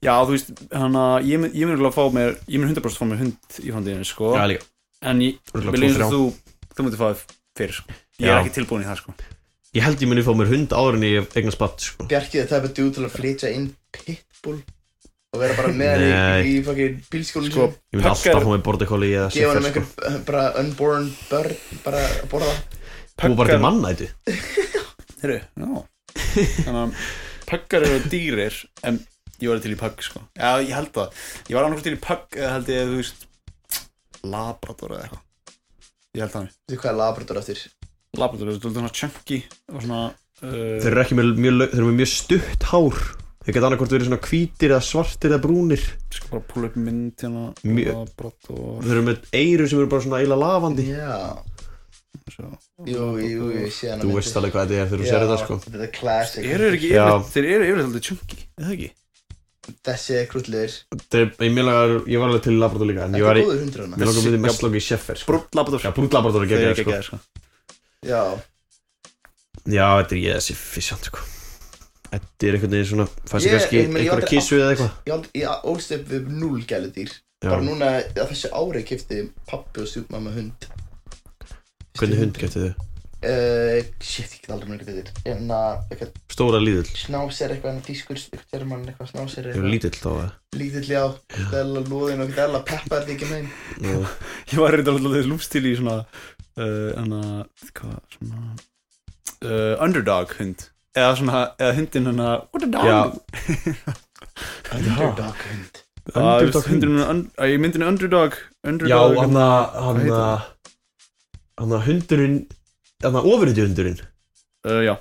S2: já, þú veist, hann að ég mun ég mun örugglega að fá mér, ég mun 100% fá mér hund í framtíðinni, sko
S4: Já, líka
S2: en ég,
S4: Örugglega
S2: vil eins
S4: tvo,
S2: og þú þú myndir fá það fyrr, sko ég er
S4: Já.
S2: ekki tilbúin í það, sko
S4: Ég held ég muni fá mér hund áður en ég eigna spatt, sko
S3: Bjarki þetta er bara djú til að flytja inn pitbull og vera bara með hann
S4: Nei.
S3: í, í fucking bílskólinu
S2: Sko,
S3: sínum,
S4: Ég myndi
S2: Pöggar-
S4: alltaf fá mér bordekolli eða
S3: gefa hann um
S4: Siffi, sko
S3: einhver uh, bara unborn börn bara að borða
S4: Bú bara til mannætu
S2: Heru, já þannig að pöggar eru dýrir en Ég var til í pögg sko Já, ég held það Ég var annars til í pögg eða held ég, þú veist Labrador eða eitthvað Ég held það
S3: Þú veist hvað er labrador eftir?
S2: Labrador, þú veist, þú veist svona chunky og svona
S4: Þeir
S2: uh,
S4: eru ekki með mjög, lau- þeir eru með mjög stutt hár Þeir geta annarkvort verið svona hvítir eða svartir eða brúnir
S2: Skal bara púla upp mynd hérna
S4: Mjög-
S2: Labrador
S4: Þeir eru með eyru sem eru bara svona eila lavandi
S3: Já
S2: svo.
S3: Jú, jú, jú, ég sé hana
S4: Þú veist alveg hvað þetta er þegar þú sér þetta sko
S3: Þetta er classic
S2: Þeir eru ekki
S4: Já.
S2: yfirleitt Þeir eru yfirleitt aldrei chunky Eða ekki?
S3: Þessi er krullir
S4: Þeir, ég, mér lagar, ég var alveg til í Labrador líka En
S3: Þetta
S4: ég var
S3: er
S4: í,
S3: góður hundur hana
S4: mér langar myndi mest langa í Sheffer sko.
S2: Brúnt Labrador
S4: Já, brúnt Labrador er
S2: Þeir eru ekki
S4: geggjað sko
S2: ekki sko
S3: Já
S4: Já, þetta er ég þessi fissjant sko Þetta er einhvern veginn svona Fæst
S3: Ég-
S4: ég kannski
S3: ég meina, ég
S4: einhverja
S3: aldrei
S4: kissu eða eitthvað
S3: Ég ald- Ég ólst upp við null gæludýr
S4: Já.
S3: Bara núna, á þessu ári kefti pappi og stjúpmamma hund
S4: Hvernig hund getið þau?
S3: Uh, shit, ég get aldrei mörg þetta þér En að, Hérna, eitthvað,
S4: Stóra lítill
S3: snáser eitthvað, en tískur, eitthvað, german, eitthvað, snáser
S4: Þeir eru lítill þá eða?
S3: Lítill, já, dæla loðin og dæla peppa þetta ekki megin
S4: Já.
S2: Ég var reynda alltaf lúmstil í svona uh, hana, hvað, svona uh, underdog hund eða svona, eða hundin hana underdog
S4: Já.
S3: Underdog hund
S2: underdog
S4: Underdog hund
S2: hundin hund. í myndinu underdog
S4: Já,
S2: underdog
S4: hann að
S2: Hvað
S4: hann
S2: heitir
S4: að hann að hundurinn hann að ofurhundi hundurinn
S2: uh, já,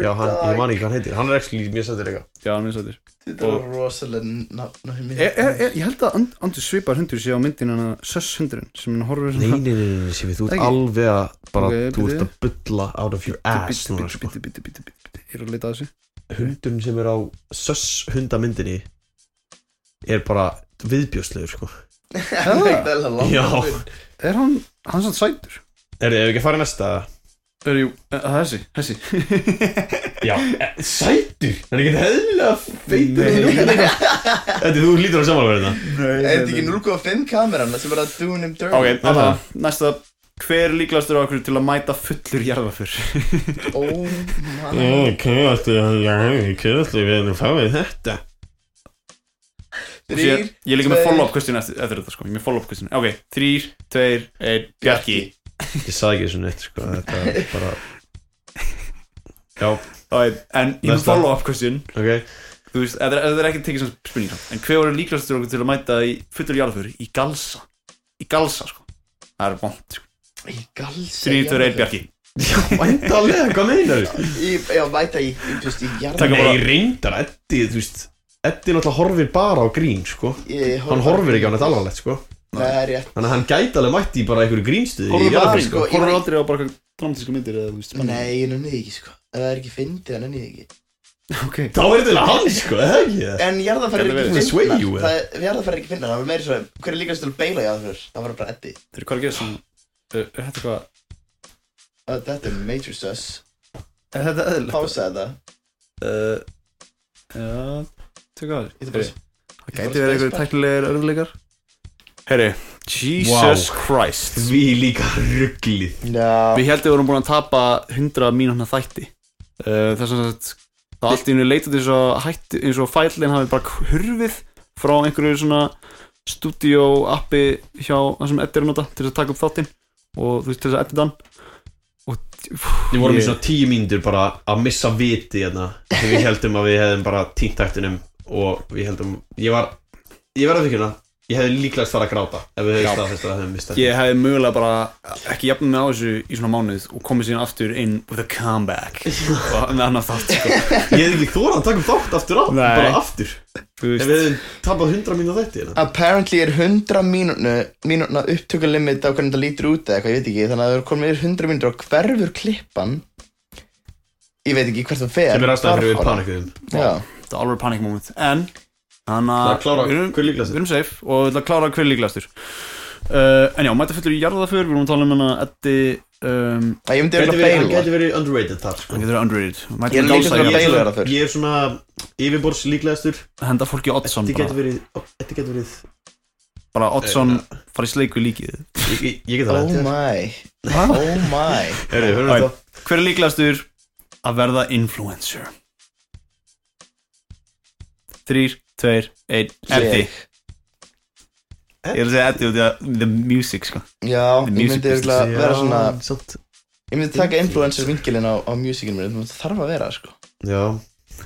S4: Já, hann, ég man ekki hvað hann heitir Hann er ekki mjög sættir eitthvað
S2: já, hann minnst þetta
S3: Þetta var rosalega nafn á henni
S2: er, er, er, E, ég held að and, andur svipar hundur sé á myndinu hana söss hundurinn sem hann horfir
S4: Nei,
S2: svona
S4: nei, nei, nei, Sifi, þú ert
S2: Ekki?
S4: alveg að bara,
S2: Ok,
S4: þú ert
S2: bíddu.
S4: að bulla out of your ass núna,
S2: bitti,
S4: sko
S2: bitti, bitti, bitti, bitti ég er að leita að þessu
S4: Hundurinn sem er á söss hundamyndinni er bara viðbjóðslegur, sko
S2: (laughs)
S3: Hann er ekki dæla langt
S4: Já.
S2: er hann, hann sann sætur
S4: Er þið ekki að fara í næsta?
S2: er, jú, eh, það er þessi, þessi (laughs)
S4: Já, eh, sætur? Það er ekki heðilega feitur
S2: Nei.
S4: (laughs) Þetta, þú lítur á samanverðina
S2: nei,
S3: Er þetta ekki 0.5 kameran sem var að doing him dirty?
S2: Ok, alltaf, næsta Hver líklastur á okkur til að mæta fullur (laughs) jarðaför?
S3: Oh my
S5: Ég kemast í, já, ég kemast í, við erum fáið þetta.
S3: Þrýr,
S2: Ég er líka með
S3: tveir-
S2: follow-up question eftir, eftir þetta sko Ég er með follow-up question Ok, þrýr, tveir, einn, Bjarki
S4: Ég sagði ekki þessu neitt, sko Þetta er bara Já,
S2: Ok, En ég er með
S4: Næsta.
S2: follow-up question
S4: ok
S2: Þú veist, þetta er- þetta er ekki tekið sem spurning samt. En hver voru líklastur á okkur til að mæta í fullur jarðaför? Í galsa Í galsa sko Það er vond sko
S3: Í galsa
S2: Þrýr, tveir, einn, Bjarki
S4: Væntalega, hvað meinar þú?
S3: Bjarki Já, mæta í, í- just í
S2: Taka
S4: Nei,
S2: bara-
S3: jarðan
S4: reyndar, Eddi, þú veist Eddi náttúrulega horfir bara á grín, sko Hann horfir ekki á neitt alvarlegt, sko
S3: Það er rétt
S4: Þannig að hann gæti alveg mætti í bara einhverju grínstuði
S2: Horfðu
S4: í
S2: bara á
S4: jarðarför,
S2: grín,
S3: sko,
S2: sko
S3: ég-
S2: Horfðu aldrei á bara dramatíska myndir eða þú veist
S3: Nei, ég nenni því ekki sko Ef það er ekki fyndið, það nenni ég ekki
S2: Ok
S4: Þá er þetta hann, sko, eða ekki það?
S3: En jarðafæri
S2: Gæti
S3: er
S2: verið.
S3: ekki
S4: Sway you,
S3: fyndnar
S4: eða?
S3: Það er jarðafæri er ekki fyndnar Það var meira svo Hver er líkast til að beila jarðafæri? Það var bara Eddi
S2: Þeir eru hvað að gera svona Er er þetta hvað
S3: Það- Þetta er major sus
S2: Er þetta eðlilegt?
S3: Pása þetta
S2: Uh, já, tökum að þér
S3: Ég ætla bara-
S2: Það
S3: bara að
S2: gæti verið einhverju
S3: spacebar.
S2: tæknilegar örfleikar Herri, Jesus Christ
S4: Því líka rugglið
S3: Já
S2: Við heldum við vorum búin að tapa 100 mínúna þætti uh, Þess að sagt, það allt í henni leitað eins og, hætti, eins og fælinn hafi bara hurfið frá einhverju svona studio appi hjá það sem Eddi er að nota til þess að taka upp þáttinn og þú veist til þess að edita hann
S4: Við vorum í
S2: Ég-
S4: svona tíu mínútur bara að missa viti hérna Þegar við heldum að við hefðum bara týnt taktinum Og við heldum, ég var, ég verða fyrir hérna Ég hefði líklegast farið að gráta Ef við
S2: Já.
S4: hefði staðfest að hefðum mistað
S2: Ég hefði mögulega bara ekki jafnum með á þessu í svona mánuð og komið síðan aftur inn with a comeback og með annar þátt sko.
S4: Ég hefði ekki þórað að taka upp þátt aftur á
S2: Nei.
S4: Bara aftur
S2: Þú
S4: Ef
S2: veist,
S4: við hefðum tapað 100 mínútur þætti hérna
S3: Apparently er 100 mínútna, mínútna upptökulimit á hvernig þetta lítur út eða eitthvað, ég veit ekki þannig að það er komin yfir 100 mínútur og hverfur klippan ég veit ekki hvert það fer
S4: Sem er ástæðan
S3: Hvarf
S4: fyrir við panikum
S3: honum. Já,
S2: þetta er alveg panic moment en þannig
S4: Það er að klára
S2: Ah, við erum-
S4: hver líklegastur.
S2: við erum safe og við erum að klára hver líklegastur uh, en já, mæta fullur í jarðaför við erum að tala um hana Eddi um,
S3: það ég myndi
S4: Gæti
S3: verið að
S4: verið- Hann
S3: beila
S4: gæti verið underrated þar sko
S2: hann getur verið underrated
S3: Ég
S2: mæta
S3: er
S2: um
S3: líka
S2: gálsa
S3: svona
S2: í
S3: beila
S2: jarðaför
S3: þarna fyrr.
S4: Ég er svona yfirborðs líklegastur
S2: henda fólki Oddsson
S4: Þetta
S2: bara,
S4: getur verið Þetta getur verið
S2: bara Oddsson fara í sleik við líkið
S4: Ég- Ég ég get það
S3: Oh
S4: rætt
S3: my, oh my
S4: Hörru, hörru
S2: Æ.
S4: þetta
S2: hver er líklegastur að verða influencer þrýr, tveir, einn Eddi
S3: Ég-
S2: Ég er að segja Eddi út í að the music sko
S3: Já, ég
S2: music
S3: myndi örugglega
S4: Já,
S3: vera svona
S4: samt-
S3: ég myndi taka influencer vingilin á, á musicinu minni það þarf að vera sko
S4: Já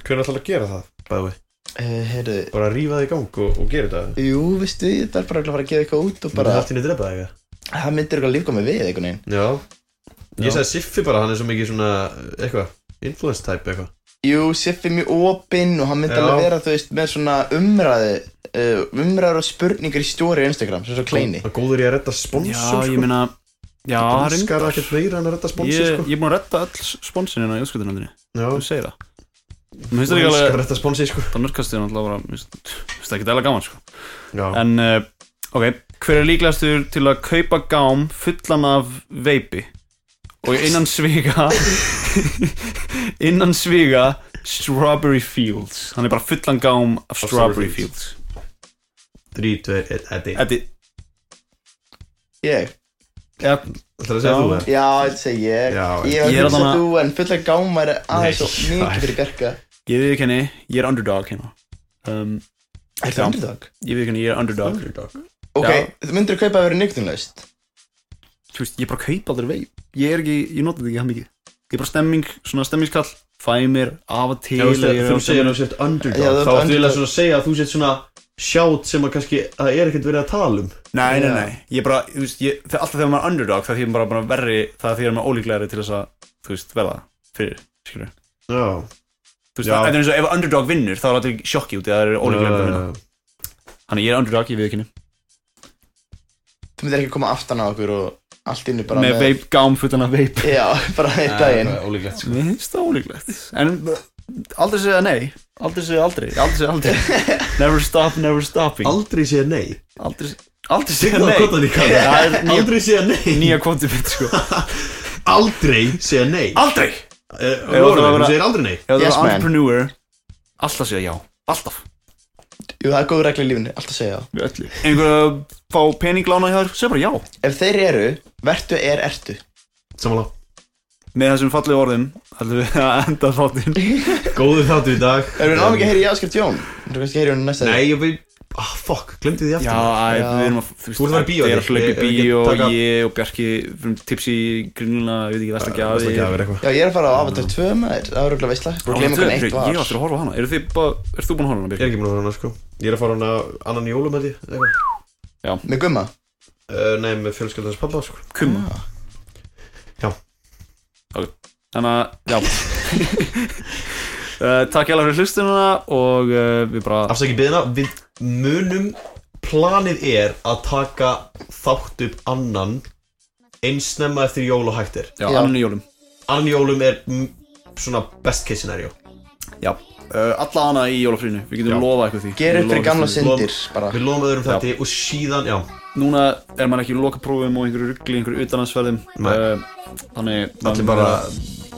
S4: Hvernig ætlar að gera það, bæði við?
S3: uh, Heyrðu,
S4: Bara rífa það í gang og, og gera þetta
S3: jú, veistu, þetta er bara örugglega að fara að gefa eitthvað út og
S4: Bara
S3: bara,
S4: allt í henni drepa það eitthvað
S3: það myndir eitthvað lífgóð með við einhvern veginn.
S4: Já Ég
S3: Já.
S4: sagði Siffi bara, hann er svo mikið svona, eitthvað, influence type eitthvað
S3: Jú, Siffi er mjög opinn og hann myndi
S4: Já.
S3: alveg vera, þú veist, með svona umræði, uh, umræður og spurningar í stóri á Instagram, sem svo kleini.
S4: Hann er góður í að redda sponsor, sko.
S2: Já, ég meina Já,
S4: Hann
S2: reyndar.
S4: skar ekkert meira en að redda
S2: Ég,
S4: sponsor,
S2: ég er búin að redda öll sponsinina í útskjöldunandinni
S4: sko
S2: sko. Þú
S4: Já,
S2: segir það Mér finnst þetta ekki
S4: hann skar
S2: alveg
S4: redda sponsor, sko
S2: Það nörkast þér náttúrulega bara Mér finnst mér finnst það ekki dæla gaman sko
S4: Já,
S2: En, uh, ok Hver er líklegastur til að kaupa gám fullan af veipi og innan sviga (laughs) innan sviga Strawberry Fields Hann er bara fullan gám af Strawberry Fields
S4: 3, 2, 1, Eddi
S2: Þetta
S3: Ég,
S2: ja,
S4: Ætlar að segja þú það?
S3: já, þetta segi ég.
S4: Já,
S3: ég var
S2: ég er
S3: að hugsa
S2: þarna-
S3: þú, en fulla gáma er
S4: Nei,
S3: aðeins svo
S4: já.
S3: mikið fyrir Bjarka.
S2: Ég viðkenni, ég er underdog hérna um,
S3: Er
S2: Já.
S3: það underdog?
S2: Ég viðkenni, ég er underdog
S3: Ok,
S2: Já.
S3: þú myndir að kaupa að vera nýgtunlaust.
S2: Þú veist, ég bara kaupa aldrei veip Ég er ekki, ég nota þetta ekki hann mikið Ég er bara stemming, svona stemmingskall Fæ mér af og til
S4: Já, þú veist,
S2: að ég
S4: þegar
S2: er
S4: þú
S2: á
S4: segir
S2: stemming-
S4: að þú sért
S3: Já,
S4: underdog
S3: þú
S4: Þá
S3: ert
S4: ættu
S3: underdog.
S4: eiginlega svona að segja að þú sért svona sjátt sem að kannski, að er ekkert verið að tala um
S2: Nei, nei, nei, ég er bara, þú veist, ég, þegar- alltaf þegar maður er underdog Það er því maður bara, bara verri, það er því maður ólíklegri til þess að Þú veist, verða fyrir, skilur
S4: Já,
S2: Þú veist,
S4: Já.
S2: það þetta er eins og ef underdog vinnur Þá er alltaf ekki sjokki út í að það er
S4: Eh,
S2: ólíklegri að vinna Þannig ég er underdog, ég viðkenni
S3: Þú myndir ekki að koma aftan á okkur og allt inni bara
S2: Með veip, gám fullan af veip
S3: Já, (laughs) bara eitt daginn.
S4: Ólíklegt, sko
S2: Mér finnst það ólíklegt En aldrei segja nei Aldrei segja aldrei Aldrei segja aldrei
S4: (laughs)
S2: Never stop, never stopping
S4: Aldrei segja nei
S2: Aldrei, aldrei segja
S4: Signa á kottan
S2: nei
S4: í kannu
S2: Það er nýja-
S4: Aldrei segja nei
S2: Nýja kvotið mitt sko
S4: Aldrei segja nei
S2: Aldrei Ef
S4: Eh,
S2: þú
S4: Lorelei,
S2: ætlar að
S4: Hún
S2: vera-
S4: segir aldrei nei
S2: Ef það
S3: Yes,
S2: er
S3: man.
S2: entrepreneur Alltaf segja já Alltaf
S3: Jú, það er góð regla í lífinu, allt að segja.
S2: Við öllu Einhver að fá pening lána hjá þér Segja bara já
S3: Ef þeir eru, vertu er ertu.
S4: Samanlá
S2: Með þessum fallegu orðum Ætlum við að enda þáttinn
S4: Góðu þáttu í dag Eh,
S3: Erum við náðum ekki að heyra í Áskrift Jón? Þú kannski heyri hún næsta
S4: Nei, ég veit Ah, fuck, glemdi
S2: Já,
S4: því aftur
S2: æ,
S3: Já.
S2: við erum að Þú
S4: ert að fara í bíó,
S2: Ég er að
S4: Dick.
S2: hlaupa
S4: Ég-
S2: í
S4: ef við
S2: bíó
S4: getum taka-
S2: Ég og Bjarki Við erum tipsi Grunna, ég veit ekki, versta
S4: Það er
S2: gjafi
S4: ekki að vera eitthvað
S3: Já, ég er að fara á Avatar 2 maður, það er röglega veistla Bara gleyma
S2: Ég
S3: hvernig eitt
S2: var
S3: var
S2: aftur að horfa á hana Er þið bara, er þú búin að horfa á hana
S4: Ég er
S2: Birgir?
S4: ekki búin að fara hana, sko Ég er að fara hana annan jólum, held ég eitthvað.
S3: Með gumma
S4: Eh, Nei, með fjölskeldans pappa, sko
S2: Kumma
S3: Ah.
S4: Já.
S2: Ok, þannig að, já (laughs) uh, Takk ég alveg fyrir hlustununa og uh, við bara
S4: Afsaki byðina, við munum Planið er að taka þátt upp annan Eins snemma eftir jól og hættir
S2: Já, annan í jólum
S4: Annan jólum er mm, svona best case scenario
S2: Já, uh, alla hana í jólafrínu Við getum
S4: Já.
S2: lofað eitthvað því
S3: Ger
S2: Við
S3: upp fyrir
S2: lofum
S3: gamla
S2: því.
S3: syndir bara
S4: Við lofum öðrum
S2: Já.
S4: þetta og síðan, já
S2: Núna er maður ekki í loka prófum og einhverju ruggli, einhverju utanansverðum
S4: Nei.
S2: Þannig
S4: Allir bara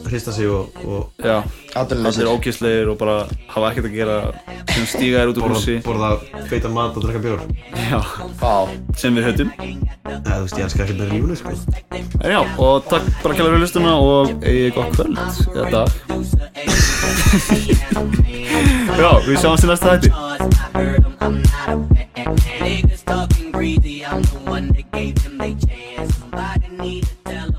S4: hrista sig og, og
S2: Já, allir
S3: Atunleysir
S2: ógæslegir og bara hafa ekkert að gera sem stíga þér út úr húsi
S4: borða, borða feitan mat og drekka bjór
S2: Já,
S3: Vá
S2: sem við höfðum
S4: Nei, þú veist, ég elska ekki með lífuna, sko
S2: En já, og takk bara kæla fyrir listuna og eigið gott kvöld eða dag (laughs) Já, við sjáumst í næsta hætti
S10: Niggas talking greedy, I'm the one that gave them they chance. Somebody need to tell 'em